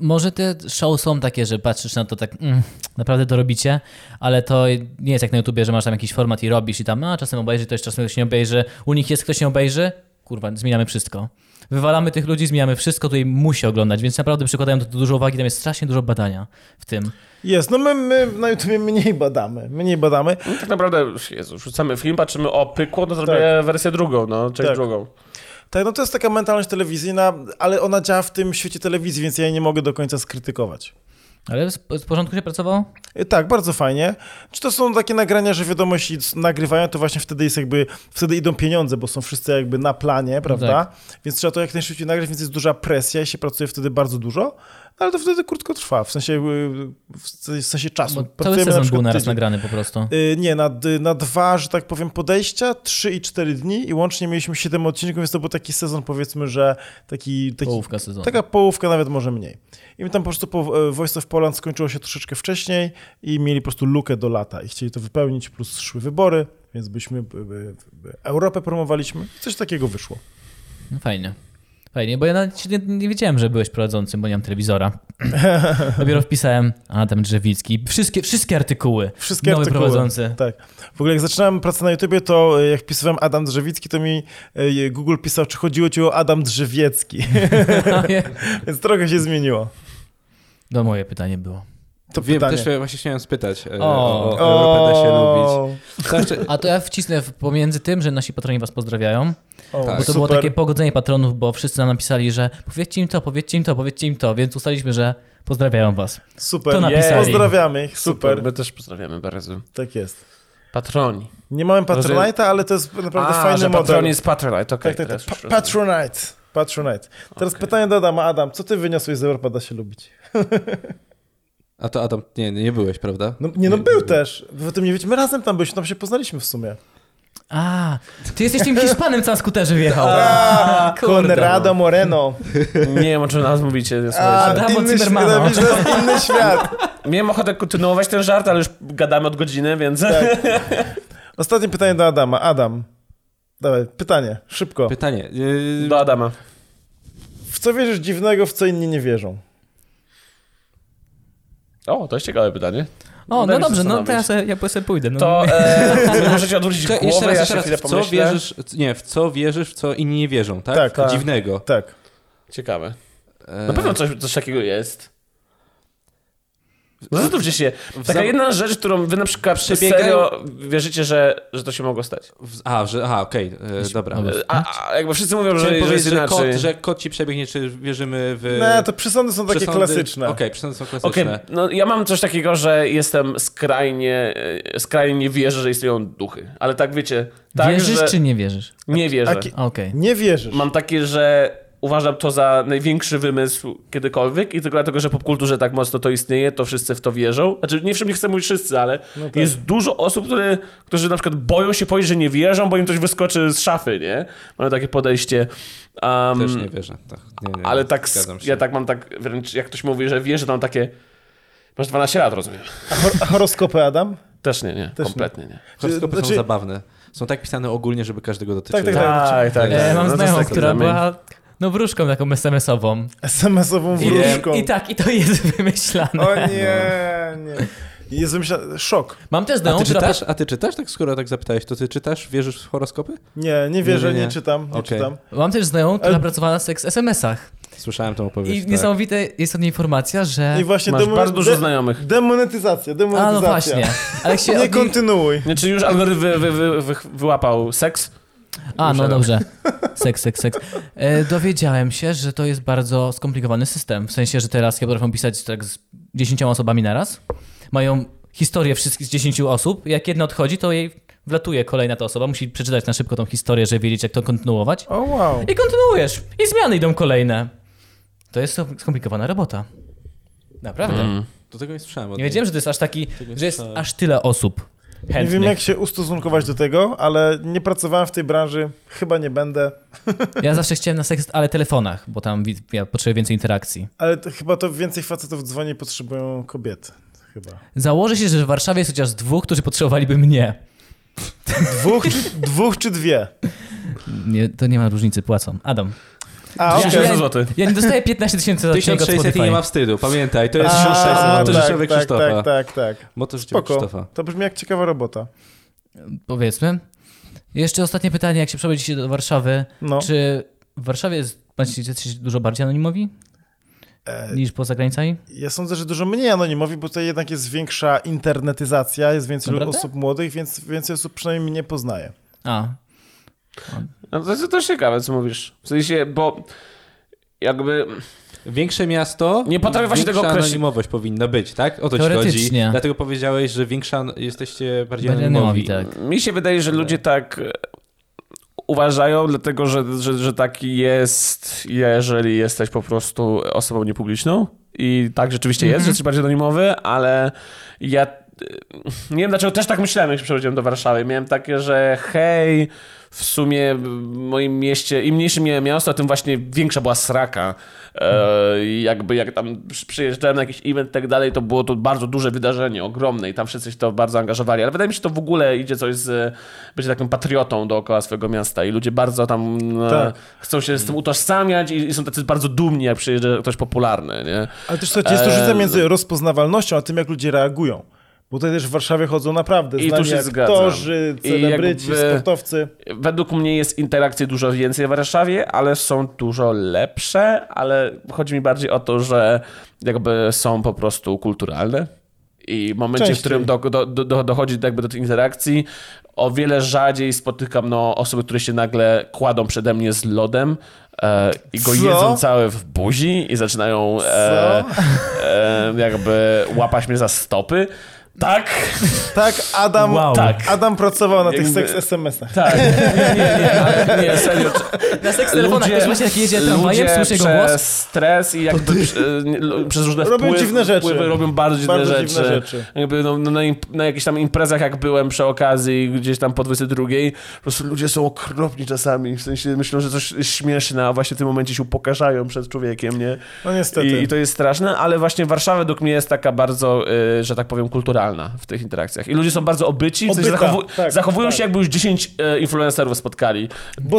Speaker 1: może te show są takie, że patrzysz na to tak, mm, naprawdę to robicie, ale to nie jest jak na YouTubie, że masz tam jakiś format i robisz i tam, a czasem obejrzy ktoś, czasem ktoś nie obejrzy, u nich jest ktoś nie obejrzy, kurwa, zmieniamy wszystko. Wywalamy tych ludzi, zmieniamy wszystko, tutaj musi oglądać, więc naprawdę przykładają do to dużo uwagi, tam jest strasznie dużo badania w tym.
Speaker 3: Jest, no my, my na YouTubie mniej badamy, mniej badamy.
Speaker 4: No, tak naprawdę, Jezu, rzucamy film, patrzymy, o pykło, to zrobię wersję drugą, no, część
Speaker 3: Tak.
Speaker 4: drugą.
Speaker 3: Tak, no to jest taka mentalność telewizyjna, ale ona działa w tym świecie telewizji, więc ja jej nie mogę do końca skrytykować.
Speaker 1: Ale z z porządku się pracowało?
Speaker 3: Y, Tak, bardzo fajnie. Czy to są takie nagrania, że wiadomo, jeśli c- nagrywają, to właśnie wtedy jest jakby, wtedy idą pieniądze, bo są wszyscy jakby na planie, prawda?
Speaker 1: Tak.
Speaker 3: Więc trzeba to jak najszybciej nagrać, więc jest duża presja i się pracuje wtedy bardzo dużo, ale to wtedy krótko trwa, w sensie, y, w se- w sensie czasu.
Speaker 1: Bo cały
Speaker 3: Pracujemy na
Speaker 1: sezon
Speaker 3: przykład
Speaker 1: był naraz
Speaker 3: tydzień.
Speaker 1: nagrany po prostu.
Speaker 3: Y, Nie, na, d- na dwa, że tak powiem, podejścia, trzy i cztery dni i łącznie mieliśmy siedem odcinków, więc to był taki sezon, powiedzmy, że taki... taki
Speaker 1: Połówka no. sezonu.
Speaker 3: Taka połówka, nawet może mniej. I my tam po prostu po, e, Voice of Poland skończyło się troszeczkę wcześniej i mieli po prostu lukę do lata i chcieli to wypełnić, plus szły wybory, więc byśmy e, e, e, Europę promowaliśmy i coś takiego wyszło.
Speaker 1: No fajnie. Fajnie, bo ja nawet się nie, nie wiedziałem, że byłeś prowadzącym, bo nie mam telewizora. Dopiero wpisałem Adam Drzewicki. Wszystkie, wszystkie artykuły.
Speaker 3: Wszystkie
Speaker 1: Nowy
Speaker 3: artykuły.
Speaker 1: prowadzący.
Speaker 3: Tak. W ogóle jak zaczynałem pracę na YouTubie, to e, jak pisywałem Adam Drzewicki, to mi e, Google pisał, czy chodziło ci o Adam Drzewiecki, więc trochę się zmieniło.
Speaker 1: No moje pytanie było.
Speaker 3: To
Speaker 2: Wiem,
Speaker 3: pytanie.
Speaker 2: też właśnie chciałem spytać e,
Speaker 1: O.
Speaker 2: o, o Europę da się lubić. To jeszcze-
Speaker 1: A to ja wcisnę w- pomiędzy tym, że nasi patroni was pozdrawiają,
Speaker 3: o,
Speaker 2: Tak.
Speaker 1: bo to było
Speaker 3: super.
Speaker 1: takie pogodzenie patronów, bo wszyscy nam napisali, że powiedzcie im to, powiedzcie im to, powiedzcie im to, więc ustaliśmy, że pozdrawiają was.
Speaker 3: Super,
Speaker 1: To napisali.
Speaker 3: pozdrawiamy ich, super.
Speaker 4: My też pozdrawiamy bardzo.
Speaker 3: Tak jest.
Speaker 4: Patroni.
Speaker 3: Nie mamy Patronite'a, ale to jest naprawdę
Speaker 4: A,
Speaker 3: fajny
Speaker 4: że
Speaker 3: model.
Speaker 4: Patron jest Patronite, okej.
Speaker 3: Tak, tak, tak.
Speaker 4: teraz już
Speaker 3: Pa-
Speaker 4: rozumiem.
Speaker 3: Patronite. Patronite. Teraz pytanie do Adama. Adam, co ty wyniosłeś z Europa da się lubić?
Speaker 2: A to Adam, nie, nie byłeś, prawda?
Speaker 3: No, nie no, był też. Wy o tym nie wiecie. My razem tam byliśmy, tam się poznaliśmy w sumie.
Speaker 1: A, ty jesteś tym Hiszpanem, co na skuterze wjechał.
Speaker 3: Tak. Conrado Moreno.
Speaker 4: Nie wiem, o czym nas mówicie. nie
Speaker 3: A,
Speaker 4: słuchajcie.
Speaker 1: Adamo
Speaker 3: inny,
Speaker 1: Cybermano.
Speaker 3: świat, widzisz, to jest inny świat.
Speaker 4: Miałem ochotę kontynuować ten żart, ale już gadamy od godziny, więc...
Speaker 2: Tak.
Speaker 3: Ostatnie pytanie do Adama. Adam, dawaj, pytanie, szybko.
Speaker 2: Pytanie. y,
Speaker 4: Do Adama.
Speaker 3: W co wierzysz dziwnego, w co inni nie wierzą?
Speaker 4: O, to jest ciekawe pytanie.
Speaker 1: O, no
Speaker 4: Daj mi
Speaker 1: dobrze, no
Speaker 4: zastanowić.
Speaker 1: teraz ja, ja sobie pójdę. No.
Speaker 4: To e, możecie odwrócić
Speaker 2: Czekaj,
Speaker 4: głowę,
Speaker 2: jeszcze raz,
Speaker 4: ja się
Speaker 2: jeszcze raz.
Speaker 4: chwilę
Speaker 2: W co
Speaker 4: pomyślę.
Speaker 2: wierzysz, nie, w co wierzysz, w co inni nie wierzą, tak?
Speaker 3: Tak, tak.
Speaker 2: Dziwnego.
Speaker 3: Tak.
Speaker 4: Ciekawe.
Speaker 2: E,
Speaker 4: Na pewno coś, coś takiego jest. Zastanówcie się. Taka
Speaker 2: No. zam-
Speaker 4: jedna rzecz, którą wy na przykład
Speaker 2: Przebiegają-
Speaker 4: serio wierzycie, że, że to się mogło stać.
Speaker 2: w- A, że, aha, okej, e,
Speaker 3: no,
Speaker 2: dobra.
Speaker 1: Dobra.
Speaker 4: E, A, a jakby wszyscy mówią, że,
Speaker 2: Chciałem
Speaker 4: że jest
Speaker 2: powiedzieć, że
Speaker 4: inaczej.
Speaker 2: kot, że kot ci przebiegnie, czy wierzymy w...
Speaker 3: No, to przesądy są takie
Speaker 2: przesądy-
Speaker 3: klasyczne.
Speaker 2: Okej, przesądy są
Speaker 4: Okej,
Speaker 2: klasyczne.
Speaker 4: no ja mam coś takiego, że jestem skrajnie, e, skrajnie nie wierzę, że istnieją duchy. Ale tak wiecie, tak,
Speaker 1: wierzysz
Speaker 4: że
Speaker 1: czy nie wierzysz?
Speaker 4: nie wierzę.
Speaker 3: Taki-
Speaker 1: Okej.
Speaker 3: Nie wierzysz.
Speaker 4: Mam takie, że uważam to za największy wymysł kiedykolwiek i tylko dlatego, że w popkulturze tak mocno to istnieje, to wszyscy w to wierzą. Znaczy, nie wszyscy, nie chcę mówić wszyscy, ale jest dużo osób, które, którzy na przykład boją się powiedzieć, że nie wierzą, bo im coś wyskoczy z szafy, nie? Mamy takie podejście. Um,
Speaker 2: Też nie wierzę. Tak, nie, nie,
Speaker 4: ale tak, s-
Speaker 2: zgadzam się.
Speaker 4: ja tak mam tak, wręcz jak ktoś mówi, że wierzy, tam takie... Masz 12 lat, rozumiem.
Speaker 3: A hor- a horoskopy, Adam?
Speaker 4: Też nie, nie, kompletnie nie.
Speaker 2: Horoskopy
Speaker 3: Znaczy-
Speaker 2: są zabawne. Są tak pisane ogólnie, żeby każdego dotyczyły.
Speaker 3: Tak, tak, tak.
Speaker 4: tak.
Speaker 1: E,
Speaker 4: No
Speaker 1: mam
Speaker 4: to
Speaker 1: znajomą,
Speaker 4: tak
Speaker 1: która
Speaker 4: dla mnie.
Speaker 1: była no wróżką taką SMS-ową.
Speaker 3: SMS-ową
Speaker 1: I,
Speaker 3: wróżką.
Speaker 1: I tak, no. i to jest wymyślane.
Speaker 3: O nie, nie. Jest wymyśla... Szok.
Speaker 1: Mam też
Speaker 2: A
Speaker 4: No,
Speaker 1: znajomą,
Speaker 2: ty
Speaker 1: która...
Speaker 2: czytasz? A ty czytasz? Tak skoro tak zapytałeś, to ty czytasz? Wierzysz w horoskopy?
Speaker 3: Nie, nie wierzę, nie,
Speaker 2: nie.
Speaker 3: czytam, nie
Speaker 2: Okej.
Speaker 3: czytam.
Speaker 1: Mam też znajomą, która
Speaker 3: Ale-
Speaker 1: pracowała na seks SMS-ach.
Speaker 2: Słyszałem tą
Speaker 1: I
Speaker 2: opowieść. tak.
Speaker 1: niesamowita jest od niej informacja, że...
Speaker 3: I właśnie
Speaker 4: Masz
Speaker 3: demo-
Speaker 4: bardzo dużo
Speaker 3: de-
Speaker 4: znajomych.
Speaker 3: Demonetyzacja,
Speaker 1: A no
Speaker 3: demonetyzacja.
Speaker 1: właśnie. Ale jak się
Speaker 3: Nie
Speaker 1: od niej...
Speaker 3: kontynuuj.
Speaker 4: Nie, czy już algorytm wy, wy, wy, wy, wyłapał seks?
Speaker 1: A, no
Speaker 4: Muszę-
Speaker 1: dobrze. Seks, seks, seks. E, dowiedziałem się, że to jest bardzo skomplikowany system. W sensie, że teraz ja potrafią pisać tak z 10 osobami naraz. Mają historię wszystkich z 10 osób. Jak jedna odchodzi, to jej wlatuje kolejna ta osoba. Musi przeczytać na szybko tą historię, żeby wiedzieć, jak to kontynuować.
Speaker 3: O wow.
Speaker 1: I kontynuujesz. I zmiany idą kolejne. To jest skomplikowana robota. Naprawdę.
Speaker 4: No.
Speaker 2: To tego nie słyszałem. Od
Speaker 1: Nie
Speaker 2: niej.
Speaker 1: wiedziałem, że Mm, to jest aż taki, że jest
Speaker 2: słyszałem.
Speaker 1: aż tyle osób
Speaker 3: Nie
Speaker 1: chętnych.
Speaker 3: wiem, jak się ustosunkować do tego, ale nie pracowałem w tej branży, chyba nie będę,
Speaker 1: Ja zawsze chciałem na seks, ale telefonach, bo tam wi- ja potrzebuję więcej interakcji.
Speaker 3: ale to, chyba to więcej facetów dzwoni i potrzebują kobiet. Chyba.
Speaker 1: Założę się, że w Warszawie jest chociaż dwóch, którzy potrzebowaliby mnie.
Speaker 3: Dwóch czy, dwóch czy dwie?
Speaker 1: Nie, to nie ma różnicy, płacą. Adam.
Speaker 3: A, okej.
Speaker 1: Ja-
Speaker 4: 16 zł.
Speaker 1: Ja nie dostaję 15 tysięcy za odcinek od
Speaker 2: 1600 i
Speaker 1: Spotify.
Speaker 2: nie ma wstydu, pamiętaj. To jest
Speaker 3: A,
Speaker 2: 1600 to
Speaker 3: tak,
Speaker 2: życiowy
Speaker 3: tak,
Speaker 2: Krzysztofa.
Speaker 3: Tak, tak, tak.
Speaker 2: Moto życiowy
Speaker 3: Spoko.
Speaker 2: Krzysztofa.
Speaker 3: To brzmi jak ciekawa robota.
Speaker 1: Powiedzmy. Jeszcze ostatnie pytanie, jak się przeprowadzicie do Warszawy.
Speaker 3: No.
Speaker 1: Czy w Warszawie jest, macie, jesteście dużo bardziej anonimowi
Speaker 3: E,
Speaker 1: niż poza granicami?
Speaker 3: Ja sądzę, że dużo mniej anonimowi, bo tutaj jednak jest większa internetyzacja, jest więcej
Speaker 1: Naprawdę?
Speaker 3: osób młodych, więc więcej osób przynajmniej mnie poznaje.
Speaker 1: A.
Speaker 4: No to jest też ciekawe, co mówisz. W sensie, bo jakby...
Speaker 2: Większe miasto.
Speaker 4: Nie potrafię właśnie
Speaker 2: większa
Speaker 4: tego określić.
Speaker 2: anonimowość powinna być, tak? O to ci chodzi.
Speaker 1: Teoretycznie.
Speaker 2: Dlatego powiedziałeś, że większa jesteście bardziej
Speaker 1: Anonimowi,
Speaker 2: anonimowi.
Speaker 1: tak.
Speaker 4: Mi się wydaje, że ludzie tak e, uważają, dlatego że, że, że tak jest, jeżeli jesteś po prostu osobą niepubliczną. I tak rzeczywiście jest, że jesteś bardziej anonimowy, ale ja e, nie wiem dlaczego też tak myślałem, jak się przechodziłem do Warszawy. Miałem takie, że hej, w sumie w moim mieście, im mniejsze miałem miasto, tym właśnie większa była sraka. E, i jakby jak tam przy- przyjeżdżałem na jakiś event i tak dalej, to było to bardzo duże wydarzenie, ogromne i tam wszyscy się to bardzo angażowali. Ale wydaje mi się, że to w ogóle idzie coś z bycie takim patriotą dookoła swojego miasta i ludzie bardzo tam e,
Speaker 3: Tak.
Speaker 4: chcą się z tym utożsamiać i, i są tacy bardzo dumni, jak przyjeżdża ktoś popularny, nie?
Speaker 3: Ale też słuchajcie, jest
Speaker 4: Eee,
Speaker 3: różnica między rozpoznawalnością, a tym, jak ludzie reagują. Bo tutaj też w Warszawie chodzą naprawdę
Speaker 4: I tu
Speaker 3: znani
Speaker 4: się
Speaker 3: aktorzy,
Speaker 4: zgadzam. I
Speaker 3: celebryci,
Speaker 4: jakby-
Speaker 3: sportowcy.
Speaker 4: Według mnie jest interakcji dużo więcej w Warszawie, ale są dużo lepsze, ale chodzi mi bardziej o to, że jakby są po prostu kulturalne. I w momencie, w
Speaker 3: Częściej.
Speaker 4: którym do, do, do, do- dochodzi jakby do tych interakcji, o wiele rzadziej spotykam no, osoby, które się nagle kładą przede mnie z lodem e, i go
Speaker 3: Co?
Speaker 4: jedzą całe w buzi i zaczynają e, e, jakby łapać mnie za stopy. Tak,
Speaker 3: Tak, Adam,
Speaker 1: Wow.
Speaker 4: Tak.
Speaker 3: Adam pracował na tych
Speaker 4: Jakby-
Speaker 3: seks SMS-ach.
Speaker 4: tak. Nie, nie, nie, ale nie serio.
Speaker 1: Na seks telefonach ktoś właśnie tak jedzie tramwajem,
Speaker 4: ludzie
Speaker 1: słyszy jego
Speaker 4: przez
Speaker 1: głos.
Speaker 4: stres i jakby przy, e, nie, lu- przez różne
Speaker 3: Robią
Speaker 4: wpływy,
Speaker 3: dziwne rzeczy.
Speaker 4: wpływy robią bardzo dziwne
Speaker 3: Bardzo
Speaker 4: rzeczy.
Speaker 3: dziwne rzeczy.
Speaker 4: Jakby no, no, na, imp- na jakichś tam imprezach, jak byłem przy okazji, gdzieś tam po 22, po prostu ludzie są okropni czasami. W sensie myślą, że coś śmieszne, a właśnie w tym momencie się upokarzają przed człowiekiem, nie?
Speaker 3: No niestety.
Speaker 4: I, I to jest straszne, ale właśnie Warszawa według mnie jest taka bardzo, y, że tak powiem, kulturalna w tych interakcjach. I ludzie są bardzo obyci, w sensie
Speaker 3: Obyta,
Speaker 4: zachowu-
Speaker 3: tak,
Speaker 4: zachowują
Speaker 3: tak.
Speaker 4: się jakby już 10 y, influencerów spotkali
Speaker 3: Bo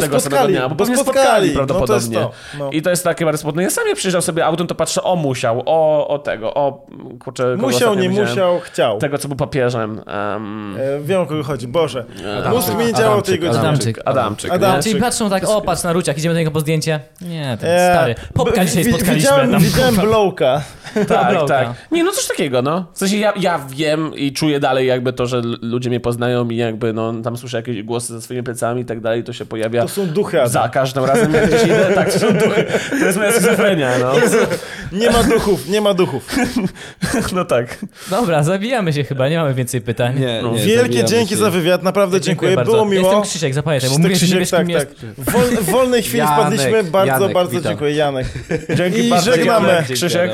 Speaker 4: tego samego
Speaker 3: spotkali,
Speaker 4: dnia.
Speaker 3: bo
Speaker 4: pewnie
Speaker 3: spotkali, no to jest
Speaker 4: prawdopodobnie.
Speaker 3: to, no.
Speaker 4: I to jest takie bardzo smutne. Ja sam jak przyjeżdżam sobie autem, to patrzę, o musiał, o, o tego, o kurczę, kogo
Speaker 3: Musiał,
Speaker 4: ostatnio
Speaker 3: nie
Speaker 4: widziałem.
Speaker 3: musiał, chciał.
Speaker 4: Tego, co był papieżem. Um,
Speaker 3: E, wiem o kogo chodzi, Boże.
Speaker 4: Adamczyk,
Speaker 3: Mózg mi nie działał o tej
Speaker 2: Adamczyk,
Speaker 3: godzinie.
Speaker 1: Adamczyk.
Speaker 4: Adamczyk.
Speaker 3: Adam-
Speaker 4: nie?
Speaker 1: Czyli patrzą tak, o patrz na Ruciak, idziemy do niego po zdjęcie. Nie, ten
Speaker 3: E,
Speaker 1: stary. Popka
Speaker 3: b-
Speaker 1: dzisiaj
Speaker 3: wi-
Speaker 1: spotkaliśmy.
Speaker 3: Widziałem,
Speaker 1: tam.
Speaker 3: widziałem blowka.
Speaker 4: Tak,
Speaker 1: Blowka.
Speaker 4: tak. Nie, no coś takiego, no. W sensie ja, ja wiem i czuję dalej jakby to, że l- ludzie mnie poznają i jakby no tam słyszę jakieś głosy za swoimi plecami i tak dalej, to się pojawia.
Speaker 3: To są duchy, Adam.
Speaker 4: Za każdym razem jak gdzieś idę, tak, to są duchy. To jest moja schizofrenia, no.
Speaker 3: Nie ma duchów, nie ma duchów.
Speaker 4: No tak.
Speaker 1: Dobra, zabijamy się chyba, nie mamy więcej pytań.
Speaker 2: Nie, nie,
Speaker 3: Wielkie
Speaker 2: zabijamy
Speaker 3: dzięki
Speaker 2: się.
Speaker 3: za wywiad, naprawdę dziękuję,
Speaker 1: bardzo.
Speaker 3: było
Speaker 1: Ja
Speaker 3: miło.
Speaker 1: Jestem Krzysiek, zapamiętaj, bo
Speaker 3: Krzysztof
Speaker 1: mówię, że nie
Speaker 3: Krzysiek,
Speaker 1: wiesz,
Speaker 3: tak,
Speaker 1: kim
Speaker 3: tak.
Speaker 1: jest.
Speaker 3: Wol, w wolnej chwili
Speaker 2: Janek,
Speaker 3: wpadliśmy, bardzo,
Speaker 2: Janek,
Speaker 3: bardzo
Speaker 2: witam.
Speaker 3: dziękuję, Janek.
Speaker 4: Dzięki
Speaker 3: I
Speaker 4: bardzo.
Speaker 3: żegnamy.
Speaker 4: Dzięki, Krzysiek.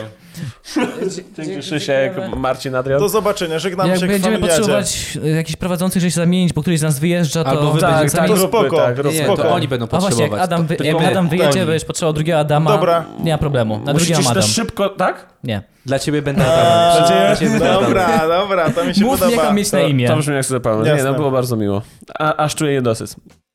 Speaker 4: Dzięki
Speaker 1: Dzięki,
Speaker 4: Krzysiek,
Speaker 1: dziękujemy.
Speaker 4: Marcin, Adrian.
Speaker 3: Do zobaczenia, żegnam
Speaker 1: Jak
Speaker 3: się
Speaker 1: będziemy
Speaker 3: familiadzie.
Speaker 1: potrzebować y, jakichś prowadzących, żeby się zamienić, bo któryś z nas wyjeżdża, to...
Speaker 2: Albo wy
Speaker 4: Tak,
Speaker 2: będziecie
Speaker 4: tak,
Speaker 3: To
Speaker 4: grupy,
Speaker 3: spoko.
Speaker 4: tak, grupy.
Speaker 2: Nie,
Speaker 3: Spoko.
Speaker 2: to oni będą
Speaker 1: A właśnie, jak
Speaker 2: potrzebować.
Speaker 1: Adam, wy,
Speaker 2: to,
Speaker 1: jak
Speaker 2: nie my.
Speaker 1: Adam wyjedzie,
Speaker 3: Dobra.
Speaker 1: będziesz potrzebował drugiego Adama,
Speaker 3: Dobra.
Speaker 1: nie ma problemu. Na drugi
Speaker 4: Musicie
Speaker 1: mam
Speaker 4: się
Speaker 1: Adam.
Speaker 4: też szybko, tak?
Speaker 1: Nie.
Speaker 2: Dla ciebie będę Adam. Dla ciebie będę Adam.
Speaker 3: Dobra, dobra, to mi się
Speaker 1: Mów mi,
Speaker 3: podoba.
Speaker 1: jaką mieć na
Speaker 4: To
Speaker 1: imię.
Speaker 4: brzmi jak sobie
Speaker 3: Jasne.
Speaker 4: Nie, no było bardzo miło. A, aż czuję niedosyt.